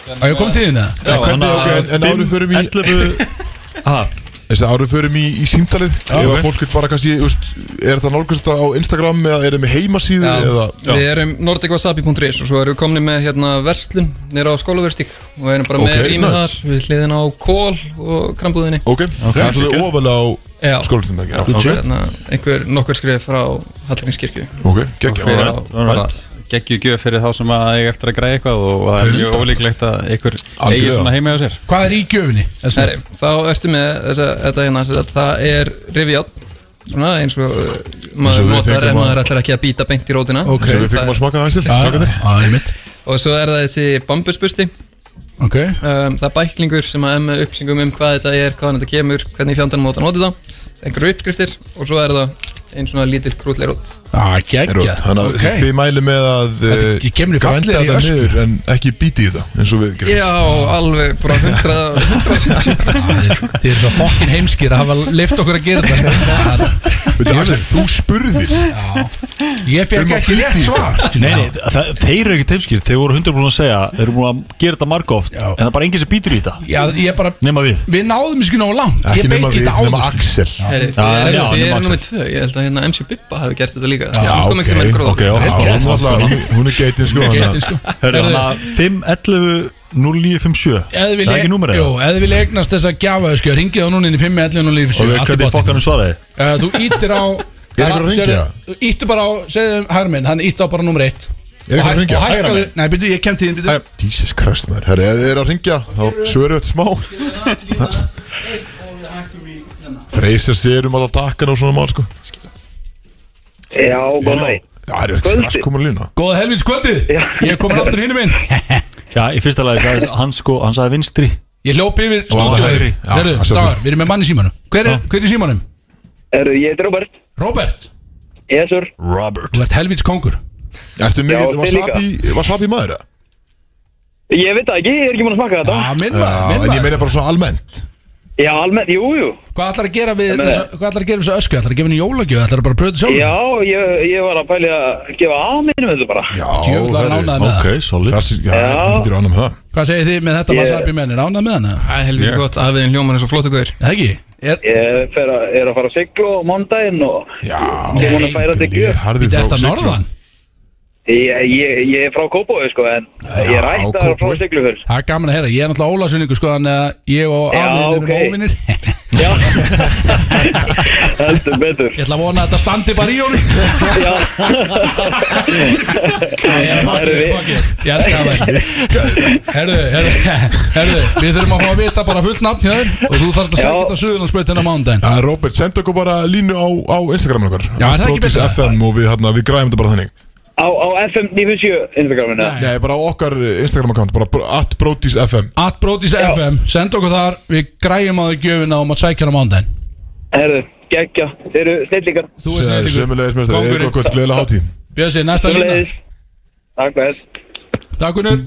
Speaker 3: það Á ég kom til þín það?
Speaker 4: Já,
Speaker 2: hvernig-
Speaker 4: þannig að
Speaker 2: ok, en- en
Speaker 4: fimm,
Speaker 2: áður förum í-
Speaker 4: 11 Aha,
Speaker 2: þess að árum förum í, í símtalið ef að
Speaker 4: ok.
Speaker 2: fólk vil bara kannski, úst, er það nálgast á Instagram eða er það með heimasíðu eða
Speaker 9: Við erum nordicwasabi.is og svo erum við komni með hérna verslun nýra á skólaverstík og við erum bara með
Speaker 2: Ok,
Speaker 9: rýmið
Speaker 2: nice.
Speaker 9: þar við hliðin á kól og krambúðinni
Speaker 2: ok, það er svolítið ofalega á
Speaker 9: Já,
Speaker 2: skólastunum ekki, já,
Speaker 3: Shit.
Speaker 9: hérna einhver nokkur skrif frá Hallgrímskirkju
Speaker 2: ok, geggja
Speaker 8: Fyrir
Speaker 4: Alright,
Speaker 8: að bara geggjuð gjöf fyrir þá sem að eiga eftir að græða eitthvað og það er mjög ólíklegt að einhver eigi
Speaker 2: Algjörlega.
Speaker 8: svona heima á sér
Speaker 3: Hvað er í gjöfinni? Þessi-
Speaker 9: Heri, þá ertu með þessa, þetta hérna þess að það er rifjátt svona eins og uh,
Speaker 2: Eins og
Speaker 9: maður
Speaker 2: við
Speaker 9: notar
Speaker 2: fengum
Speaker 9: ef
Speaker 2: að-
Speaker 9: maður ætlar ekki að býta beint í rótina
Speaker 3: Ok.
Speaker 2: sem við fengum að smaka aðeins til strákarnir.
Speaker 3: Á, ég mitt
Speaker 9: og svo er það þessi bambusbusti um,
Speaker 3: Ok
Speaker 9: það er bæklingur sem að er með upplýsingum um hvað þetta er, hvaðan þetta kemur, hvernig fjandarnum móta notið það, einhverju uppskriftir og svo er það einn svona lítill krútleirótt
Speaker 3: Á, geggja
Speaker 2: Rótt, Þannig að
Speaker 3: Ok
Speaker 2: þið mæli með að eh,
Speaker 3: Þetta kemur í
Speaker 2: grænda
Speaker 3: fallegri
Speaker 2: þetta
Speaker 3: ösku.
Speaker 2: niður en ekki býti í það eins og við gerum
Speaker 9: Já, alveg bara
Speaker 3: (laughs)
Speaker 9: 100
Speaker 3: Þið eru svo fokkin heimskir að hafa leift okkur að gera þetta sko. Það er-
Speaker 2: (laughs) Veitu, Axel, þú spurðir
Speaker 3: Ég
Speaker 2: Um
Speaker 3: fekk
Speaker 2: að
Speaker 3: ekki
Speaker 2: bíta
Speaker 3: rétt
Speaker 2: í
Speaker 3: svar skilur.
Speaker 4: Nei, nei, það, þeir eru ekki teimskir, þeir voru 100% að segja Þeir eru búin að gera þetta margóft
Speaker 3: Já.
Speaker 4: En það er bara enginn sem býtur í þetta
Speaker 3: Já, ég bara
Speaker 4: Nema við
Speaker 3: Við náðum ekki nógu langt Ég
Speaker 2: ekki
Speaker 3: beit
Speaker 2: nema
Speaker 3: í
Speaker 2: við,
Speaker 3: þetta áður
Speaker 2: nema
Speaker 3: sko.
Speaker 2: Axel
Speaker 9: Heri,
Speaker 4: Já,
Speaker 9: Þið eru-
Speaker 4: já,
Speaker 9: þið
Speaker 4: nema
Speaker 9: eru
Speaker 4: Axel.
Speaker 9: nummið tvö, ég held að hérna MC Bippa hafi gert þetta líka
Speaker 2: Já,
Speaker 9: Hún kom ekki með gróð
Speaker 4: ok, ok.
Speaker 2: Já,
Speaker 3: Vel
Speaker 2: hún,
Speaker 3: gert.
Speaker 2: alltaf, hún, hún er geitin sko
Speaker 3: Ég
Speaker 2: hana.
Speaker 3: geti, sko.
Speaker 4: Hörru,
Speaker 3: Heyrðu,
Speaker 4: þannig að 511-0957
Speaker 3: Ef þið
Speaker 4: Það
Speaker 3: vilja-
Speaker 4: er ekki númerið
Speaker 3: Jú,
Speaker 4: það?
Speaker 3: ef þið vilja eignast þess að gjafa þau skjör Ringið þá núna inn í 5, 11 og lífi
Speaker 4: Og
Speaker 3: 7
Speaker 4: við hvernig fokkanum svaraði
Speaker 3: Eh, Þú ítir á
Speaker 2: Er einhver að hringja?
Speaker 3: Sérðu, Íttu bara á, segðu hægri minn Hann ítti á bara nummer 1
Speaker 2: Er einhver að hringja? Hægra
Speaker 3: Nei, byrju, ég kem til þín byrju.
Speaker 2: Jesus Christ maður, herri, ef þið eru að ringja þá svöru þetta smá hérna. Freysir sér um alltaf takkan og svona mál sko
Speaker 10: Já, góðan daginn.
Speaker 2: Já, það er ekki
Speaker 10: Kvöldi.
Speaker 2: strax komin lína
Speaker 3: Góða helvins kvöldið Ég er komin aftur hinn minn
Speaker 4: Já, í fyrsta lagi sagði hann sko, hann sagði vinstri
Speaker 3: Ég hljóp yfir
Speaker 4: hægri.
Speaker 3: stúdíu
Speaker 2: Já,
Speaker 3: Herru,
Speaker 2: að sjá
Speaker 3: dagar,
Speaker 2: það.
Speaker 3: við erum með mann í símanum Hver er,
Speaker 4: Já.
Speaker 3: hver er í símanum?
Speaker 10: Herru, ég heiti Robert.
Speaker 3: Robert,
Speaker 10: Yes, sir.
Speaker 4: Robert
Speaker 3: þú ert helvins kongur
Speaker 2: Ertu mikið,
Speaker 10: þið
Speaker 2: wasabi, wasabi maður? eða?
Speaker 10: Ég veit það ekki, ég er ekki múin að smakka þetta.
Speaker 3: Já, minn
Speaker 2: Já,
Speaker 3: maður,
Speaker 2: en ég
Speaker 3: minn maður
Speaker 2: meina bara svona almennt
Speaker 10: Já, almennt, jú, jú.
Speaker 3: Hvað ætlar að gera við
Speaker 10: Ég meina-
Speaker 3: þessa- Hvað ætlar að gera við þessa ösku? Ætlar að gefa henni jólagjöf? Ætlar að bara að pröfa þetta sjálf?
Speaker 10: Já, ég, ég var að pæli að gefa aðminnum þetta bara.
Speaker 2: Já,
Speaker 3: Djöfull var hann ánægður með
Speaker 4: Ok, solid
Speaker 2: Klassísk, já,
Speaker 10: Já.
Speaker 2: hann lítur annað með það
Speaker 3: Hvað segir þið með þetta
Speaker 10: Ég-
Speaker 3: wasabi mennir? Ánað með hana?
Speaker 9: Það er helviti gott, afiðin hljóman er svo flott og guður
Speaker 3: Það ekki? Er,
Speaker 10: Ég fer að, er að fara að sigla á mondaginn og
Speaker 2: Já,
Speaker 10: ég múin að færa þetta
Speaker 2: Ég er
Speaker 10: ekki.
Speaker 2: harðið
Speaker 3: Þetta
Speaker 2: frá
Speaker 3: er þetta
Speaker 2: sigla.
Speaker 3: norðan
Speaker 10: Ég, ég, ég er frá Kópói sko en ég er ættaður frá
Speaker 2: Kópavogi.
Speaker 10: Siglufjörð
Speaker 3: Það er gaman að heyra, ég er náttúrulega ólasunningu sko Þannig að ég og
Speaker 10: Já,
Speaker 3: Aflin erum
Speaker 10: ok.
Speaker 3: óvinnir Ég
Speaker 10: Já Heldur betur
Speaker 3: ætla að vona að þetta standi bara í honum
Speaker 10: Já
Speaker 3: (laughs) Ég er að
Speaker 10: Það
Speaker 3: pakka
Speaker 10: eru
Speaker 3: upp,
Speaker 10: við.
Speaker 3: pakka upp. Ég elska það Herðu, herðu, herðu Við þurfum að fá að vita bara fullt nafn hjá þér Og þú þarf að
Speaker 10: Já.
Speaker 3: segja þetta söðurlandsbreytin á mánudaginn
Speaker 2: Já, Robert, senda okkur bara línu á, á Instagram okkar
Speaker 3: Já, er það ekki
Speaker 2: Produce
Speaker 3: betra?
Speaker 2: FM og við, hérna, við græfum þetta bara þannig
Speaker 10: Á, á FM 97 Instagraminu
Speaker 3: Nei.
Speaker 2: Nei, bara á okkar Instagram account Bara at Brodís FM
Speaker 3: At Brodís FM, senda okkur þar Við græjum á þau gjöfina og maður sækja á mánudaginn
Speaker 10: Herðu, geggja Þeir eru snillingar
Speaker 3: Þú er snillingur.
Speaker 2: Sömmulegis mestar,
Speaker 3: Kóngurinn.
Speaker 2: eitthvað kvöld, gleðilega hátíð
Speaker 3: Bjössi, næsta lína
Speaker 10: Sömuleiðis. Takk fyrir þess
Speaker 3: Takk Gunnur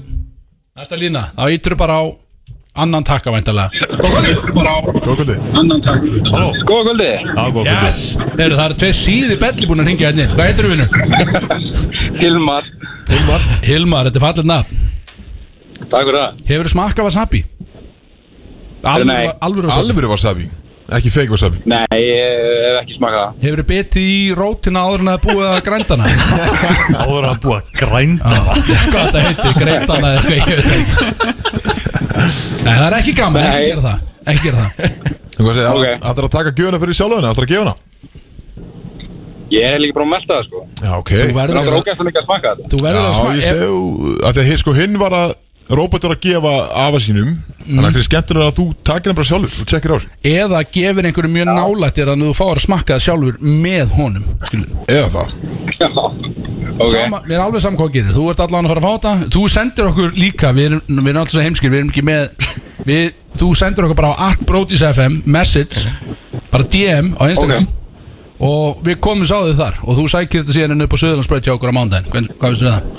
Speaker 3: Næsta lína, þá ítur bara á annan takka væntalega
Speaker 2: Góð kvöldi
Speaker 10: Góða kvöldi
Speaker 4: Ágóð
Speaker 3: Yes, Heru, það eru tveir síði belli búin að ringja henni Hvað heitir þú vinnur?
Speaker 10: (laughs) Hilmar
Speaker 3: Hilmar, þetta er fallið nafn
Speaker 10: Takk fyrir það
Speaker 3: Hefur þú smakkað wasabi?
Speaker 10: Nei.
Speaker 3: Alvöru, alvöru wasabi
Speaker 2: Alvöru wasabi, ekki fake wasabi
Speaker 10: Nei, ég hef ekki smakað það
Speaker 3: Hefur þú betið í rótina áður en að búið að
Speaker 10: (laughs)
Speaker 3: grænda hana?
Speaker 4: Áður að búa grænda
Speaker 3: Hvað þetta heitir, grænda hana eða eitthvað, ég veit ekki Nei, það er ekki gaman,
Speaker 10: Nei.
Speaker 3: ekki gera það Ekki gera það
Speaker 2: Þú veist,
Speaker 10: Ok.
Speaker 2: okay. ætlar að taka gjöfuna fyrir sjálfuna, ætlar að gefa hana
Speaker 10: Ég hef líka bara að melta það sko
Speaker 2: Já, ok
Speaker 3: Þú verður
Speaker 10: Náttúrulega
Speaker 3: að-
Speaker 10: ógæst að líka að smaka þetta
Speaker 3: Þú verður að
Speaker 2: Já, ég
Speaker 3: smakka
Speaker 2: segi, að því að sko hinn var að Robert var að gefa afa sínum
Speaker 3: Mm.
Speaker 2: Þannig að hverju skemmtilega er að þú takir hann bara sjálfur og tjekkir á sig
Speaker 3: Eða gefur einhverju mjög nálægt þér þannig að þú fáir að smakka það sjálfur með honum Skilu
Speaker 2: Eða það
Speaker 10: Já Ok
Speaker 3: sama, Mér er alveg saman hvað þú gerir, þú ert allan að fara að fá þetta Þú sendir okkur líka, við erum, við erum alltaf heimskir Við erum ekki með við, Þú sendir okkur bara á atbrotis.fm Message, bara DM á Instagram Og við komum sá þig þar Og þú sækir þetta síðan inn upp á Suðurlandsbröð hjá okkur á mándaginn Hvern, Hvað finnst þú það?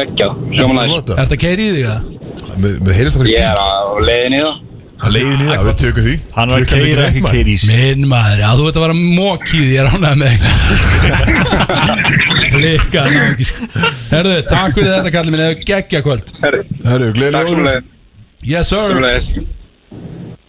Speaker 10: Geggja Sjóma næst
Speaker 2: Nota.
Speaker 3: Er þetta keiri í þig það?
Speaker 2: Mér mér heyrist það
Speaker 10: Ég
Speaker 2: fyrir
Speaker 10: er
Speaker 2: bíl
Speaker 10: á leiðin í það
Speaker 2: Það leiðin í það, við tökum því
Speaker 4: Hann var að
Speaker 2: Klukkan er
Speaker 4: keira
Speaker 2: ekki
Speaker 4: ekki
Speaker 2: neitt, maður.
Speaker 4: keira í sig
Speaker 3: Minn maður, já þú ert að vera mókið Ég er
Speaker 10: (laughs)
Speaker 3: ánægð með þig Líka náðingis sko. Herðu, takk fyrir þetta kallið minn Eða geggja kvöld
Speaker 10: Herri
Speaker 2: Herru,
Speaker 10: Takk
Speaker 2: gleðilega
Speaker 10: fyrir
Speaker 2: jól.
Speaker 3: Yes sir
Speaker 10: það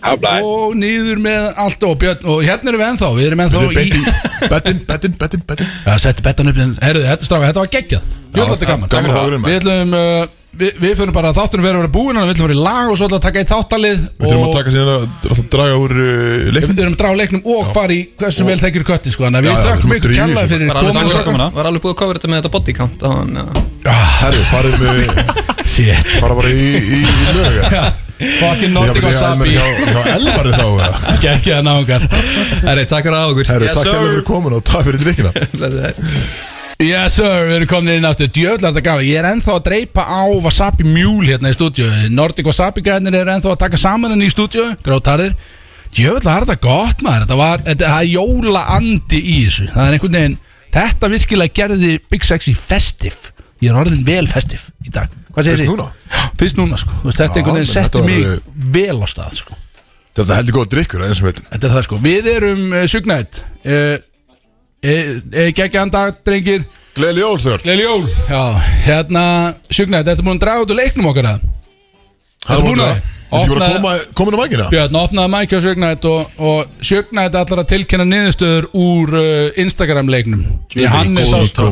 Speaker 10: Habla
Speaker 3: og niður með allt og björn og hérna erum við ennþá, við erum ennþá
Speaker 2: Herru,
Speaker 3: í
Speaker 2: Bettin, bettin, bettin, bettin, bettin
Speaker 3: Já, settu bettan upp hérna. (laughs) Herðu, þetta strafa, þetta var geggjað Jóla, þetta er gaman
Speaker 2: Gaman að hafa verið
Speaker 3: Við
Speaker 2: með
Speaker 3: ætlum, uh, við, við fyrir bara þáttunum fyrir að vera búin Við ætlum fyrir lag og svo ætlum við að taka eitt þáttalið
Speaker 2: Við þurfum að taka síðan að alltaf draga úr uh, leiknum
Speaker 3: Við erum að draga úr leiknum og fara í hversu vel þekkir köttin sko Þannig að
Speaker 2: Já,
Speaker 3: við
Speaker 2: já, við
Speaker 3: þökkum
Speaker 2: þurfum að drífa í þessu.
Speaker 3: ykkur kjalla fyrir
Speaker 9: Var alveg búið að cover- var
Speaker 3: komuna.
Speaker 9: alveg búið að cover þetta með þetta body count á hann
Speaker 3: Ah,
Speaker 2: Herru, farið með
Speaker 3: (laughs) Shit
Speaker 2: Fara bara í, í, í lög eða?
Speaker 3: (laughs) Fucking
Speaker 2: Já,
Speaker 3: Nordic
Speaker 2: beti, já,
Speaker 3: Wasabi
Speaker 2: menn, hjá- hjá
Speaker 3: (laughs)
Speaker 2: Elvari þá eða?
Speaker 3: Geggjaða náungar
Speaker 9: Herri, takk fyrir að okkur
Speaker 2: Herru,
Speaker 3: Yes,
Speaker 2: takk
Speaker 3: sir.
Speaker 2: hérna fyrir komin og takk fyrir
Speaker 3: (laughs)
Speaker 2: leikina
Speaker 9: Blessaður.
Speaker 3: Yes sir, við erum komin inn aftur Djöðlega þetta gala, ég er ennþá að dreipa á Wasabi Mule hérna í stúdíu Nordic Wasabi gæðinir er ennþá að taka saman henni í stúdíu Grótarðir Djöðlega er þetta gott maður Þetta var, þetta það er jóla andi í þessu Það er einhvern veginn, þetta virkilega gerði Big Sexy festive Ég er orðin vel festive í dag Hvað segir
Speaker 2: Fyrst
Speaker 3: þið?
Speaker 2: núna?
Speaker 3: Já, Fyrst núna sko, Þú veist, þetta
Speaker 2: Já,
Speaker 3: einhvern veginn
Speaker 2: menn, þetta
Speaker 3: setti
Speaker 2: var,
Speaker 3: mig
Speaker 2: eh,
Speaker 3: vel á stað sko
Speaker 2: Þetta heldur góð drikkur, eins og við
Speaker 3: Þetta er það sko, við erum uh, sugnætt uh, uh, uh, Gekkjaðan dag, drengir
Speaker 2: Gleðileg jól þegar
Speaker 3: Gleil jól Já, hérna, Sjögnar, þetta er búin að draga út úr leiknum okkar að
Speaker 2: Það er
Speaker 3: búin
Speaker 2: búin
Speaker 3: að-
Speaker 2: að Þetta er búin að koma, komin á mækina
Speaker 3: Björn opnaði mækja á Sjögnætt og, og Sjögnætt ætlar að tilkynna niðurstöður úr uh, Instagram leiknum Því hann er sá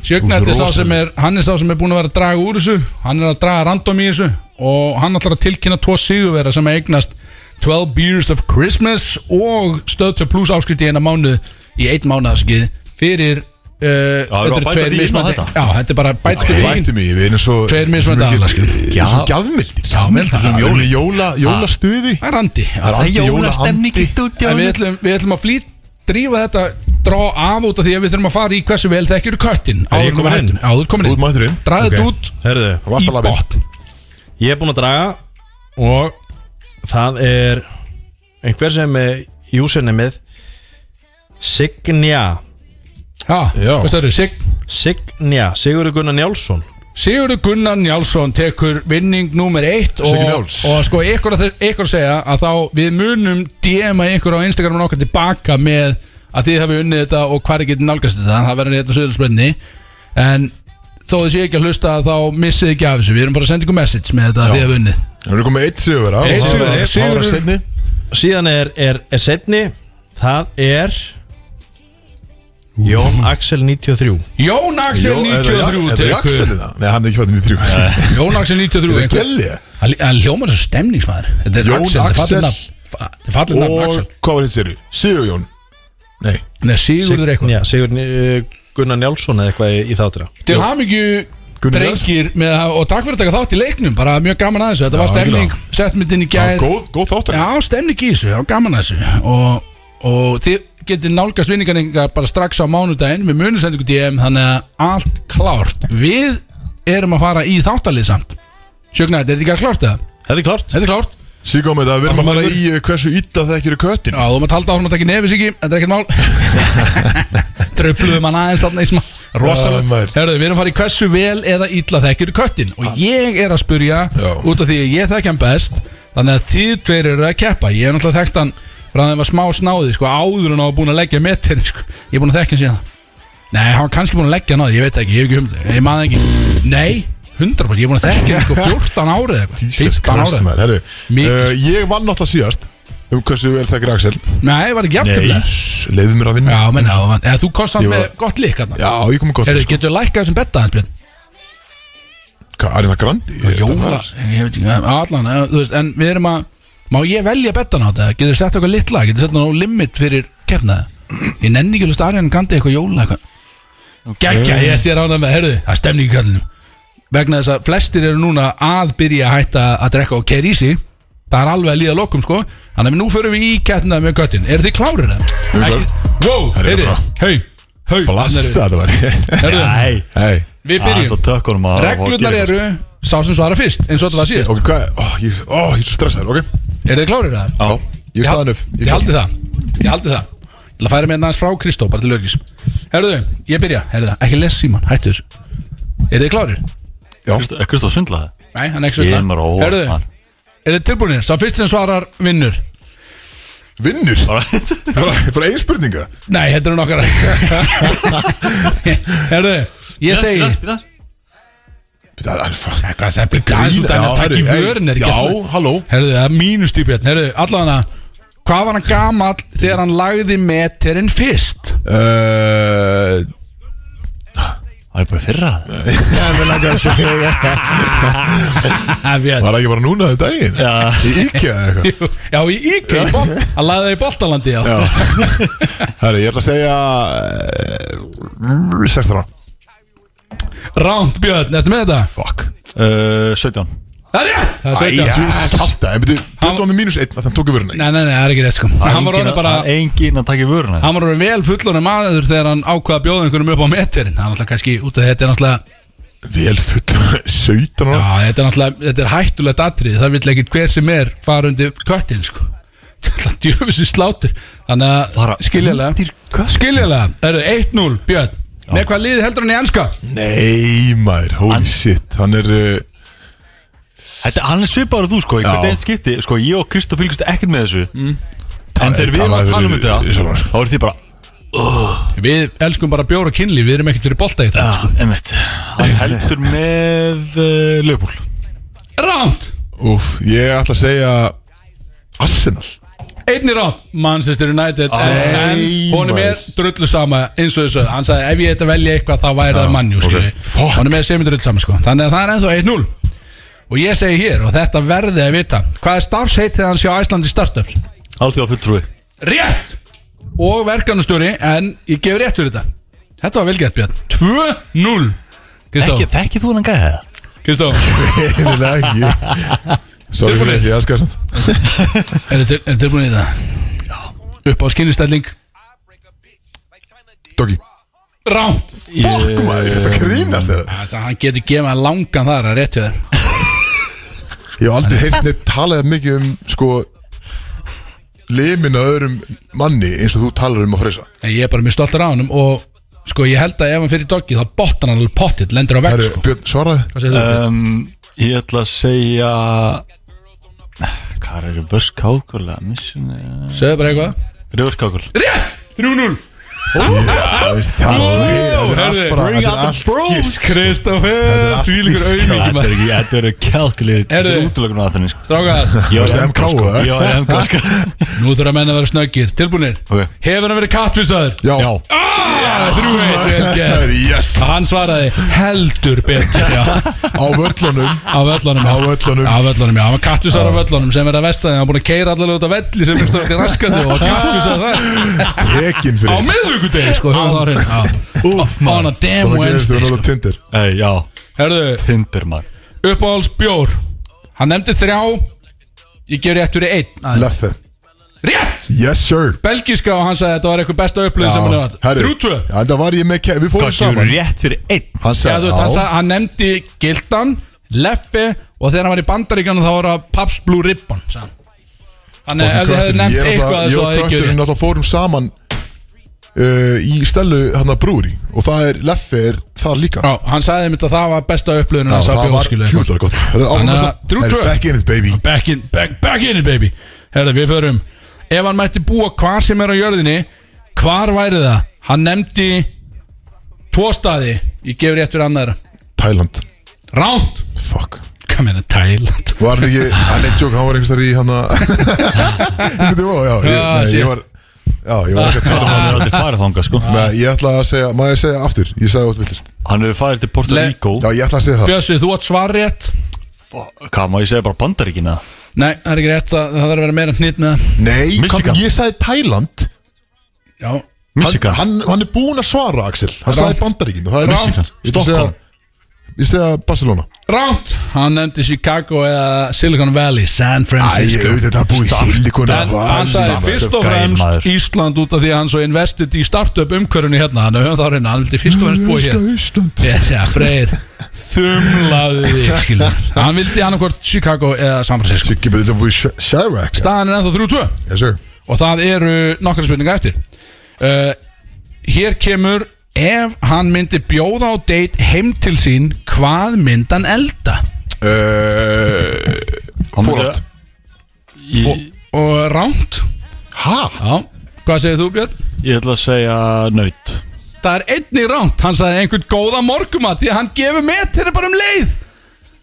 Speaker 3: Sjögnætt er sá sem er hann er sá sem er búin að vera að draga úr þessu hann er að draga random í þessu og hann ætlar að tilkynna tvo sigurvera sem eignast 12 Beers of Christmas og stöð 2 plus áskrift í eina mánuð í einn mánuðarskið fyrir Uh,
Speaker 4: Já, erum við að bæta því í smá
Speaker 3: mismunandi-
Speaker 4: þetta?
Speaker 3: Já, þetta er bara bætstu við inn
Speaker 2: Bætti mig, við erum svo
Speaker 3: Tveir mismunandi aðilar, skilur.
Speaker 2: Við erum svo gjafmildir
Speaker 3: Já, vel það.
Speaker 2: Við erum í jóla, jólastuði
Speaker 3: Það er andi
Speaker 2: Það er andi jólaandi
Speaker 3: En við ætlum, við ætlum að flýt Drífa þetta Drá af út af því að við þurfum að fara í Hversu vel þekkjur köttin
Speaker 11: Er ég
Speaker 3: Áður en við
Speaker 11: kominn
Speaker 3: hættum.
Speaker 11: inn?
Speaker 3: Já, þú ert
Speaker 2: Þú
Speaker 3: komin
Speaker 2: ert
Speaker 3: inn
Speaker 2: mættur inn.
Speaker 3: Draga þetta
Speaker 11: Ok.
Speaker 3: út
Speaker 11: Herðu,
Speaker 2: Varst að
Speaker 3: Í
Speaker 2: labbi
Speaker 3: bótt
Speaker 11: ég er búinn að draga og það er einhver sem er usernameð Signia
Speaker 2: Já.
Speaker 3: Já, hvað stærðu? Sig
Speaker 11: Signia, Sigurður Gunnar Njálsson
Speaker 3: Sigurður Gunnar Njálsson tekur vinning númer eitt og,
Speaker 2: Siggi Njáls.
Speaker 3: og sko ykkur að, þeir- ykkur að segja að þá við munum DM-a ykkur á Instagramun okkar tilbaka með að þið hafi unnið þetta og hvar þið getið nálgast þetta það verður þetta söðursbrenni en þó þið séu ekki að hlusta þá missið þið ekki af þessu við erum bara að senda ykkur message með þetta að
Speaker 2: Já.
Speaker 3: þið hafi unnið
Speaker 2: Við erum komið eitt sigur
Speaker 3: Einn
Speaker 2: Það
Speaker 3: sigurvegara,
Speaker 2: var
Speaker 3: sigurvegara.
Speaker 2: að setni
Speaker 11: síðan er, er, er setni það er Jón Axel 93
Speaker 3: Jón Axel
Speaker 2: Jó, er það Jak- er
Speaker 3: 93
Speaker 2: það
Speaker 3: tekur-
Speaker 2: Jaxel hérna? Nei, hann er ekki fættið (laughs) 93
Speaker 3: Jón Axel 93
Speaker 2: Er það
Speaker 3: einhver-
Speaker 2: Gelli?
Speaker 3: Hann- Hann hljómar þessu stemningsmaður Þetta er
Speaker 2: Jón
Speaker 3: Axel, þetta er
Speaker 2: Axel.
Speaker 3: fallið nafn Fa- Þetta er fallið nafn Axel
Speaker 2: Og hvað var hitt sér? Sigur Jón Nei
Speaker 3: Nei, Sigurður eitthvað
Speaker 11: Já, Sigurður uh, Gunnar Njálsson eða eitthvað í, í þáttra
Speaker 3: Til hamingju
Speaker 2: Gunnar
Speaker 3: drengir með, að- og takk fyrir að taka þátt í leiknum bara mjög gaman að þessu, þetta
Speaker 2: Já,
Speaker 3: var stemning
Speaker 2: algjörlega.
Speaker 3: sett myndin í
Speaker 2: Já,
Speaker 3: gær
Speaker 2: góð, góð þáttar
Speaker 3: Já, stemning í þessu, já, gaman að þessu og, og þið getið nálgast vinningarningar bara strax á mánudaginn við munum senda ykkur DM, þannig að allt klárt Við erum að fara í þáttalið samt Sjögnar, þetta er ekki að klárt það?
Speaker 11: Þetta er klart
Speaker 3: Þetta er klárt
Speaker 2: Sigum við það, við erum að fara í eh, hversu ytta þekkir köttin
Speaker 3: Já, þú maður talda áfram að taka nefis ekki, þetta er ekkert mál Tröfluðum hann aðeins þarna í smá
Speaker 2: Já,
Speaker 3: Rosalega
Speaker 2: maður.
Speaker 3: Herðu, við erum að fara í hversu vel eða illa þekkir köttin Og ég er að spurja
Speaker 2: Já.
Speaker 3: út af því að ég þekki hann best Þannig að þið tveir eru að keppa Ég er náttúrulega þekkt hann frá þeim að smá snáði sko, Áður en á að búin að leggja metin (laughs) sko. Ég er búin að þekka hann síðan Nei, hann var kannski búin að leggja hann á því, ég veit það ekki, ég hef ekki humd Ég maður ekki Nei, 100% ég er búin að þekka
Speaker 2: (laughs)
Speaker 3: hann sko, 14 árið eitthvað,
Speaker 2: Jesus
Speaker 3: 15
Speaker 2: Christ,
Speaker 3: árið.
Speaker 2: maður, herru
Speaker 3: Mikið.
Speaker 2: Eh, Ég vann náttúrulega síðast um hversu vel þekkir Axel
Speaker 3: Nei, var ekki jafn
Speaker 2: Leðu mér að vinna
Speaker 3: Já, menn, já, eða þú kost hann
Speaker 2: Ég
Speaker 3: með
Speaker 2: var-
Speaker 3: gott lík hann
Speaker 2: Já, ég kom með gott
Speaker 3: Herru,
Speaker 2: sko.
Speaker 3: getur þú lækkað þessum betta hans, Björn?
Speaker 2: Hvað, Arina Grandi? Ég-
Speaker 3: Jóla, ég veit ekki, allan, eh, þú veist, en við erum að Má ég velja bettan á þetta? Getur þú sett eitthvað litla? Getur þú sett eitthvað limit fyrir kefnaði? Ég nenni ekki að lusta Arjan Grandi eitthvað jóla eitthvað Gægja, ég sé rána með, herru, það stemni ekki kallinu Vegna þess að flestir eru núna að byrja að hætta að drekka og keir í sig Það er alveg að líða lokum, sko Þannig að nú förum við í kefnaði með göttin Eru þið klárir það?
Speaker 2: Við erum
Speaker 3: Wow,
Speaker 2: Herru,
Speaker 3: heyrðu,
Speaker 2: bara-
Speaker 3: hei, hei
Speaker 2: Blasta þetta var
Speaker 3: Herru,
Speaker 4: Nei
Speaker 2: Hei
Speaker 3: við
Speaker 4: Það er svo
Speaker 3: byrjum
Speaker 4: tökkunum að
Speaker 3: Reglurnar eru sá sem svara fyrst eins og þetta var síðast
Speaker 2: Ok, hvað Ó, ég ó, ég er svo stressaður, ok
Speaker 3: Er þið klárir það?
Speaker 2: Já Ég er staðan upp
Speaker 3: Ég haldi það Ég haldi það Ég ætla að færa mér næst frá Kristó bara til örgis Herðu, ég byrja Herðu það, ekki les síman, hættu þessu Er þið klárir?
Speaker 2: Já
Speaker 4: Kristóf Kristó, sundla það
Speaker 3: Nei, hann er ekki
Speaker 4: Ég er mér á
Speaker 3: svitla
Speaker 4: óvart,
Speaker 3: Herðu,
Speaker 4: maður.
Speaker 3: er þið tilbúinir? Sá fyrst sem svarar vinnur
Speaker 2: Vinnur Bara bara ein spurninga
Speaker 3: Nei, þetta eru
Speaker 4: (laughs)
Speaker 3: nokkara Herðu, ég segi
Speaker 2: Það er alfa
Speaker 3: Nei, Hvað sem byrja aðeins út að það ekki vörin er ekki
Speaker 2: Já,
Speaker 3: að slá-
Speaker 2: halló
Speaker 3: Herðu, það er mínustýp hérna Herðu, allavega Hvað var hann gamall þegar hann lagði meterinn fyrst?
Speaker 2: Eh,
Speaker 4: Það er bara í fyrra
Speaker 3: Ha,
Speaker 2: (laughs)
Speaker 3: Björn.
Speaker 2: Var það ekki bara núna um daginn? Já Í IKEA eða eitthvað
Speaker 3: Já, í Íki Hann lagði það í Boltalandi, já
Speaker 2: Já Herri, ég ætla að segja eh, 16 ára
Speaker 3: Ránt Björn, ertu með þetta?
Speaker 2: Fuck
Speaker 4: Uh, 17
Speaker 3: Það er rétt! Það er
Speaker 2: Æ,
Speaker 3: 17
Speaker 2: Jesus Alltaf, en byrju
Speaker 3: Hann-
Speaker 2: Björn var með mínus 1 Þannig tók ég vöruna
Speaker 3: Nei, nei, nei, það er ekki rétt sko Hann var orðin bara
Speaker 4: Engin að taka í vöruna
Speaker 3: Hann var orðin vel fullonum aður þegar hann ákvaða að bjóða einhverjum upp á meterinn Hann alltaf kannski út af þetta er náttúrulega
Speaker 2: Vel full 17 ára
Speaker 3: Já, þetta er náttúrulega, þetta er hættulegt atrið Það vill ekki hver sem er fara undir köttin sko (laughs) Þetta er djöfisir slátur Þannig
Speaker 4: Fara
Speaker 3: að skiljalega
Speaker 4: undir köttinn?
Speaker 3: Skiljalega, það eru 1-0 Björn Með hvað liði heldur hann í enska?
Speaker 2: Nei maður, holy shit Hann er uh,
Speaker 4: Þetta, hann er svipaður og þú sko, í
Speaker 2: Já. Mm.
Speaker 4: hvert einn skipti Sko, ég og Kristó fylgist ekkert með þessu En þegar við erum
Speaker 2: talaði
Speaker 4: að tala um
Speaker 2: fyrir-
Speaker 4: þetta
Speaker 2: í sjálfan sig.
Speaker 4: Þá er þið bara,
Speaker 3: Við elskum bara bjóra kynlíf, við erum ekkert fyrir bolta í það sko.
Speaker 4: ah, emitt Hann heldur með uh, lögbúl
Speaker 3: Ránt!
Speaker 2: Úf, ég ætla að segja Arsenal
Speaker 3: Einni rátt, Manchester United En, en honum er drullu sama eins og þessu Hann sagði ef ég ætti að velja eitthvað þá væri það mannjú okay.
Speaker 2: Fuck.
Speaker 3: Honum er semi drullu sama sko Þannig að það er ennþá 1-0 Og ég segi hér, og þetta verði að vita Hvað er starfsheitið hans hjá Æslandi Startups?
Speaker 4: Alþjóða fulltrúi
Speaker 3: Rétt! Og verkanustjóri, en ég gef rétt fyrir þetta Þetta var velgætt Björn 2-0
Speaker 4: Þekki-
Speaker 3: Kristó,
Speaker 4: Þekkir þú hann gæði það?
Speaker 3: Kristó
Speaker 2: Eða ekki Sorry fyrir
Speaker 3: Tilbúinir?
Speaker 2: ekki, ég elskar samt
Speaker 3: Er þetta tilbúin í það? Upp á skinnistelling
Speaker 2: Doggy
Speaker 3: Ránt
Speaker 2: Fuck maður, þetta grínast þetta
Speaker 3: Þannig að hann getur gefað langan þar að réttu þér
Speaker 2: Ég hef aldrei heyrt neitt talað mikið um sko limin að öðrum manni eins og þú talar um að freysa
Speaker 3: En ég er bara mjög stoltur á honum og sko ég held að ef hann fyrir doggi þá botnar hann alveg pottitt, lendur á vegg
Speaker 2: Herru,
Speaker 3: sko
Speaker 2: Björn, svaraði
Speaker 3: Hvað segir þú? Uh,
Speaker 4: um, Ég ætla að segja Hvað er reverse kákul? Mission
Speaker 3: Segðu bara eitthvað
Speaker 4: Reverse kákul
Speaker 3: Rétt! 3-0
Speaker 2: Já, veist, það er svo Þetta er allt bara
Speaker 3: Bring
Speaker 2: Þetta er
Speaker 3: out the
Speaker 2: allt
Speaker 3: bros,
Speaker 2: gisk Þetta er
Speaker 3: Kristoffer
Speaker 2: allt
Speaker 3: Þvílíkur
Speaker 2: gisk.
Speaker 3: auðvík
Speaker 4: Þetta er ekki, þetta er kalkulir Þetta er útlökun á það sko.
Speaker 3: Strákar.
Speaker 4: Ég var í
Speaker 2: Varstu
Speaker 4: MK sko.
Speaker 2: MK, eh?
Speaker 4: Ég var í MK sko.
Speaker 3: Nú þurfa menn að vera snöggir Tilbúinir
Speaker 4: Ok.
Speaker 3: Hefur hann verið kattvísaður?
Speaker 2: Já,
Speaker 4: Já,
Speaker 3: Þrjú eitt vel
Speaker 2: Það er
Speaker 3: gert.
Speaker 2: (laughs) yes
Speaker 3: Og hann svaraði heldur betur já,
Speaker 2: (laughs) Á völlunum
Speaker 3: Á völlunum
Speaker 2: Á völlunum.
Speaker 3: Á völlunum, já Hann var kattvísaður á völlunum Sem er að vestaði Hann var búin að keira allavega út af velli Sem er stöðið raskandi
Speaker 2: (laughs)
Speaker 3: Og kattvísaður það
Speaker 2: Tekin
Speaker 3: Á
Speaker 2: fyrir
Speaker 3: miðvíkudegi sko Hjóðu það á hreinu Já. On a damn
Speaker 2: Svona gerist
Speaker 3: Wednesday
Speaker 2: þú
Speaker 3: sko.
Speaker 2: náttúrulega tindir
Speaker 4: Ei, Eh, já,
Speaker 3: Herðu
Speaker 4: Tinder mann
Speaker 3: Uppáhalds bjór Hann nefndi þrjá Ég gef rétt fyrir einn Aðeins.
Speaker 2: Leffe
Speaker 3: Rétt!
Speaker 2: Yes sir
Speaker 3: Belgíska og hann sagði að þetta var eitthvað besta upplöð sem hann hefði hatt
Speaker 2: herru,
Speaker 3: Þrjú tvö
Speaker 2: já, þetta var ég með Ke- Við fórum
Speaker 4: Kanski
Speaker 2: saman
Speaker 4: rétt fyrir einn
Speaker 2: Hann
Speaker 3: Já, þú
Speaker 2: sagði
Speaker 3: veist,
Speaker 2: já
Speaker 3: hann, sagði, hann nefndi Gildan, Leffi og þegar hann var í Bandaríkjana þá var það Pabst Blue Ribbon sagði hann. Þannig
Speaker 2: Fucking kötturinn.
Speaker 3: að ef þú hefði nefnt
Speaker 2: Ég er náttúrulega-
Speaker 3: eitthvað þessu að það
Speaker 2: Ég og
Speaker 3: ekki
Speaker 2: kötturinn
Speaker 3: verið
Speaker 2: náttúrulega fórum saman uh, Í stelu hann að brúri Og það er Leffe er þar líka
Speaker 3: Já, hann sagði einmitt að það var besta upplöðun
Speaker 2: Já,
Speaker 3: hans að
Speaker 2: það var
Speaker 3: bjóðskilu
Speaker 2: tjúlar gott Herru, áfram
Speaker 3: Þannig að
Speaker 2: næsta.
Speaker 3: þrjú,
Speaker 2: Herru,
Speaker 3: tvö.
Speaker 2: Back in it baby
Speaker 3: Back in, back, back in it baby Herra, við förum Ef hann mætti búa hvar sem er á jörðinni Hvar væri það? Hann nefndi Tvo staði Ég gefur rétt fyrir annar
Speaker 2: Thailand
Speaker 3: Ránt
Speaker 2: Fuck
Speaker 3: Hvað meina Thailand?
Speaker 2: Var hann
Speaker 3: (laughs)
Speaker 2: ekki Hann er joke Hann var einhvers þar í hann að Einhvern veginn Já, ég,
Speaker 3: Ah,
Speaker 2: nei,
Speaker 3: shit.
Speaker 2: ég var Já, ég var ekki að tala um
Speaker 4: Hann
Speaker 2: hann
Speaker 4: er aldrei farið þangað sko
Speaker 2: Nei, ég ætla að segja Má ég segja aftur Ég sagði út villist
Speaker 4: Hann hefur farið til Porto
Speaker 3: Le-
Speaker 4: Rico
Speaker 2: Já, ég ætla að segja það
Speaker 3: Bjössi, þú átt svar rétt
Speaker 4: Hvað má ég segja bara bandaríkina
Speaker 3: Nei, það er ekki rétt Það, það þarf að vera meira hnýtt með það
Speaker 2: Nei,
Speaker 4: Michigan.
Speaker 2: kom- ég sagði Thailand
Speaker 3: Já
Speaker 2: Hann,
Speaker 4: Michigan
Speaker 2: hann, hann er búinn að svara, Axel Hann
Speaker 3: Rangt.
Speaker 2: sagði Bandaríkin og það er
Speaker 3: Rangt.
Speaker 2: Michigan. Ég ætla að segja-
Speaker 4: Stockholm.
Speaker 2: Ég segja Barcelona
Speaker 3: Ránt Hann nefndi Chicago eða Silicon Valley
Speaker 2: Æ,
Speaker 3: San
Speaker 2: ég
Speaker 3: Francisco
Speaker 2: auðvitað að búi í Silikon
Speaker 3: En hann sagði fyrst og
Speaker 4: Gæl
Speaker 3: fremst
Speaker 4: maður.
Speaker 3: Ísland út af því að hann svo investið í startup umhverfinu hérna Þannig að höfum það á hreinu, hann vildi fyrst og fremst búa hér
Speaker 2: Ísland
Speaker 3: Ég sé að Freyr þumlaði þig, skilur Hann vildi annarkvort Chicago eða San Francisco
Speaker 2: Siggi byrði að búi í Sh- Chirac
Speaker 3: Staðan er ennþá 3-2
Speaker 2: Yes, sir.
Speaker 3: og það eru nokkra spurninga eftir uh, Hér kemur Ef hann myndi bjóða á date heim til sín Hvað myndi hann elda?
Speaker 2: Eh, Fórat
Speaker 4: ég,
Speaker 3: Og ránt
Speaker 2: Hæ?
Speaker 3: Já, hvað segir þú Björn?
Speaker 4: ég ætla að segja nöyt
Speaker 3: Það er einnig ránt, hann sagði einhvern góða morgumat Því að hann gefur með þeirra bara um leið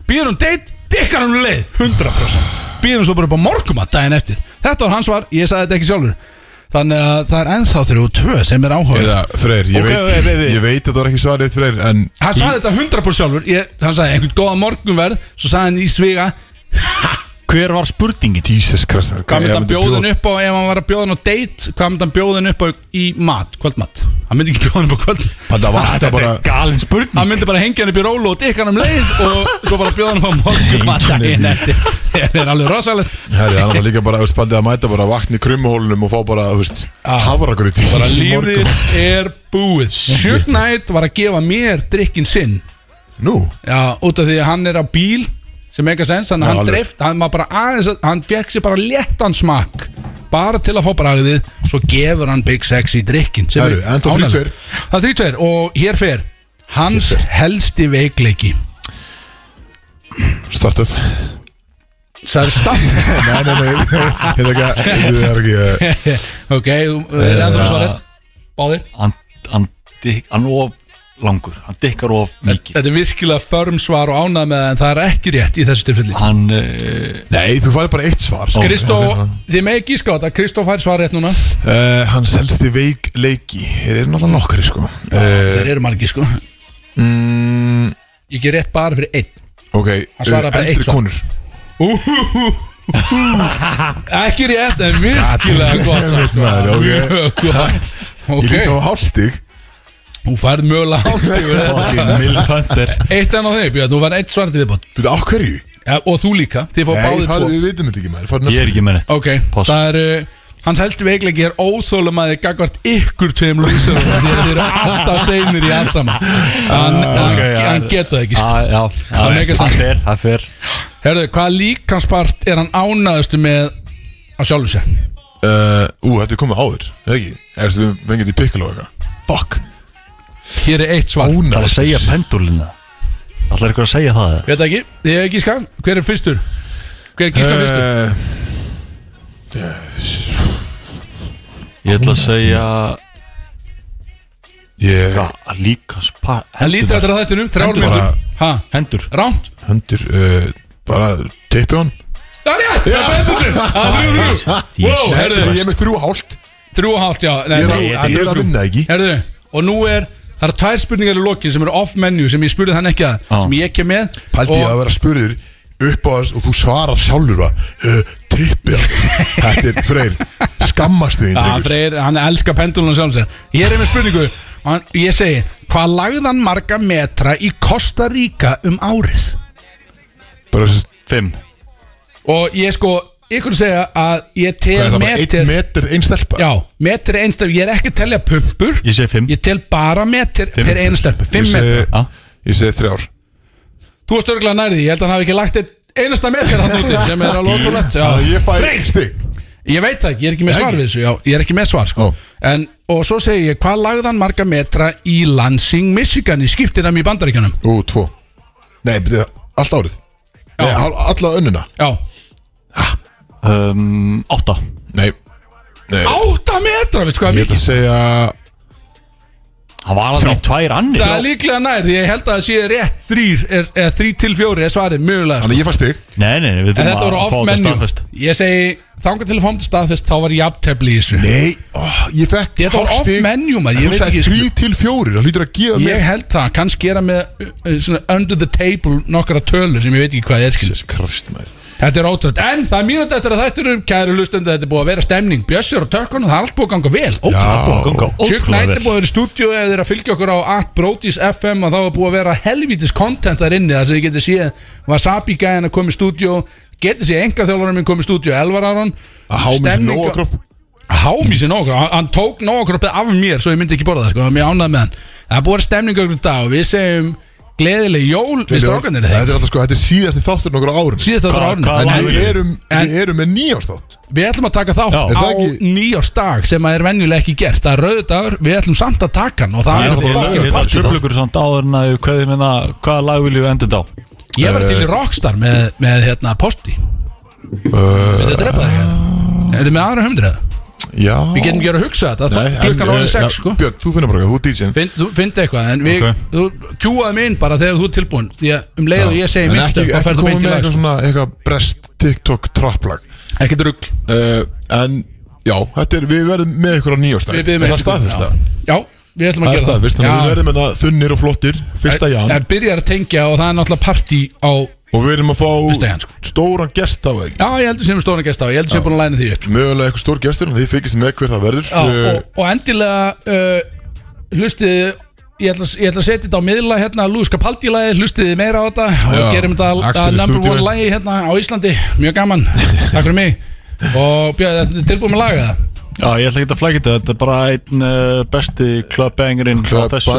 Speaker 3: Býður um date, dikkar hann um leið 100% Býður um svo bara upp á morgumat daginn eftir Þetta var hans svar, ég sagði þetta ekki sjálfur Þannig að það er ennþá þrjú og tvö sem er áhuga
Speaker 2: Eða, Freyr, ég,
Speaker 4: Ok, ok,
Speaker 2: veit,
Speaker 4: ok, ok.
Speaker 2: ég veit að það var ekki svarið eitt Freyr En
Speaker 3: Hann sagði þetta 100% sjálfur ég, Hann sagði einhvern góða morgunverð Svo sagði hann í sviga
Speaker 4: Hver var spurningin?
Speaker 2: Jesus Christ
Speaker 3: Hvað myndi hann bjóðin
Speaker 2: upp?
Speaker 3: upp á Ef hann var að bjóðin á date Hvað myndi hann bjóðin upp á í mat, kvöldmat Hann myndi ekki bjóðin upp á kvöld
Speaker 2: Það vantar bara
Speaker 4: galin spurning
Speaker 3: Hann myndi bara hengja hann upp í rólu og dikka hann um leið Og svo bara bjóðin upp á morgunmat daginn eftir. Það er alveg rosalegt
Speaker 2: Herri, það var líka bara, þú veist, baldið að mæta bara vakna í krummuhólunum og fá bara, þú veist, hafragur Ah. í tíl
Speaker 3: Bara lífið er búið Sjögnætt var að gefa mér drikkin sinn
Speaker 2: Nú,
Speaker 3: Já, út af því að hann er á bíl sem eitthvað sens, þannig
Speaker 2: Já,
Speaker 3: að hann
Speaker 2: alveg.
Speaker 3: dreift hann var bara aðeins, að- hann fekk sér bara léttan smakk bara til að fá bragðið svo gefur hann Big Sexy drikkin sem
Speaker 2: Herru,
Speaker 3: er
Speaker 2: enda
Speaker 3: ánægilegt.
Speaker 2: 32.
Speaker 3: Það er 32 og hér fer hans
Speaker 2: Hér fer.
Speaker 3: helsti veikleiki
Speaker 2: startup
Speaker 3: sagði staff
Speaker 2: (laughs) Nei, nei, nei, ég er ekki, ég er ekki eh,
Speaker 3: (laughs) ok, þú uh, eh, er endur að svara rétt báðir
Speaker 4: Hann, hann, dik- hann of langur Hann dikkar of mikið
Speaker 3: Þetta er virkilega förm svar og ánað með það, en það er ekki rétt í þessu tilfelli
Speaker 4: Hann
Speaker 2: eh,
Speaker 4: uh,
Speaker 2: Nei, þú færi bara eitt svar
Speaker 3: Kristó, þið með ekki skáta Kristó fær svar rétt núna
Speaker 2: uh, Hann selst í veik leiki Þeir eru náttúrulega nokkari, sko uh,
Speaker 3: Ah, Þeir eru margir sko
Speaker 2: mm,
Speaker 3: Ég ger rétt bara fyrir einn (laughs)
Speaker 2: Ok,
Speaker 3: Hann svaraði bara
Speaker 2: eh,
Speaker 3: eitt
Speaker 2: eldri
Speaker 3: svar.
Speaker 2: konur
Speaker 3: Ekki rétt, en virkilega
Speaker 2: Ég veit
Speaker 3: gott sagt, sko.
Speaker 2: maður, ok.
Speaker 3: Mjög
Speaker 4: (laughs)
Speaker 3: gott.
Speaker 2: Ég líti
Speaker 3: Ok,
Speaker 2: á hálfstig
Speaker 3: þú færð mögulega
Speaker 2: (laughs)
Speaker 3: hálfstígur
Speaker 4: Fucking milföndir
Speaker 3: Eitt enn á þig, Björn, þú færð eitt svar til viðbót
Speaker 2: Þú veit, á hverju?
Speaker 3: ja, Og þú líka, þið fá
Speaker 2: Nei,
Speaker 3: báðið
Speaker 2: fari,
Speaker 3: tvo
Speaker 2: við vitum þetta ekki, maður Fari
Speaker 4: Ég
Speaker 2: næst
Speaker 4: er ekki með neitt
Speaker 3: Ok,
Speaker 4: Pass.
Speaker 3: það eru Hans helsti veikleiki er óþólamaði gagvart ykkur tveim lúsum því að þeir eru alltaf seinir í allt saman
Speaker 4: Ah,
Speaker 3: Hann,
Speaker 4: ok,
Speaker 3: hann,
Speaker 4: já.
Speaker 3: hann getur það ekki sko.
Speaker 4: Ah, Já,
Speaker 3: Það er ekki
Speaker 4: það
Speaker 3: sant.
Speaker 4: fer, það fer
Speaker 3: Herðu, hvaða líkanspart er hann ánaðustu með á sjálfu sér?
Speaker 2: uh, Ú, þetta er komið áður, eða ekki? Eða þú vengið í pikkul og eitthvað Fuck,
Speaker 3: Hér er eitt svar
Speaker 4: Það er að segja pendulina Það er eitthvað að segja það
Speaker 3: Veit það ekki, þið hefur gíska Hver er fyrstur? Hver er gíska fyrstur?
Speaker 2: Ónæðist Eh,
Speaker 4: Ég ætla að segja
Speaker 2: Ég
Speaker 4: Líka spa
Speaker 3: Hann lítur eftir að þættinum, þrjár
Speaker 2: Hendur.
Speaker 3: mínútur.
Speaker 2: Bara-
Speaker 3: Ha?
Speaker 4: Hendur
Speaker 3: Ránt
Speaker 2: Hendur uh, Bara teipi hann
Speaker 3: Það er rétt, það er betur Það er þrjú, þrjú Wow, herðu
Speaker 2: Ég er með þrjú og hálft
Speaker 3: Þrjú og hálft, já
Speaker 2: Ég er að- ég er að vinna, ekki?
Speaker 3: Herðu, og nú er Það eru tvær spurningar í lokin sem eru off-menu sem ég spurði hann ekki að sem ég ekki er með
Speaker 2: Pældi ég
Speaker 3: Og-
Speaker 2: að vera spurður upp á þess og þú svarar sjálfur að uh, teipi hann (laughs) Þetta er freyr Skammast þig
Speaker 4: Ah,
Speaker 3: Já,
Speaker 2: drengur.
Speaker 3: Freyr, hann elskar pendulunum sjálf sér Ég er með spurningu og hann, Ég segi, hvað lagði hann marga metra í Costa Rica um árið?
Speaker 2: Bara þess
Speaker 4: Fimm
Speaker 3: Og ég sko, ykkur segja að ég tel
Speaker 2: Hvað er það bara,
Speaker 3: metir
Speaker 2: einn meter, einn stelpa?
Speaker 3: Já, metir er einstaklega, ég er ekki að telja pumpur
Speaker 4: Ég segi fimm
Speaker 3: Ég tel bara metir
Speaker 4: Fimm. Ah.
Speaker 3: per einstaklega, fimm
Speaker 2: Ég segi-
Speaker 3: metra
Speaker 4: Já.
Speaker 2: Ég segi þrjár
Speaker 3: Þú varst örgulega nærði, ég held að hann hafi ekki lagt eitt einasta metir hann úti sem er alveg ótrúlegt já.
Speaker 2: Þannig að ég fæ stig
Speaker 3: Ég veit það ekki, ég er ekki með
Speaker 2: Ég
Speaker 3: svar
Speaker 2: ekki.
Speaker 3: við þessu Já, ég er ekki með svar sko
Speaker 2: Ó.
Speaker 3: en, Og svo segi ég, hvað lagði hann marga metra í Lansing, Michigan í skiptinam í Bandaríkjunum?
Speaker 2: Ú, tvo Nei, byrja, allt árið Nei, hál- alla önnuna
Speaker 3: Já,
Speaker 4: um, Átta
Speaker 2: Nei, Nei.
Speaker 3: átta metra, veistu hvað
Speaker 2: Ég ætla
Speaker 3: er
Speaker 2: að
Speaker 3: mikið
Speaker 2: segja
Speaker 4: Hann var aldrei í tvær annir
Speaker 3: Það er líklega nærði, ég held að það sé rétt þrýr, er- eða þrý til fjóri er svarið, mögulega sko.
Speaker 2: Þannig að ég fæ stig
Speaker 4: Nei, nei, nei, við
Speaker 3: En
Speaker 4: þurfum
Speaker 3: þetta
Speaker 4: að
Speaker 3: voru
Speaker 4: að fá
Speaker 3: off
Speaker 4: þetta
Speaker 3: menu
Speaker 4: staðfest
Speaker 3: Ég segi, þangar til að fá þetta staðfest þá var jafntefli í þessu
Speaker 2: Nei, oh, ég fekk
Speaker 3: Þetta var
Speaker 2: hálft
Speaker 3: off
Speaker 2: stig.
Speaker 3: menu, maður,
Speaker 2: Þú
Speaker 3: ég veit
Speaker 2: sagði
Speaker 3: ekki,
Speaker 2: Þrý
Speaker 3: sko.
Speaker 2: til fjórir, það hlýtur að gefa
Speaker 3: Ég
Speaker 2: mér
Speaker 3: held það, kannski er að með uh, uh, svona under the table nokkara tölur sem ég veit ekki hvað er skil
Speaker 2: Jesus Christ, maður
Speaker 3: Þetta er ótrúð, en það er mínútt eftir að þetta eru kæru lustendur, þetta er búið að vera stemning Bjössur og tökkunum, það er allt búið að ganga vel
Speaker 2: Já.
Speaker 3: Ótrúlega búið að ganga
Speaker 4: Ganga
Speaker 3: Sjökk
Speaker 4: ótrúlega
Speaker 3: nætti
Speaker 4: vel.
Speaker 3: búið að vera í stúdíu eða þeir eru að fylgja okkur á atbrotis FM og þá er búið að vera helvítis content þar inni þar sem þið getið séð Wasabi gæðin að koma í stúdíu getið séð enga þjálfarinn minn koma í stúdíu Elvar Aron
Speaker 2: Að hámi sér nóga kropp
Speaker 3: Hámísi nógakropp, hann, hann tók nógakroppið af mér svo ég myndi ekki borða það, sko, það var mjög ánægð með hann Það er búið að vera stemning okkur í dag og við segjum gleðileg jól við strákanir
Speaker 2: Þetta er alltaf sko, þetta er síðasti þáttur nokkur árum
Speaker 3: Síðast áttur
Speaker 4: Hvað-
Speaker 3: árinu
Speaker 4: hvað
Speaker 2: En
Speaker 4: lag
Speaker 2: við
Speaker 4: er-
Speaker 2: erum,
Speaker 3: En-
Speaker 2: við erum með nýjástátt
Speaker 3: Við ætlum að taka þátt
Speaker 4: Já.
Speaker 2: Er
Speaker 3: á
Speaker 2: það ekki-
Speaker 3: nýjársdag sem að er venjulega ekki gert Það er rauðu dagur, við ætlum samt að taka hann og það
Speaker 2: Ég
Speaker 3: er
Speaker 2: er bara
Speaker 3: bara
Speaker 2: að-
Speaker 4: Þetta er
Speaker 2: party þá.
Speaker 4: tröflugur samt áður en að hvað þið minna Hvaða lag viljum við enda þetta á? Eh,
Speaker 3: Ég var
Speaker 2: Eh.
Speaker 3: til í Rockstar með, með hérna posti Við þetta
Speaker 4: Uh,
Speaker 3: drepa þig hérna Erum með aðra humdreða?
Speaker 2: Já
Speaker 3: Við getum ekki verið að hugsa þetta það- Klukkan
Speaker 2: eh,
Speaker 3: orðin sex sko
Speaker 2: Björn, þú finnum bara, þú DJ-in
Speaker 3: Finn- Þú Fyndi eitthvað, en við
Speaker 4: Ok.
Speaker 3: Þú kjúaði mig inn bara þegar þú er tilbúin Því að um leið og ég segi
Speaker 2: En
Speaker 3: mitt
Speaker 2: ekki,
Speaker 3: stöf, þá
Speaker 2: ekki
Speaker 3: ferðu
Speaker 2: komið
Speaker 3: beint í
Speaker 2: með
Speaker 3: lag
Speaker 2: eitthvað
Speaker 3: sko.
Speaker 2: svona eitthvað brest TikTok trapplag
Speaker 3: Ekkert rugg
Speaker 2: uh, En já, þetta er, við verðum með ykkur á nýjástak
Speaker 3: Við byggum
Speaker 2: Er það staðfyrst það?
Speaker 3: Já, við ætlum að
Speaker 2: Það er
Speaker 3: gera það
Speaker 2: staðfyrst, þannig að við
Speaker 3: Já.
Speaker 2: verðum með það þunnir og flottir Fyrsta jan
Speaker 3: En byrjar að tengja og það er náttúrulega partí á
Speaker 2: Og við erum að
Speaker 3: Fyrsta jan,
Speaker 2: fá
Speaker 3: sko.
Speaker 2: stóran gest af það ekki
Speaker 3: Já, ég heldur sem stóna gæst á, ég heldur sem búin að læna því upp
Speaker 2: Mögulega eitthvað stór gestur, þið fyrkist með hver það verður
Speaker 3: Já,
Speaker 2: Eh,
Speaker 3: og, og endilega uh, hlustiði ég ætla, ég ætla að setja þetta á miðla hérna Lúis Capaldi lagi, hlustiði meira á þetta og
Speaker 2: Já,
Speaker 3: gerum þetta
Speaker 2: Axel
Speaker 3: að
Speaker 2: í
Speaker 3: number
Speaker 2: stúdíói.
Speaker 3: one lagi hérna á Íslandi mjög gaman, takk fyrir mig og Björn, þetta er tilbúin með laga það
Speaker 4: Já, ég ætla ekki að flækja þetta Þetta er bara einn eh, besti clubbangurinn á
Speaker 2: Club
Speaker 4: þessu